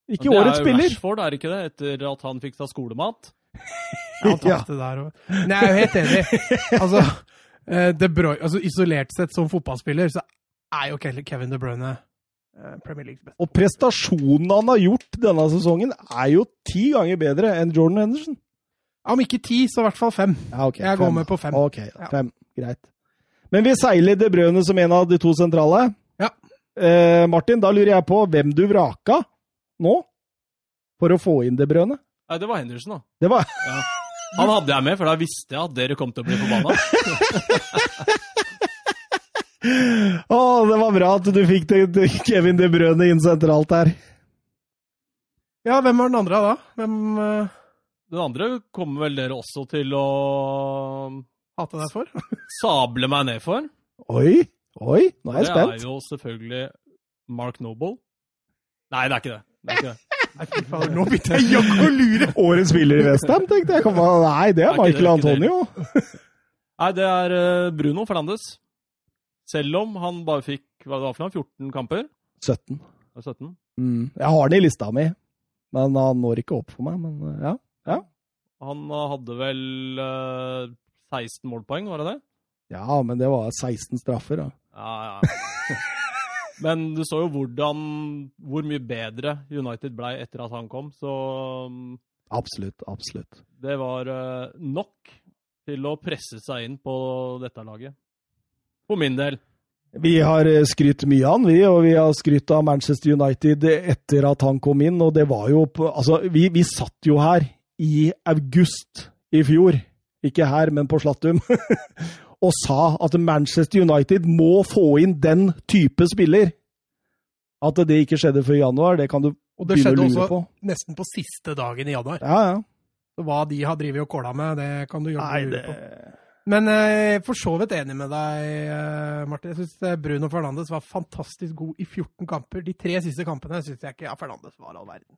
Speaker 1: Ikke
Speaker 3: Det
Speaker 1: årets
Speaker 3: er jo
Speaker 1: spiller.
Speaker 3: Rashford, er det ikke det? Etter at han fikk seg skolemat.
Speaker 2: Ja, han tapte der og... Men jeg er jo helt enig. Altså, eh, De Bruyne, altså, isolert sett som fotballspiller, så er jo Ke- Kevin De Bruyne eh, Premier Leagues beste.
Speaker 1: Og prestasjonen han har gjort denne sesongen, er jo ti ganger bedre enn Jordan Henderson.
Speaker 2: Om ikke ti, så i hvert fall fem.
Speaker 1: Ja, ok.
Speaker 2: Jeg går med på fem.
Speaker 1: Ok,
Speaker 2: Ja.
Speaker 1: fem. Greit. Men vi seiler De Brøne som en av de to sentrale.
Speaker 2: Ja.
Speaker 1: Eh, Martin, da lurer jeg på hvem du vraka nå for å få inn De Brøne.
Speaker 3: Nei, det var Henderson, da.
Speaker 1: Det var
Speaker 3: Ja. Han hadde jeg med, for da visste jeg at dere kom til å bli forbanna.
Speaker 1: Å, det var bra at du fikk det, det, Kevin De Brøne inn sentralt her.
Speaker 2: Ja, hvem var den andre da? Hvem uh,
Speaker 3: Den andre kommer vel dere også til å
Speaker 2: hater deg for?
Speaker 3: sable meg ned for.
Speaker 1: Oi, oi, nå er jeg
Speaker 3: det er
Speaker 1: spent.
Speaker 3: jo selvfølgelig Mark Noble. Nei, det er ikke det. Det er ikke det.
Speaker 2: Nei, fy fader, nå begynte jeg jaggu å lure!
Speaker 1: Årets spiller i Westham, tenkte jeg. Kom, Nei, det
Speaker 3: Er
Speaker 1: er
Speaker 3: ikke det,
Speaker 1: Michael
Speaker 3: er ikke det.
Speaker 1: Antonio.
Speaker 3: Nei, det er eh, Bruno Fernandes. Selv om han bare fikk hva det var for noe, 14 kamper.
Speaker 1: 17.
Speaker 3: Det er 17.
Speaker 1: Mm. Jeg har den i lista mi, men han når ikke opp for meg. Men eh, ja.
Speaker 3: Han hadde vel eh, 16 målpoeng, var det det?
Speaker 1: ja, men det var 16 straffer, da.
Speaker 3: Ja, ja. Men du så jo hvordan, hvor mye bedre United blei etter at han kom, så um,
Speaker 1: Absolutt, absolutt.
Speaker 3: det var eh, nok til å presse seg inn på dette laget. For min del.
Speaker 1: Vi har eh, skrytt mye av han, vi, og vi har skrytt av Manchester United etter at han kom inn, og det var jo på Altså, vi, vi satt jo her i august i fjor, ikke her, men på Slattum, og sa at Manchester United må få inn den type spiller. At det ikke skjedde før i januar, det kan du
Speaker 2: Og det
Speaker 1: begynne å
Speaker 2: skjedde
Speaker 1: lure
Speaker 2: også
Speaker 1: på.
Speaker 2: nesten på siste dagen i januar.
Speaker 1: Ja, ja.
Speaker 2: Så Hva de har drevet og kåla med, det kan du jaggu
Speaker 1: Nei,
Speaker 2: lure
Speaker 1: det
Speaker 2: på. Men eh, jeg er for så vidt enig med deg, eh, Martin. Jeg syns Bruno Fernandes var fantastisk god i 14 kamper. De tre siste kampene syns jeg ikke ja, Fernandes var all verden.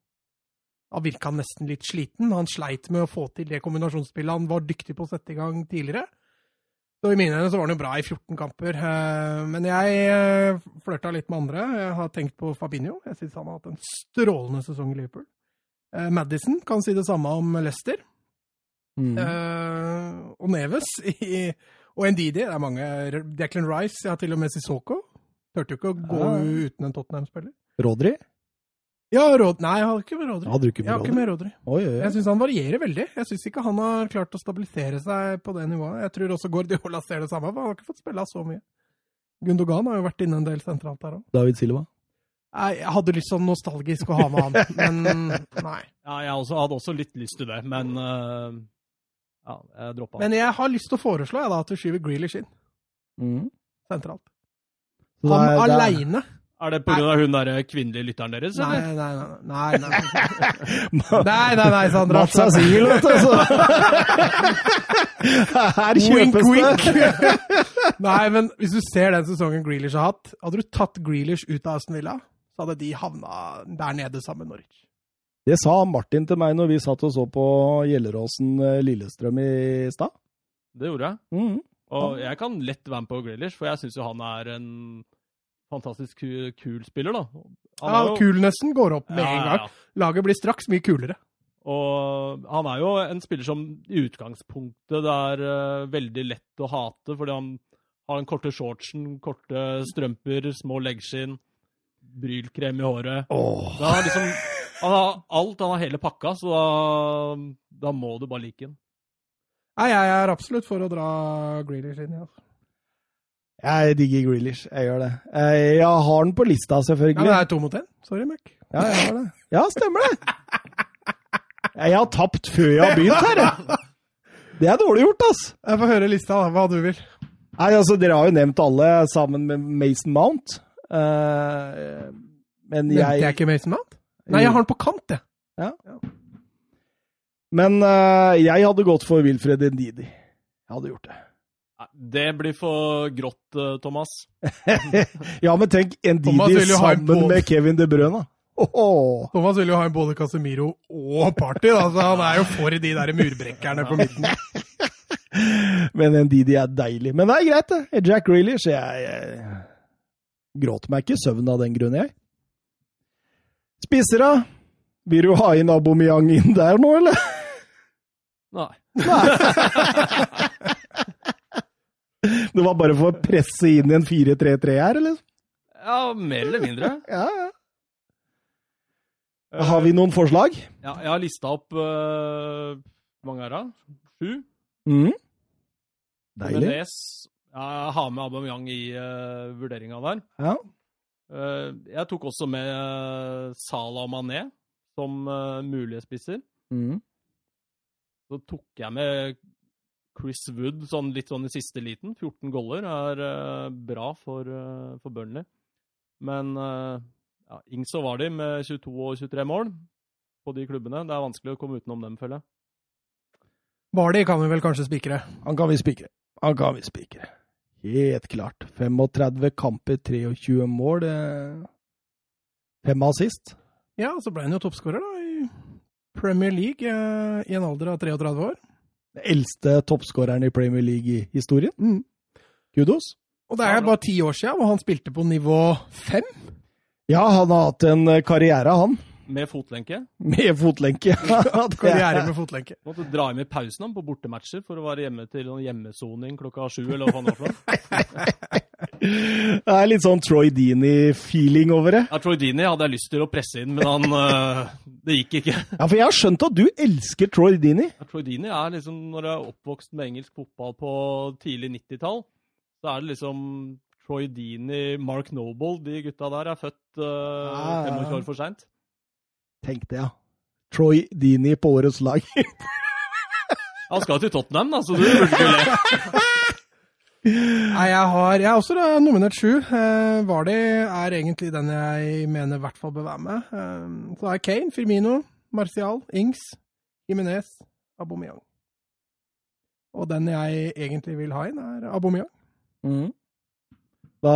Speaker 2: Da virka han nesten litt sliten. Han sleit med å få til det kombinasjonsspillet han var dyktig på å sette i gang tidligere. Så I mine øyne så var han jo bra i 14 kamper. eh, Men jeg eh, flørta litt med andre. Jeg har tenkt på Fabinho. Jeg syns han har hatt en strålende sesong i Liverpool. Eh, Madison kan si det samme om Leicester.
Speaker 1: Mm.
Speaker 2: Eh, og Neves i, og Ndidi. Det er mange. Declan Rice, ja, til og med Sissoko. Turte jo ikke å gå
Speaker 1: Ja.
Speaker 2: uten en Tottenham-spiller.
Speaker 1: Rodri?
Speaker 2: Ja, Rod... Nei, jeg har ikke med Rodri.
Speaker 1: Hadde du ikke
Speaker 2: Jeg har
Speaker 1: med
Speaker 2: ikke
Speaker 1: Rodri?
Speaker 2: med Rodri.
Speaker 1: Oi, oi, oi.
Speaker 2: Jeg syns han varierer veldig. Jeg syns ikke han har klart å stabilisere seg på det nivået. Jeg tror også Guardiola ser det samme, for han har ikke fått spille så mye. Gundogan har jo vært inne en del sentralt der òg.
Speaker 1: David Silva.
Speaker 2: Jeg hadde lyst sånn nostalgisk å ha med han, men nei.
Speaker 3: Ja, jeg også, hadde også litt lyst til det, men eh, ja, jeg droppa.
Speaker 2: Men jeg har lyst til å foreslå jeg, da, at du skyver Grealish inn sentralt.
Speaker 1: Mm. Så det
Speaker 2: Han
Speaker 1: er- det er-
Speaker 2: aleine.
Speaker 3: Er det pga. hun der kvinnelige lytteren deres,
Speaker 2: Nei,
Speaker 3: eller?
Speaker 2: nei, nei. Nei, nei, nei, nei, nei Sandra.
Speaker 1: Mats er singel, vet du. Så. Her
Speaker 2: altså. Wink,
Speaker 1: kjøpes det.
Speaker 2: wink. Nei, men hvis du ser den sesongen Grealish har hatt, hadde du tatt Grealish ut av Aston Villa, så hadde de havna der nede sammen med Norwich.
Speaker 1: Det sa Martin til meg når vi satt og så på Gjelleråsen eh, Lillestrøm i stad.
Speaker 3: Det gjorde jeg.
Speaker 1: Mm.
Speaker 3: Og jeg kan lett være med på Grealish, for jeg syns jo han er en fantastisk ku- kul spiller, da. Han
Speaker 2: Ja,
Speaker 3: er jo-
Speaker 2: Kulnessen går opp med
Speaker 3: Ja,
Speaker 2: en
Speaker 3: ja,
Speaker 2: gang.
Speaker 3: ja.
Speaker 2: Laget blir straks mye kulere.
Speaker 3: Og han er jo en spiller som i utgangspunktet det er eh, veldig lett å hate, fordi han har den korte shortsen, korte strømper, små leggskinn, brylkrem i håret.
Speaker 1: Åh.
Speaker 3: Det er liksom, han har alt, han har hele pakka, så da, da må du bare like den.
Speaker 2: Nei, jeg er absolutt for å dra Grealish inn. Ja.
Speaker 1: Jeg digger Grealish. Jeg gjør det. Jeg, jeg har den på lista,
Speaker 2: Ja, men det
Speaker 1: selvfølgelig.
Speaker 2: er to mot én. Sorry, Mac.
Speaker 1: Ja, jeg har det. Ja, stemmer det. Jeg har tapt før jeg har begynt her. jeg. Det er dårlig gjort, ass.
Speaker 2: Jeg får høre lista, da. Hva du vil.
Speaker 1: Nei, altså, dere har jo nevnt alle sammen med Mason Mount. Eh, men
Speaker 2: Nevnte jeg
Speaker 1: jeg
Speaker 2: ikke Mason Mount? Nei, jeg har den på kant, jeg.
Speaker 1: Men eh, jeg hadde gått for Wilfred Ndidi. Jeg hadde gjort det.
Speaker 3: Nei, Det blir for grått, eh, Thomas.
Speaker 1: Ja, men tenk
Speaker 2: Thomas
Speaker 1: Ndidi
Speaker 2: vil jo ha en
Speaker 1: sammen
Speaker 2: båt.
Speaker 1: med Kevin De Brøna. Åhå.
Speaker 2: Thomas vil jo ha en både Casemiro og Party, da, så han er jo for de der murbrekkerne på midten.
Speaker 1: Men Ndidi er deilig. Men det er greit, det. Jack Grealish jeg, jeg gråter meg ikke i søvn av den grunn, jeg. Spisser, da? Vil du ha inn Aubameyang inn der nå, eller?
Speaker 3: Nei.
Speaker 1: Det var bare for å presse inn en 4-3-3 her, eller?
Speaker 3: Ja, mer eller mindre.
Speaker 1: Ja, ja. Har vi noen forslag?
Speaker 3: Ja, jeg har lista opp eh, Hvor mange er det? Sju?
Speaker 1: Mm. Deilig.
Speaker 3: Menez. Ja, jeg har med Aubameyang i uh, vurderinga der.
Speaker 1: Ja.
Speaker 3: Eh, jeg tok også med eh, Salah og Mané som eh, mulige spisser. Så tok jeg med Chris Wood sånn, litt sånn i siste liten. 14 goller er eh, bra for, eh, for Burnley. Men eh, ja, Ings og Vardy med 22 og 23 mål på de klubbene. Det er vanskelig å komme utenom dem, føler jeg.
Speaker 2: Bardi kan vi vel kanskje spikre.
Speaker 1: Han kan vi spikre. Han kan vi spikre. Helt klart. 35 kamper, 23 mål. eh, Fem assist.
Speaker 2: Ja, så ble han jo toppskårer, da, i Premier League eh, i en alder av 33 år.
Speaker 1: Den eldste toppskåreren i Premier League i historien.
Speaker 2: Mm.
Speaker 1: Kudos.
Speaker 2: Og det er bare ti år siden, og han spilte på nivå fem.
Speaker 1: Ja, han har hatt en eh, karriere, han.
Speaker 3: Med fotlenke.
Speaker 1: Med fotlenke.
Speaker 2: Karriere med fotlenke.
Speaker 3: Måtte dra hjem i pausen han på bortematcher for å være hjemme til noen hjemmesoning klokka sju. eller hva faen det var for noe.
Speaker 1: Det er litt sånn Troy Dini-feeling over det.
Speaker 3: Ja, Troy Dini hadde jeg lyst til å presse inn, men han, eh, det gikk ikke.
Speaker 1: Ja, For jeg har skjønt at du elsker Troy Dini.
Speaker 3: Ja, Troy Dini er liksom, når jeg er oppvokst med engelsk fotball på tidlig 90-tall, så er det liksom Troy Dini, Mark Noble, de gutta der er født eh,
Speaker 1: Ja, ja, ja.
Speaker 3: 25 år for seint.
Speaker 1: Tenk det, ja. Troy Dini på årets lag.
Speaker 3: Han skal til Tottenham, da, så du burde ikke le.
Speaker 2: Nei, jeg har jeg har også da nominert sju. Eh, Vardi er egentlig den jeg mener i hvert fall bør være med. Eh, så er Kane, Firmino, Martial, Ings, Jimenez, Aubameyang. Og den jeg egentlig vil ha inn, er Aubameyang.
Speaker 1: Da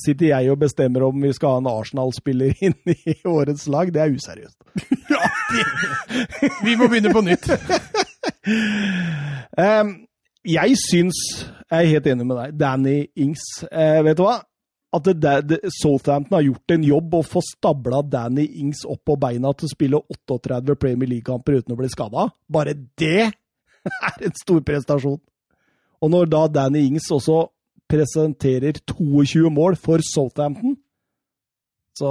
Speaker 1: sitter jeg og bestemmer om vi skal ha en Arsenal-spiller inn i årets lag. Det er useriøst.
Speaker 2: Vi må begynne på nytt.
Speaker 1: Em, Ehm, jeg syns Jeg er helt enig med deg. Danny Ings, eh, vet du hva? At det, der- det, Southampton har gjort en jobb og få stabla Danny Ings opp på beina til å spille 38 Premier League-kamper uten å bli skada. Bare det er en stor prestasjon. Og når da Danny Ings også presenterer 22 mål for Southampton, så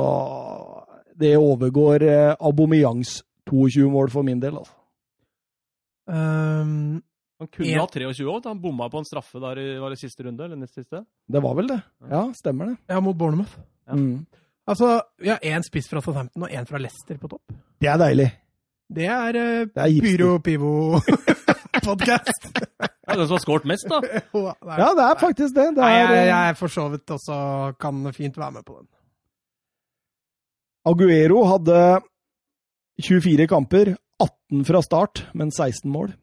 Speaker 1: Det overgår eh, Aubameyangs 22 mål for min del, altså.
Speaker 2: Um,
Speaker 3: Han kunne
Speaker 2: Ja.
Speaker 3: ha 23 år. Han bomma på en straffe der i var det siste runde, eller nest siste.
Speaker 1: Det var vel det? Ja, stemmer det.
Speaker 2: ja, mot Bournemouth.
Speaker 3: Ja.
Speaker 1: Mm.
Speaker 2: Altså, vi har én spiss fra Southampton og én fra Leicester på topp.
Speaker 1: Det er deilig.
Speaker 2: Det er eh,
Speaker 1: Det er gipsdyr.
Speaker 2: Pyro Pivo podcast.
Speaker 3: Ja, den som har skåret mest, da.
Speaker 1: Ja, det er faktisk det. det
Speaker 2: Nei,
Speaker 1: er,
Speaker 2: jeg,
Speaker 1: eh,
Speaker 2: jeg for så vidt også kan fint være med på den.
Speaker 1: Aguero hadde 24 kamper, 18 fra start, men 16 mål.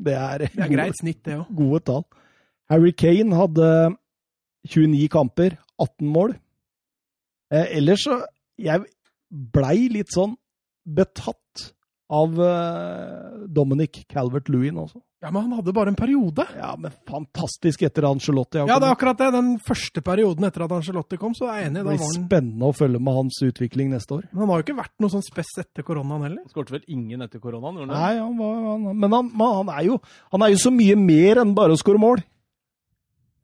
Speaker 1: Det er,
Speaker 2: Det er greit snitt, det òg.
Speaker 1: Gode, gode tall. Harry Kane hadde 29 kamper, 18 mål. Eh, ellers så Jeg blei litt sånn betatt av eh, Dominic Calvert-Lewin også.
Speaker 2: Ja, men han hadde bare en periode.
Speaker 1: Ja, men fantastisk etter Angelotti.
Speaker 2: Ja, det er akkurat det. Den første perioden etter at Angelotti kom, så er jeg enig.
Speaker 1: Det
Speaker 2: Da
Speaker 1: blir
Speaker 2: var han,
Speaker 1: spennende å følge med hans utvikling neste år.
Speaker 2: men han har jo ikke vært noe sånn spess etter koronaen heller.
Speaker 3: Han skårte vel ingen etter koronaen? gjorde han det?
Speaker 1: Nei, han var, han, men han, men han, er jo, han er jo så mye mer enn bare å skåre mål.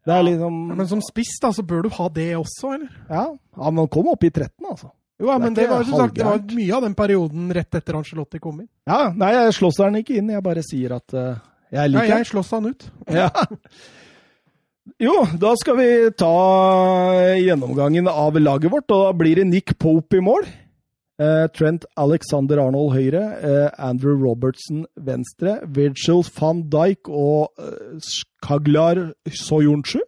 Speaker 1: Det er liksom
Speaker 2: Ja, Men som spiss, da, så bør du ha det også, eller?
Speaker 1: Ja, han kom opp i 13, altså.
Speaker 2: Jo,
Speaker 1: Det
Speaker 2: ja,
Speaker 1: er
Speaker 2: men det
Speaker 1: ikke
Speaker 2: var, som sagt, det var
Speaker 1: halvgærent.
Speaker 2: mye av den perioden rett etter Angelotti kom inn.
Speaker 1: Ja, Nei, jeg slåss han ikke inn, jeg bare sier at eh, jeg
Speaker 2: Ja,
Speaker 1: liker
Speaker 2: jeg slåss han ut.
Speaker 1: Ja. Jo, da skal vi ta gjennomgangen av laget vårt, og da blir det Nick Pope i mål. Eh, Trent Alexander Arnold høyre, eh, Andrew Robertson venstre, Virgil van Dijk og eh, Skaglar Soyuncu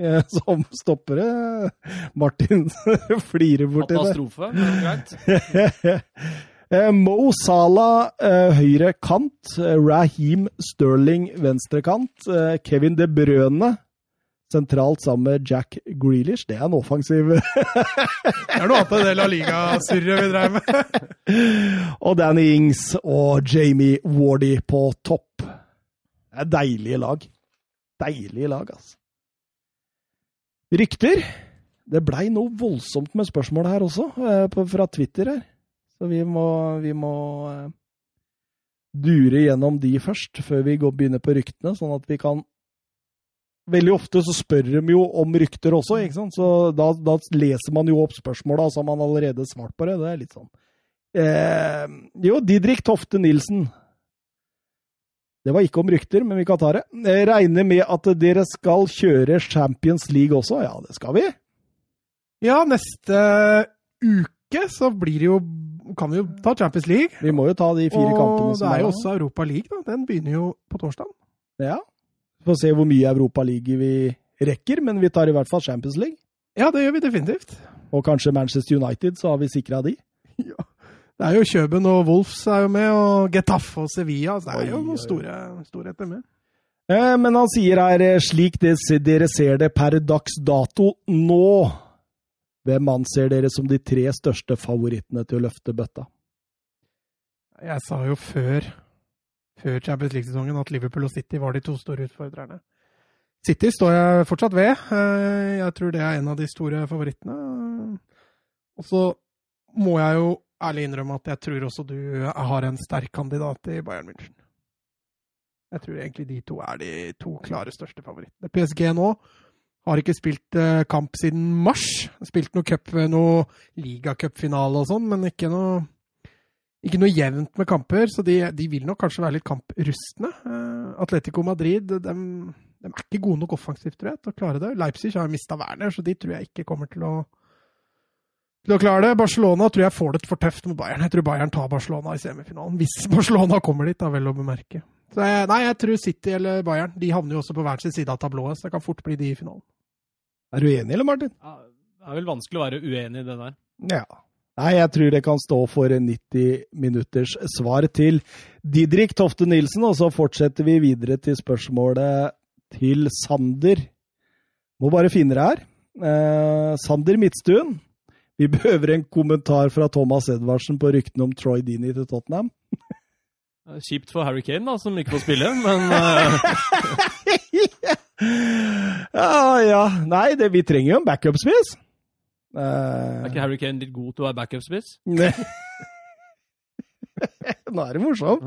Speaker 1: eh, som stoppere. Martin flirer borti det.
Speaker 3: Katastrofe. men Greit.
Speaker 1: Eh, Mo Salah eh, høyre kant, eh, Raheem Sterling venstre kant, eh, Kevin De Brøne sentralt sammen med Jack Grealish. Det er en offensiv
Speaker 2: Det er noe annet enn det La Liga-surret vi drev med.
Speaker 1: Og Danny Ings og Jamie Wardy på topp. Det er deilige lag. Deilige lag, altså. Rykter. Det blei noe voldsomt med spørsmål her også, eh, på- fra Twitter her. Så vi må, vi må eh, dure gjennom de først, før vi går, begynner på ryktene, sånn at vi kan Veldig ofte så spør de jo om rykter også, ikke sant? så da, da leser man jo opp spørsmåla som man allerede svart på det. Det er litt sånn. Eh, jo, Didrik Tofte Nilsen. Det var ikke om rykter, men vi kan ta det. Eh, regner med at dere skal kjøre Champions League også. Ja, det skal vi.
Speaker 2: Ja, neste eh, uke så blir det jo Kan vi jo ta Champions League.
Speaker 1: Vi må jo ta de fire kampene
Speaker 2: Og det
Speaker 1: som
Speaker 2: er jo
Speaker 1: nå.
Speaker 2: også Europa League, da. Den begynner jo på torsdag.
Speaker 1: Ja. Vi får se hvor mye Europa League vi rekker, men vi tar i hvert fall Champions League.
Speaker 2: Ja, det gjør vi definitivt.
Speaker 1: Og kanskje Manchester United, så har vi sikra de.
Speaker 2: Det er jo Kjøben og Wolfs er jo med, og Getafe og Sevilla. Så det
Speaker 1: Oi,
Speaker 2: er jo
Speaker 1: oi, oi.
Speaker 2: noen store storheter med.
Speaker 1: Eh, men han sier her, eh, slik det, dere ser det per dags dato nå, hvem anser dere som de tre største favorittene til å løfte bøtta?
Speaker 2: Jeg sa jo før, før Champions League-sesongen at Liverpool og City var de to store utfordrerne. City står jeg fortsatt ved. Eh, Jeg tror det er en av de store favorittene. Og så må jeg jo ærlig innrømme at jeg tror også du har en sterk kandidat i Bayern München. Jeg tror egentlig de to er de to klare største favorittene. PSG nå har ikke spilt eh, kamp siden mars. Spilt noe cup, noe ligacupfinale og sånn, men ikke noe ikke noe jevnt med kamper, så de, de vil nok kanskje være litt kamprustne. Eh, Atletico Madrid dem, dem er ikke gode nok offensivt tror jeg, til å klare det. Leipzig har mista Werner, så de tror jeg ikke kommer til å, til å klare det. Barcelona tror jeg får det for tøft mot Bayern. Jeg tror Bayern tar Barcelona i semifinalen, hvis Barcelona kommer dit, da vel å bemerke. Så jeg, nei, jeg tror City eller Bayern. De havner jo også på hver sin side av tablået, så det kan fort bli de i finalen.
Speaker 1: Er du enig, eller, Martin?
Speaker 3: Ja, Det er vel vanskelig å være uenig i det der.
Speaker 1: Ja. Nei, jeg tror det kan stå for 90 minutters svar til Didrik Tofte Nilsen, og så fortsetter vi videre til spørsmålet til Sander. Må bare finne det her. Eh, Sander Midtstuen. Vi behøver en kommentar fra Thomas Edvardsen på ryktene om Troy Dini til Tottenham.
Speaker 3: Eh, Kjipt for Harry Kane, da, som ikke får spille, men eh,
Speaker 1: ja, Ah, ja. Nei, det, vi trenger jo en backup-spiss. Eh,
Speaker 3: er ikke Harry Kane litt god til å være backup-spiss?
Speaker 1: Nei. Nå er det morsomt.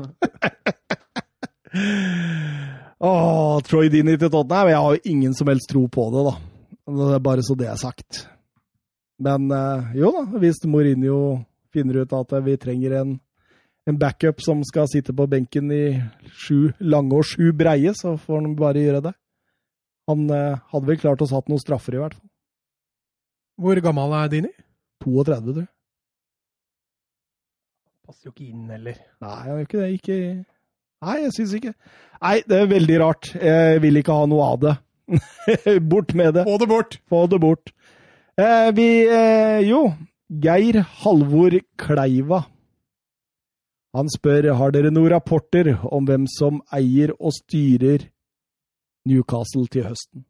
Speaker 1: Åh, Troy Dini til Tottenham. Jeg har jo ingen som helst tro på det, da. Det er bare så det er sagt. Men eh, jo da, hvis Mourinho finner ut at vi trenger en, en backup som skal sitte på benken i sju lange og sju breie, så får han bare gjøre det. Han eh, hadde vel klart oss hatt noen straffer, i hvert fall.
Speaker 2: Hvor gammel er Dini?
Speaker 1: 32, tror jeg.
Speaker 2: Passer jo ikke inn heller.
Speaker 1: Nei, han gjør ikke det. Ikke Nei, jeg syns ikke Nei, det er veldig rart. Jeg vil ikke ha noe av det. bort med det.
Speaker 2: Få det bort!
Speaker 1: Få det bort. Eh, vi eh, Jo. Geir Halvor Kleiva. Han spør har dere noen rapporter om hvem som eier og styrer Newcastle til høsten.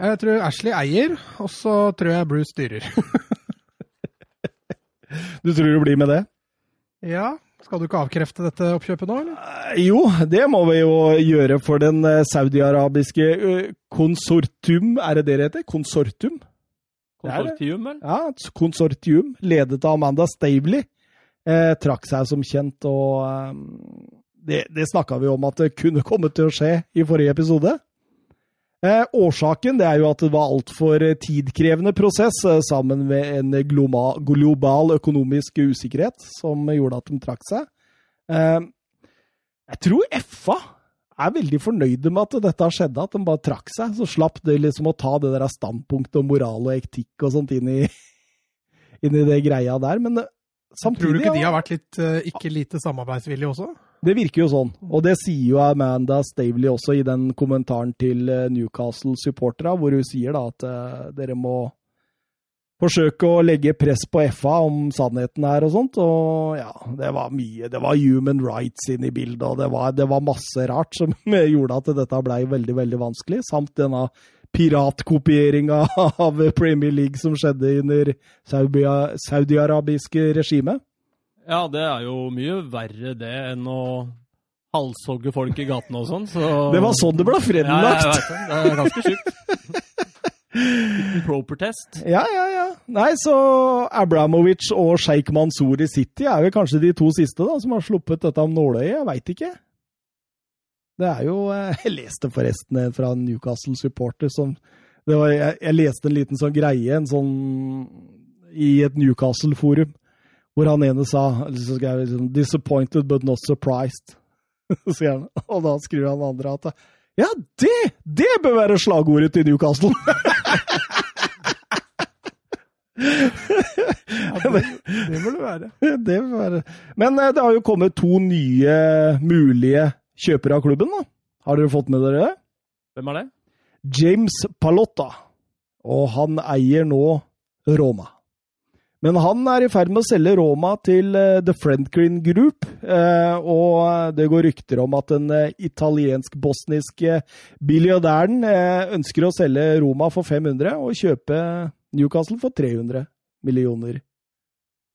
Speaker 2: Jeg tror Ashley eier, og så tror jeg Bruce styrer.
Speaker 1: Du tror det blir med det?
Speaker 2: ja, skal du ikke avkrefte dette oppkjøpet nå, eller?
Speaker 1: Eh, Jo, det må vi jo gjøre for den eh, saudiarabiske eh, konsortum Er det det det heter? Konsortum? Det er det.
Speaker 3: Konsortium, vel?
Speaker 1: Ja, et konsortium ledet av Amanda Stavely eh, trakk seg som kjent, og eh, det, det snakka vi om at det kunne komme til å skje i forrige episode. Eh, årsaken det er jo at det var altfor eh, tidkrevende prosess eh, sammen med en gloma, global økonomisk usikkerhet som gjorde at de trakk seg. Eh, jeg tror FA er veldig fornøyde med at dette skjedde, at de bare trakk seg. Så slapp det liksom å ta det der standpunktet om moral og etikk og sånt inn i, inn i det greia der. Men eh, samtidig
Speaker 2: Tror du ikke
Speaker 1: ja,
Speaker 2: de har vært litt eh, ikke lite samarbeidsvillige også?
Speaker 1: det virker jo sånn, og det sier jo Amanda Stavely også i den kommentaren til eh, Newcastle-supporterne, hvor hun sier da at eh, dere må forsøke å legge press på FA om sannheten her og sånt. Og ja, det var mye. Det var human rights inne i bildet, og det var, det var masse rart som gjorde at dette blei veldig, veldig vanskelig, samt denne piratkopieringa av Premier League som skjedde under Saubia- saudiarabiske regimet.
Speaker 3: Ja, det er jo mye verre det enn å halshogge folk i gatene og sånn, så
Speaker 1: Det var sånn det ble
Speaker 3: Ja, jeg
Speaker 1: fremlagt!
Speaker 3: vet det. Det er ganske sjukt. Liten Proper test.
Speaker 1: Ja, ja, ja. Nei, så Abramovic og Sheikh Mansour i City er vel kanskje de to siste da, som har sluppet dette om nåløyet. Jeg veit ikke. Det er jo eh, Jeg leste forresten en fra en Newcastle-supporter som det var, jeg, jeg leste en liten sånn greie en sånn, i et Newcastle-forum, hvor han ene sa liksom, skrev liksom, 'disappointed but not surprised'. Så han, og da skriver han andre at 'ja, det, det bør være slagordet til Newcastle'.
Speaker 2: det, må det være.
Speaker 1: det får være. Men eh, det har jo kommet to nye mulige kjøpere av klubben. da. Har dere fått med dere det?
Speaker 3: Hvem er det?
Speaker 1: James Palotta. Og han eier nå Roma. Men han er i ferd med å selge Roma til eh, The Friendcreen Group, eh, og det går rykter om at den eh, italiensk-bosniske eh, billiardæren eh, ønsker å selge Roma for 500 og kjøpe Newcastle for 300 millioner.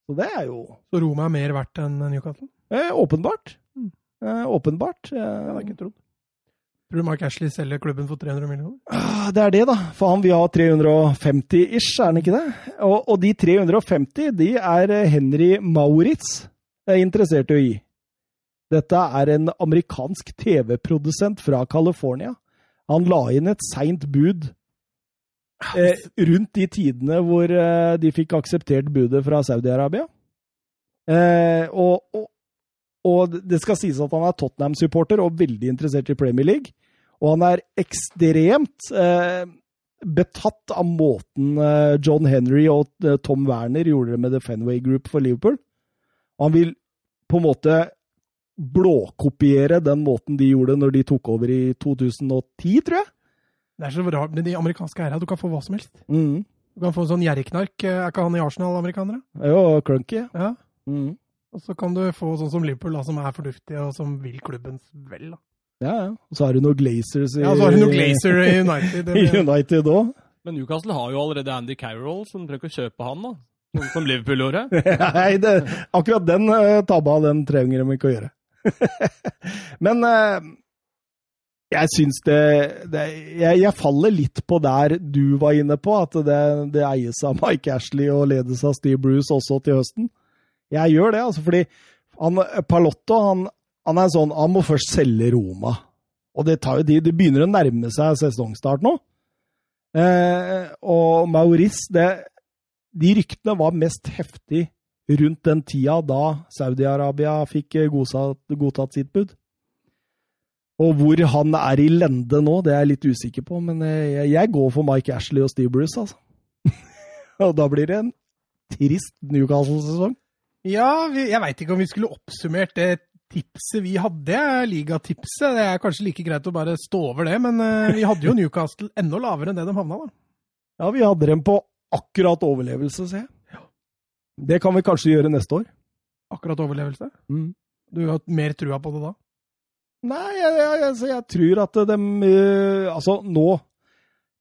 Speaker 1: Så det er jo
Speaker 2: Så Roma er mer verdt enn Newcastle?
Speaker 1: Eh, åpenbart. Eh, åpenbart. Eh,
Speaker 2: Tror du Mark Ashley selger klubben for 300 millioner?
Speaker 1: ah, det er det, da. For han vil ha 350 ish, er han ikke det? Og, og de 350, de er eh, Henry Maurits eh, interessert i å gi. Dette er en amerikansk TV-produsent fra California. Han la inn et seint bud eh, rundt de tidene hvor eh, de fikk akseptert budet fra Saudi-Arabia. Eh, og, og, og det skal sies at han er Tottenham-supporter og veldig interessert i Premier League. Og han er ekstremt eh, betatt av måten eh, John Henry og eh, Tom Werner gjorde det med The Fenway Group for Liverpool. Og han vil på en måte blåkopiere den måten de gjorde når de tok over i 2010, tror jeg.
Speaker 2: Det er så rart med de amerikanske eierne, at du kan få hva som helst.
Speaker 1: Mm.
Speaker 2: Du kan få en sånn gjerrigknark, eh, er ikke han i Arsenal amerikanere?
Speaker 1: Det er jo clunky.
Speaker 2: Ja.
Speaker 1: Mm.
Speaker 2: Og så kan du få sånn som Liverpool, da, som er fornuftige og som vil klubbens vel. Da.
Speaker 1: Ja, ja. Og så har du noen Glazers i,
Speaker 2: Ja, så har du noe Glazer i
Speaker 1: i
Speaker 2: United. Det,
Speaker 1: United òg.
Speaker 3: Men Newcastle har jo allerede Andy Carroll, så de trenger ikke å kjøpe han, da. Sånn Som Liverpool gjorde.
Speaker 1: Nei, det, akkurat den eh, tabba, den trenger de ikke å gjøre. Men eh, jeg syns det, det jeg, jeg faller litt på der du var inne på, at det, det eies av Mike Ashley og ledes av Steve Bruce også til høsten. Jeg gjør det, altså, fordi han, Palotto han, han er sånn Han må først selge Roma. Og det tar jo tid. Det begynner å nærme seg sesongstart nå. Eh, og Maurice, det de ryktene var mest heftig rundt den tida da Saudi-Arabia fikk eh, godsatt, godtatt sitt bud. Og hvor han er i lende nå, det er jeg litt usikker på, men eh, jeg, jeg går for Mike Ashley og Steve Bruce, altså. og da blir det en trist Newcastle-sesong.
Speaker 2: Ja, vi, jeg veit ikke om vi skulle oppsummert det tipset vi hadde, ligatipset. Det er kanskje like greit å bare stå over det, men eh, vi hadde jo Newcastle enda lavere enn det de havna, da.
Speaker 1: Ja, vi hadde dem på akkurat overlevelse, ser jeg. Det kan vi kanskje gjøre neste år.
Speaker 2: Akkurat overlevelse.
Speaker 1: Mm.
Speaker 2: Du har mer trua på det da?
Speaker 1: Nei, jeg, jeg, jeg, så jeg tror at de Altså, nå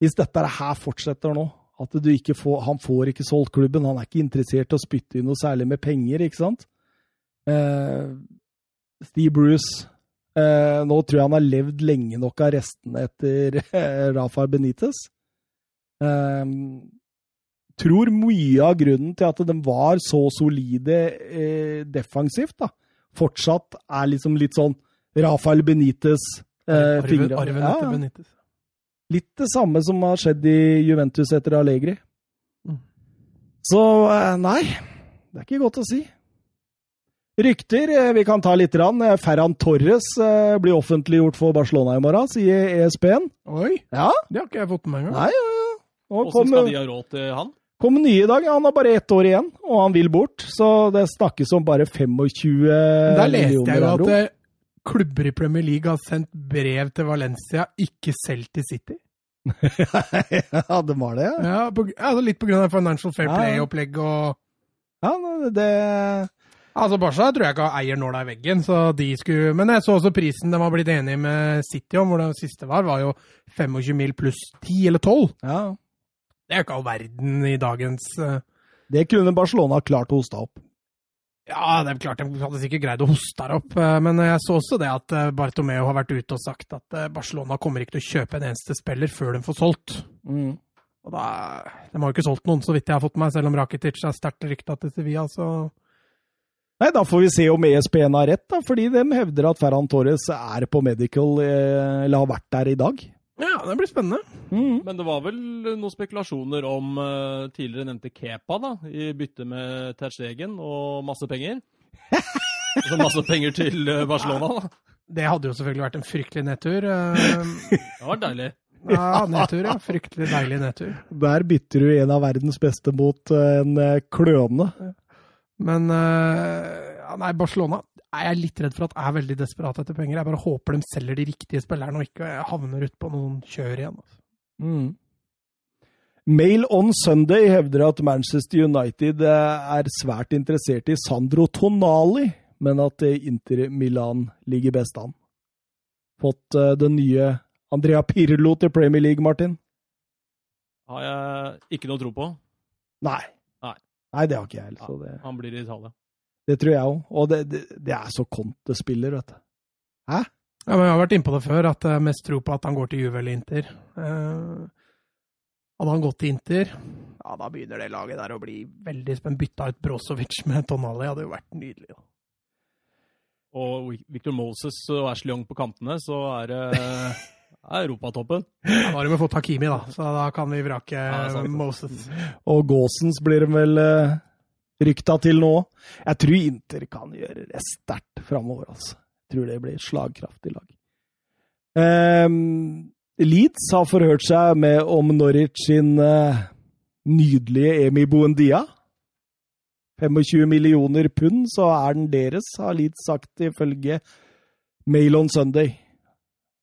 Speaker 1: Hvis dette her fortsetter nå At du ikke får Han får ikke solgt klubben. Han er ikke interessert i å spytte inn noe særlig med penger, ikke sant? Eh, Steve Bruce eh, Nå tror jeg han har levd lenge nok av restene etter eh, Rafael Benitez. Eh, tror mye av grunnen til at de var så solide eh, defensivt, da, fortsatt er liksom litt sånn Rafael Benitez eh,
Speaker 2: Arven,
Speaker 1: fingre.
Speaker 2: arven
Speaker 1: Ja,
Speaker 2: etter
Speaker 1: ja.
Speaker 2: Benitez.
Speaker 1: Litt det samme som har skjedd i Juventus etter Allegri.
Speaker 2: Mm.
Speaker 1: Så eh, nei, det er ikke godt å si. Rykter eh, vi kan ta litt. Rann. Eh, Ferran Torres eh, blir offentliggjort for Barcelona i morgen, sier E ESPN.
Speaker 2: Oi,
Speaker 1: Ja,
Speaker 2: det har ikke jeg fått med meg engang.
Speaker 1: nei, ja, ja. Nå
Speaker 3: Åssen
Speaker 1: kom,
Speaker 3: skal de ha råd til han?
Speaker 1: kom nye i dag. Han har bare ett år igjen, og han vil bort. Så det snakkes om bare 25
Speaker 2: Men Der
Speaker 1: millioner
Speaker 2: leste jeg jo at
Speaker 1: euro.
Speaker 2: eh, klubber i Premier League har sendt brev til Valencia, ikke selv til City.
Speaker 1: ja, det var det. ja.
Speaker 2: Ja, på, altså Litt på grunn av Financial Fair
Speaker 1: Ja, ja.
Speaker 2: Play-opplegg og
Speaker 1: Ja, nei, det
Speaker 2: Altså Barca tror jeg ikke eier nåla i veggen, så de skulle Men jeg så også prisen de var blitt enige med City om, hvor den siste var, var jo 25 mil pluss 10 eller 12.
Speaker 1: ja.
Speaker 2: Det er jo ikke all verden i dagens eh,
Speaker 1: Det kunne Barcelona klart å hoste opp.
Speaker 2: Ja, det er klart de hadde sikkert greid å hoste her opp, eh, men jeg så også det at eh, Bartomeu har vært ute og sagt at eh, Barcelona kommer ikke til å kjøpe en eneste spiller før de får solgt.
Speaker 1: Mm.
Speaker 2: Og da, De har jo ikke solgt noen, så vidt jeg har fått med meg, selv om Rakitic er sterkt rykta til Sevilla, så
Speaker 1: Nei, da får vi se om E ESPN har rett, da, fordi de hevder at Ferran Torres er på medical, eh, eller har vært der i dag.
Speaker 2: Ja, det blir spennende.
Speaker 3: Men det var vel noen spekulasjoner om eh, tidligere nevnte Kepa, da, i bytte med Terstegen og masse penger. Så masse penger til eh, Barcelona, da.
Speaker 2: Det hadde jo selvfølgelig vært en fryktelig nedtur. eh,
Speaker 3: Det var deilig.
Speaker 2: Ja, nedtur, ja. Fryktelig deilig nedtur.
Speaker 1: Der bytter du en av verdens beste mot eh, en eh, kløne.
Speaker 2: Men eh, ja, nei, Barcelona er jeg litt redd for at er veldig desperat etter penger. Jeg bare håper de selger de riktige spillerne og ikke havner utpå noen kjør igjen. Altså.
Speaker 1: Mail on Sunday hevder at Manchester United eh, er svært interessert i Sandro Tonali, men at eh, Inter Milan ligger best an. Fått eh, den nye Andrea Pirlo til Premier League, Martin?
Speaker 3: Har jeg ikke noe tro på.
Speaker 1: Nei.
Speaker 3: Nei.
Speaker 1: Nei, det har ikke jeg. Så det...
Speaker 3: Han blir i Italia.
Speaker 1: Det tror jeg òg. Og det, det, det er så Conte-spiller, vet du.
Speaker 2: Ja, men jeg har vært innpå det før, at jeg har mest tro på at han går til Juve eller Inter. Eh, hadde han gått til Inter, ja, da begynner det laget der å bli veldig spent. Bytta ut Brozovic med Tonali hadde jo vært nydelig. Da.
Speaker 3: Og Victor Moses og Ashley Young på kantene, så er det er europatoppen.
Speaker 2: Ja, da har de jo fått Hakimi, da, så da kan vi vrake
Speaker 3: Ja, sant.
Speaker 2: Moses.
Speaker 1: Og Gaasens blir de vel eh, rykta til nå. Jeg tror Inter kan gjøre det sterkt framover, altså. Jeg tror det blir et slagkraftig lag. Ehm, Leeds har forhørt seg med om Norwich sin eh, nydelige Emi Buendia. 25 millioner pund, så er den deres, har Leeds sagt ifølge Mail on Sunday.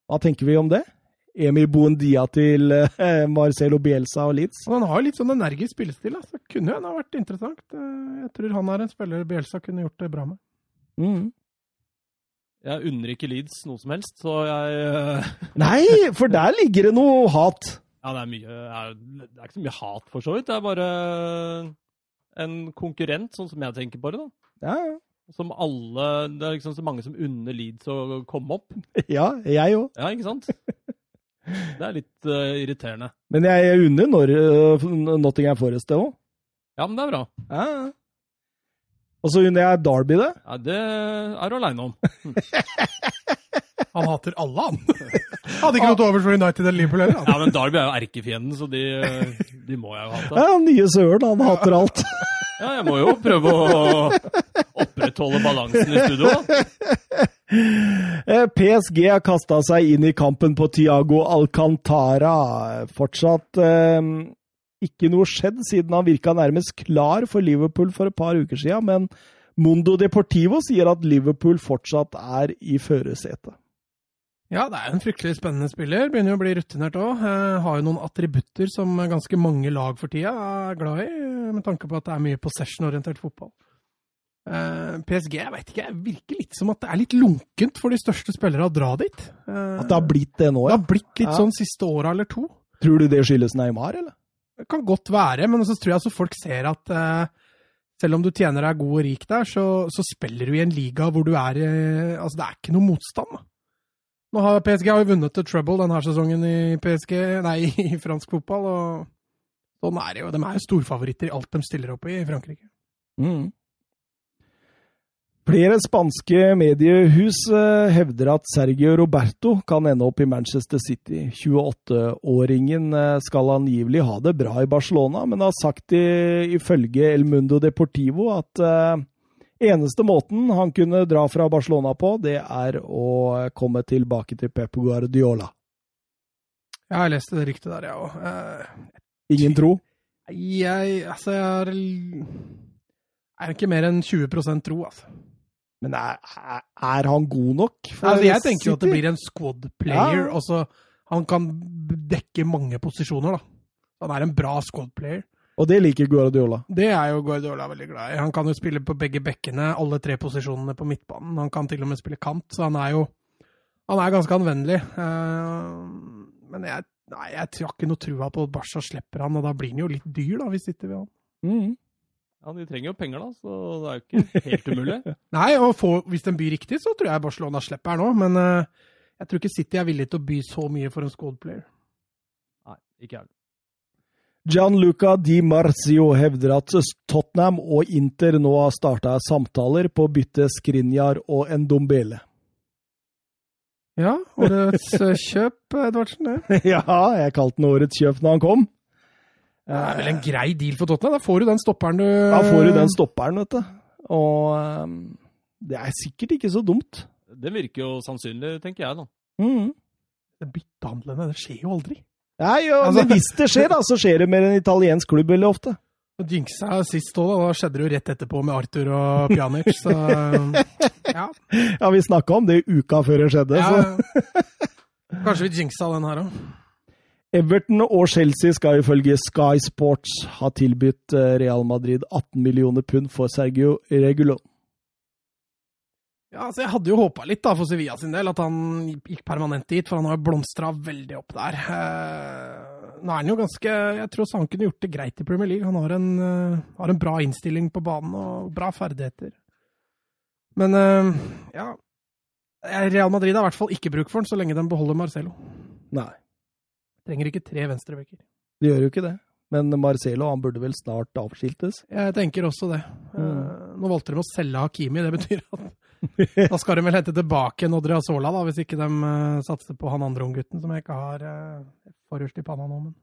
Speaker 1: Hva tenker vi om det? Emi Buendia til eh, Marcelo Bielsa og Leeds?
Speaker 2: Og han har jo litt sånn energisk spillestil, da, så kunne jo han ha vært interessant. Eh, Jeg tror han er en spiller Bjelsa kunne gjort det bra med.
Speaker 3: Jeg unner ikke Leeds noe som helst, så jeg eh,
Speaker 1: Nei, for der ligger det noe hat.
Speaker 3: Ja, det er mye det er, det er ikke så mye hat, for så vidt. Det er bare en konkurrent, sånn som jeg tenker på det. da.
Speaker 1: Ja, ja.
Speaker 3: Som alle Det er liksom så mange som unner Leeds å komme opp.
Speaker 1: ja jeg òg.
Speaker 3: Ja, ikke sant? Det er litt eh, irriterende.
Speaker 1: Men jeg unner når uh, Nottingham Forest det òg.
Speaker 3: Ja, men det er bra.
Speaker 1: Ja. ja. Og så unner jeg Derby det.
Speaker 3: Ja, det er du aleine om.
Speaker 2: Han hater alle, han. Hadde ikke noe til overs for United eller Liverpool heller.
Speaker 3: Ja, men Derby er jo erkefienden, så de, eh, de må jeg jo hate.
Speaker 1: Ja, nye søren, han hater alt.
Speaker 3: Ja, jeg må jo prøve å opprettholde balansen i studio. da.
Speaker 1: Eh, PSG har kasta seg inn i kampen på Tiago Alcantara. Fortsatt eh, ikke noe skjedd siden han virka nærmest klar for Liverpool for et par uker siden, men Mundo Deportivo sier at Liverpool fortsatt er i førersetet.
Speaker 2: Ja, det er en fryktelig spennende spiller. Begynner jo å bli rutinert òg. Har jo noen attributter som ganske mange lag for tida er glad i, eh, med tanke på at det er mye possession-orientert fotball. Eh, PSG jeg vet ikke, jeg virker litt som at det er litt lunkent for de største spillerne å dra dit. Eh,
Speaker 1: At det har blitt det nå,
Speaker 2: det
Speaker 1: ja.
Speaker 2: har blitt litt
Speaker 1: Ja.
Speaker 2: sånn siste åra eller to.
Speaker 1: Tror du det skyldes Neymar, eller?
Speaker 2: Det kan godt være, men så tror jeg altså folk ser at eh, selv om du tjener deg god og rik der, så, så spiller du i en liga hvor du er eh, Altså, det er ikke noe motstand. da. Nå har PSG har jo vunnet The Trouble denne sesongen i PSG, nei, i fransk fotball, og sånn er det jo. De er jo storfavoritter i alt de stiller opp i i Frankrike. Mm.
Speaker 1: Flere spanske mediehus eh, hevder at Sergio Roberto kan ende opp i Manchester City. 28-åringen eh, skal angivelig ha det bra i Barcelona, men har sagt i, ifølge El Mundo Deportivo at eh, eneste måten han kunne dra fra Barcelona på, det er å eh, komme tilbake til Pep Guardiola.
Speaker 2: Ja, jeg leste det ryktet der, jeg ja, òg. Eh,
Speaker 1: Ingen tro?
Speaker 2: jeg Altså, jeg er, er ikke mer enn 20 tro, altså.
Speaker 1: Men er, er- er han god nok? for
Speaker 2: Altså, jeg tenker jo at det
Speaker 1: City?
Speaker 2: blir en squad player.
Speaker 1: Ja.
Speaker 2: og så han kan b- dekke mange posisjoner, da. Han er en bra squad player.
Speaker 1: Og det liker Guardiola.
Speaker 2: Det er jo Guardiola veldig glad i. Han kan jo spille på begge bekkene, alle tre posisjonene på midtbanen. Han kan til og med spille kant, så han er jo Han er ganske anvendelig. Eh, Men jeg, nei, jeg tror ikke noe trua på at Barca slipper han, og da blir han jo litt dyr, da, hvis ikke vi han.
Speaker 3: Ja, De trenger jo penger, da, så det er jo ikke helt umulig.
Speaker 2: Nei, og få, hvis den byr riktig, så tror jeg Barcelona slipper her nå, men eh, jeg tror ikke City er villig til å by så mye for en squad player.
Speaker 3: Nei, ikke jeg.
Speaker 1: Gianluca Di Marzio hevder at Tottenham og Inter nå har starta samtaler på å bytte Skriniar og Ndombele.
Speaker 2: Ja, årets eh, kjøp, Edvardsen. Det
Speaker 1: ja, jeg kalte den årets kjøp når han kom. Eh,
Speaker 2: Det er vel en grei deal for Tottenham. Da får du den stopperen du
Speaker 1: Da får du den stopperen, vet du. Og eh, det er sikkert ikke så dumt. Mm.
Speaker 3: Den virker jo sannsynlig, tenker jeg, da.
Speaker 2: Det Byttehandlene, det skjer jo aldri.
Speaker 1: Nei, jo,
Speaker 2: Altså-
Speaker 1: men hvis det skjer, da, så skjer det med en italiensk klubb veldig ofte.
Speaker 2: Og Jinxa sist òg, da. Da skjedde det jo rett etterpå med Arthur og Pjanic, så ja.
Speaker 1: Ja, vi snakka om det uka før det skjedde.
Speaker 2: ja.
Speaker 1: Så.
Speaker 2: Kanskje vi jinxa den her òg.
Speaker 1: Everton og Chelsea skal ifølge Sky Sports ha tilbudt eh, Real Madrid 18 millioner pund for Sergio Regulon.
Speaker 2: Ja, altså Jeg hadde jo håpa litt da, for Sevilla sin del, at han gikk permanent dit, for han har jo blomstra veldig opp der. Eh, Nå er han jo ganske Jeg tror også han kunne gjort det greit i Premier League. Han har en, eh, har en bra innstilling på banen og bra ferdigheter. Men eh, ja Real Madrid har i hvert fall ikke bruk for han så lenge de beholder Marcelo.
Speaker 1: Nei,
Speaker 2: Trenger ikke tre venstrebekker.
Speaker 1: det gjør jo ikke det. Men Marcelo han burde vel snart avskiltes?
Speaker 2: Jeg tenker også det. Eh,
Speaker 1: Mm.
Speaker 2: Nå valgte de å selge Hakimi, det betyr at da skal de vel hente tilbake Nodriazola, da, hvis ikke de eh, satser på han andre unggutten som jeg ikke har eh, forrest i panna nå. Men.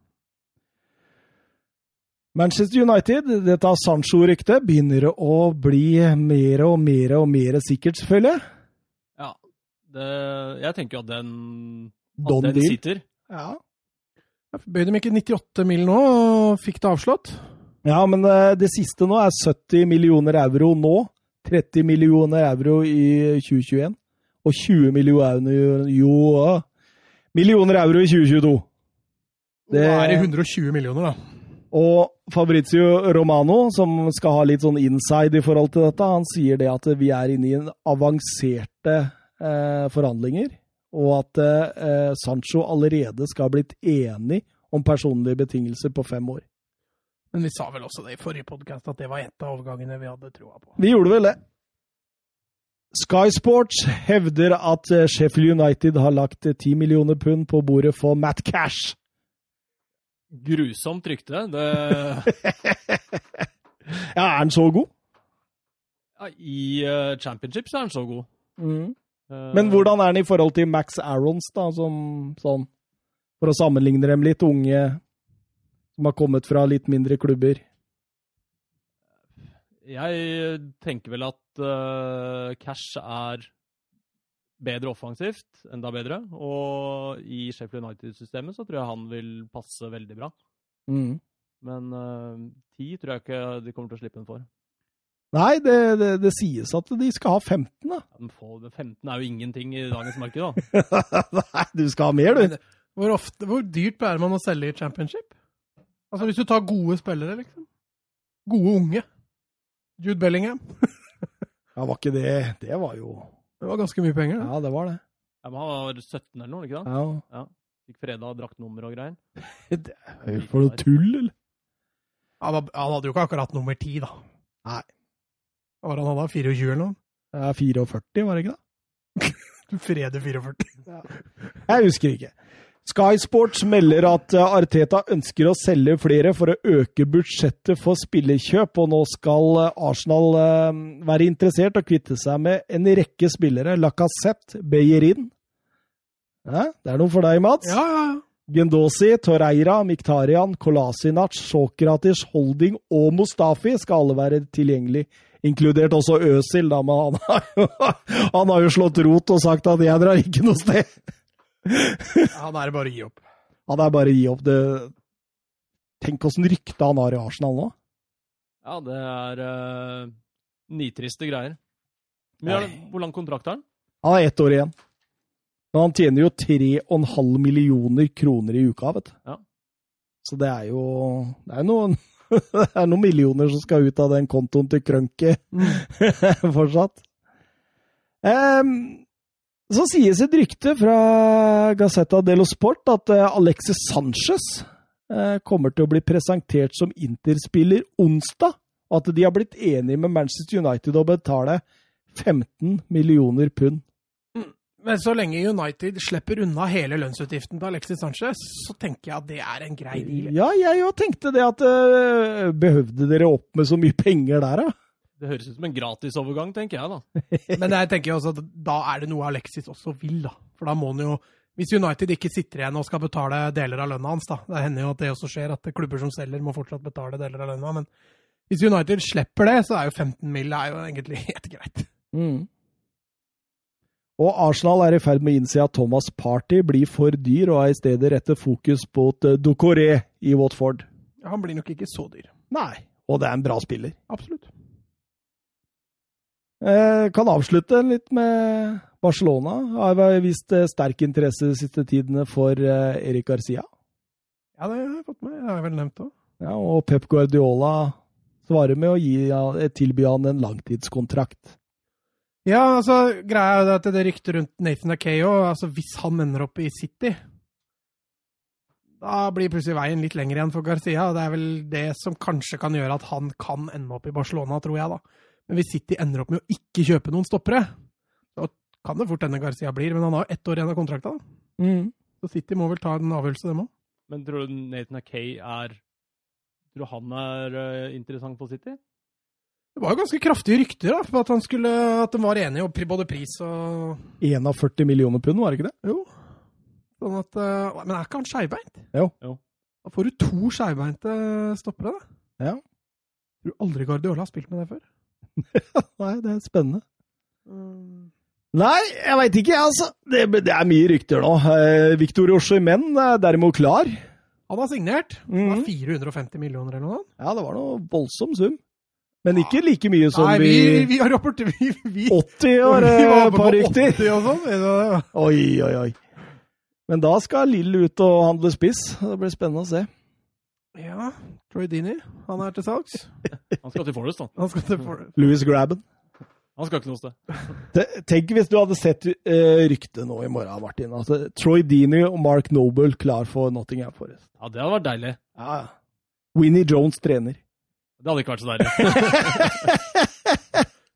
Speaker 1: Manchester United, dette Sancho-ryktet, begynner å bli mer og mer og mer sikkert, selvfølgelig.
Speaker 3: Ja, det, Jeg tenker jo at den, at
Speaker 1: Don
Speaker 3: den
Speaker 1: Deal.
Speaker 3: sitter.
Speaker 1: Ja.
Speaker 2: Bøy de ikke 98 mil nå, og fikk det avslått?
Speaker 1: ja, men eh, det siste nå er 70 millioner euro nå. 30 millioner euro i 2021. Og 20 millioner, jo, ja, millioner euro i 2022.
Speaker 2: Det...
Speaker 1: Det-
Speaker 2: Nå er det 120 millioner, da.
Speaker 1: Og Fabrizio Romano, som skal ha litt sånn inside i forhold til dette, han sier det at vi er inne i en avanserte eh, forhandlinger, og at eh, Sancho allerede skal ha blitt enig om personlige betingelser på fem år.
Speaker 2: Men vi sa vel også det i forrige podkast, at det var et av overgangene vi hadde troa på.
Speaker 1: Vi gjorde vel det. Sky Sports hevder at eh, Sheffield United har lagt eh, 10 millioner pund på bordet for Matt Cash.
Speaker 3: Grusomt rykte. Det,
Speaker 1: Ja, er han så god?
Speaker 3: ja, I eh, championship så er han så god. Eh,
Speaker 1: Men hvordan er han i forhold til Max Arons, da, som sånn For å sammenligne dem litt, unge som har kommet fra litt mindre klubber.
Speaker 3: Jeg eh, tenker vel at eh, cash er bedre offensivt, enda bedre. Og i Sheffield United-systemet så tror jeg han vil passe veldig bra.
Speaker 1: Mm.
Speaker 3: Men eh, 10 tror jeg ikke de kommer til å slippe den for.
Speaker 1: Nei, det, det, det sies at de skal ha 15, da.
Speaker 3: Ja, men få- 15 er jo ingenting i dagens marked, da.
Speaker 1: Nei, du skal ha mer, du.
Speaker 2: Hvor, ofte, hvor dyrt pleier man å selge i championship? Altså hvis du tar gode spillere, liksom. Gode unge. Jude Bellingham.
Speaker 1: Ja, var ikke det Det var jo
Speaker 2: Det var ganske mye penger. det.
Speaker 1: Ja, det var det.
Speaker 3: Ja, men han var 17 eller noe, ikke sant?
Speaker 1: Ja.
Speaker 3: Fikk freda draktnummer og greier.
Speaker 1: Det er jo for noe tull, eller?
Speaker 2: Han, var, han hadde jo ikke akkurat nummer ti, da.
Speaker 1: Nei.
Speaker 2: Hva var det han hadde? 24 eller noe?
Speaker 1: Det er 44, var det ikke det?
Speaker 2: Du freder 44.
Speaker 1: Jeg husker ikke. Sky Sports melder at eh, Arteta ønsker å selge flere for å øke budsjettet for spillerkjøp, og nå skal eh, Arsenal eh, være interessert og kvitte seg med en rekke spillere. Lacassette, Beyerin ja, Det er noe for deg, Mats.
Speaker 2: Ja, ja, ja.
Speaker 1: Gendosi, Torreira, Miktarian, Kolasinac, Sokratis, Holding og Mustafi skal alle være tilgjengelig. Inkludert også Øsil, da, men han har, jo, han har jo slått rot og sagt at 'jeg drar ikke noe sted'.
Speaker 2: Han er det bare å gi opp.
Speaker 1: Ja, det er bare å gi opp. Det... Tenk åssen rykte han har i Arsenal nå.
Speaker 3: Ja, det er eh, nitriste greier. Men er det, hvor lang kontrakt har han?
Speaker 1: Han har ett år igjen. Men han tjener jo 3,5 millioner kroner i uka, vet du.
Speaker 3: Ja.
Speaker 1: Så det er jo det er, noen, det er noen millioner som skal ut av den kontoen til Krønke fortsatt. Em, så sies et rykte fra Gazzetta dello Sport at eh, Alexis Sanchez eh, kommer til å bli presentert som Inter-spiller onsdag, og at de har blitt enige med Manchester United å betale 15 millioner pund.
Speaker 2: Men så lenge United slipper unna hele lønnsutgiften til Alexis Sanchez, så tenker jeg at det er en grei deal.
Speaker 1: Ja, jeg jo tenkte det at eh, Behøvde dere opp med så mye penger der, da?
Speaker 3: Det høres ut som en gratisovergang, tenker jeg, da.
Speaker 2: Men jeg tenker jo også at da er det noe Alexis også vil, da. For da må han jo Hvis United ikke sitter igjen og skal betale deler av lønna hans, da. Det hender jo at det også skjer, at klubber som selger må fortsatt betale deler av lønna. Men hvis United slipper det, så er jo 15 mill. er jo egentlig helt greit.
Speaker 1: Og Arsenal er i ferd med å innse at Thomas Party blir for dyr, og er i stedet rette fokus på et, eh, Doucouré i Watford.
Speaker 2: Han blir nok ikke så dyr.
Speaker 1: Nei. Og det er en bra spiller.
Speaker 2: Absolutt.
Speaker 1: Eh, kan avslutte litt med Barcelona. Har vist eh, sterk interesse de siste tidene for eh, Erik Garcia.
Speaker 2: Ja, det har jeg fått med. Det har jeg vel nevnt òg.
Speaker 1: Ja, og Pep Guardiola svarer med å gi, han- tilby han en langtidskontrakt.
Speaker 2: Ja, altså, greia er jo det at det ryktet rundt Nathan Akeo altså Hvis han ender opp i City, da blir plutselig veien litt lengre igjen for Garcia. og Det er vel det som kanskje kan gjøre at han kan ende opp i Barcelona, tror jeg, da. Men hvis City ender opp med å ikke kjøpe noen stoppere, så kan det fort hende Garcia blir. Men han har jo ett år igjen av kontrakta, da. Så City må vel ta en avgjørelse, dem òg.
Speaker 3: Men tror du Nathan Akay er Tror du han er eh, interessant for City?
Speaker 2: Det var jo ganske kraftige rykter da, på at, han skulle, at de var enige om pri- både pris og
Speaker 1: 41 millioner pund, var det ikke det?
Speaker 2: Jo. Sånn at, eh, men er ikke han skeivbeint?
Speaker 1: Jo.
Speaker 3: Jo.
Speaker 2: Da får du to skeivbeinte stoppere, da.
Speaker 1: Ja.
Speaker 2: Tror aldri Guardiola har spilt med det før.
Speaker 1: Nei, det er spennende.
Speaker 2: Mm.
Speaker 1: Nei, jeg veit ikke, jeg, altså. Det, det er mye rykter nå. Eh, Victor Oshimen er derimot klar.
Speaker 2: Han har signert. Det var
Speaker 1: Mhm.
Speaker 2: 450 millioner eller noe sånt.
Speaker 1: Ja, det var noe voldsom sum. Men ikke like mye som
Speaker 2: Nei, vi, vi har rapport... Vi, vi,
Speaker 1: vi 80 år,
Speaker 2: vi
Speaker 1: eh,
Speaker 2: var oppe på
Speaker 1: par rykter.
Speaker 2: 80 og sånn. så-
Speaker 1: Oi, oi, oi. Men da skal Lill ut og handle spiss. Det blir spennende å se.
Speaker 2: Ja. Troy Dini, han er til salgs.
Speaker 3: Han skal til Forest, da.
Speaker 2: Han skal til for...
Speaker 1: Louis Grabben.
Speaker 3: Han skal ikke noe sted.
Speaker 1: Te- Tenk hvis du hadde sett eh, ryktet nå i morgen, Martin. Altså, Troy Dini og Mark Noble klar for Nottingham Forest.
Speaker 3: Ja, det hadde vært deilig.
Speaker 1: Ja. ja. Winnie Jones trener.
Speaker 3: Det hadde ikke vært så deilig.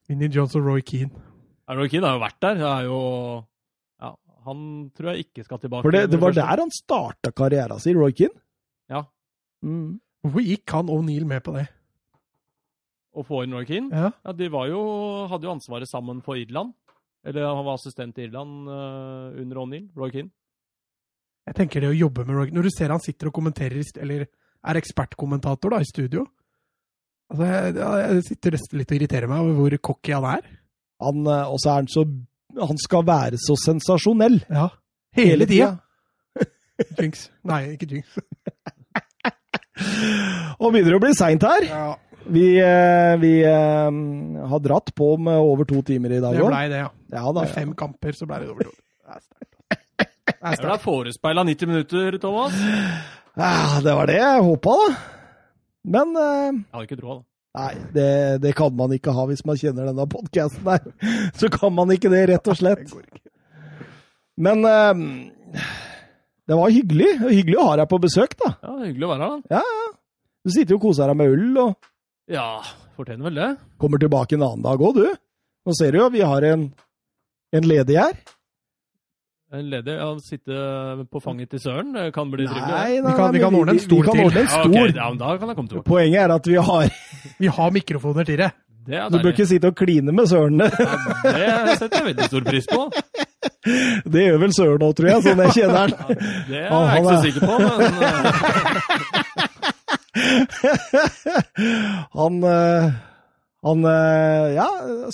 Speaker 2: Vinnie Jones og Roy Keane.
Speaker 3: Aaron Keane har jo vært der. Er jo, ja, han tror jeg ikke skal tilbake.
Speaker 1: For det, det var
Speaker 3: første.
Speaker 1: der han starta karrieren sin, Roy Keane.
Speaker 3: Ja.
Speaker 1: Mm.
Speaker 2: Hvorfor gikk han O'Neill med på det?
Speaker 3: Å få inn Roy Keane.
Speaker 2: Ja.
Speaker 3: Ja, de var jo, hadde jo ansvaret sammen for Irland. Eller han var assistent i Irland eh, under O'Neill, Roy Keane.
Speaker 2: Jeg tenker det å jobbe med Roy Når du ser han sitter og kommenterer, i st- eller er ekspertkommentator da, i studio Altså, jeg, jeg- jeg sitter nesten litt og irriterer meg over hvor cocky han er.
Speaker 1: Han, eh, og så er han så Han skal være så sensasjonell.
Speaker 2: Ja. Hele tida! Jinx. Nei, ikke Jinx.
Speaker 1: Og begynner å bli seint her.
Speaker 2: Ja,
Speaker 1: Vi, eh, vi eh, har dratt på med over to timer i dag
Speaker 2: det
Speaker 1: òg.
Speaker 2: blei det, ja.
Speaker 1: Ja, da,
Speaker 2: Med
Speaker 1: ja.
Speaker 2: fem kamper så blei det over to. Det er
Speaker 3: Det er
Speaker 2: sterkt.
Speaker 3: vel forespeila 90 minutter, Thomas. Jeg
Speaker 1: Ah, det var det jeg håpa, da. Men eh,
Speaker 3: hadde ikke troa, da.
Speaker 1: Nei, det, det kan man ikke ha hvis man kjenner denne podkasten her. Så kan man ikke det, rett og slett. Men eh, det var hyggelig. og Hyggelig å ha deg på besøk, da.
Speaker 3: Ja, Hyggelig å være her, da.
Speaker 1: Du sitter jo og koser deg med øl, og
Speaker 3: Ja, fortjener vel det.
Speaker 1: kommer tilbake en annen dag òg, du. Nå ser du jo, vi har en, en ledig her.
Speaker 3: En ledig å sitte på fanget til Søren, det kan bli trivelig.
Speaker 1: Nei, nei,
Speaker 2: Vi
Speaker 1: nei,
Speaker 2: kan- vi
Speaker 1: men
Speaker 2: kan ordne en
Speaker 1: vi-
Speaker 2: stol
Speaker 1: vi kan
Speaker 2: til. Ah,
Speaker 1: ordne en
Speaker 3: Ja, ok,
Speaker 1: stol.
Speaker 3: ja, men da kan jeg komme tilbake.
Speaker 1: Poenget er at vi har
Speaker 2: Vi har mikrofoner til det.
Speaker 3: Det er
Speaker 1: Du bør
Speaker 3: deilig.
Speaker 1: ikke sitte og kline med Søren.
Speaker 3: Ja, det setter jeg veldig stor pris på.
Speaker 1: Det gjør vel Søren nå, tror jeg, sånn jeg kjenner han.
Speaker 3: Det er
Speaker 1: Han-
Speaker 3: jeg ikke
Speaker 1: han
Speaker 3: så
Speaker 1: er-
Speaker 3: sikker på, men eh,
Speaker 1: han eh, Han eh, Ja,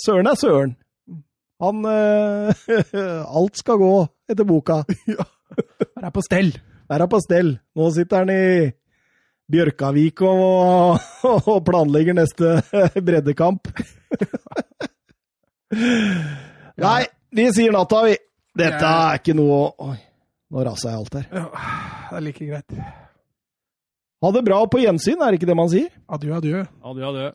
Speaker 1: Søren er Søren. Han eh, Alt skal gå etter boka.
Speaker 2: Det er på stell.
Speaker 1: Der er på stell. Nå sitter han i Bjørkavik og, og planlegger neste breddekamp. Nei, vi sier natta, vi. Dette er ikke noe å Oi, nå rasa jeg alt her.
Speaker 2: Ja, det er like greit.
Speaker 1: Ha det bra og på gjensyn, er det ikke det man sier?
Speaker 2: Adjø, adjø.
Speaker 3: Adjø, adjø.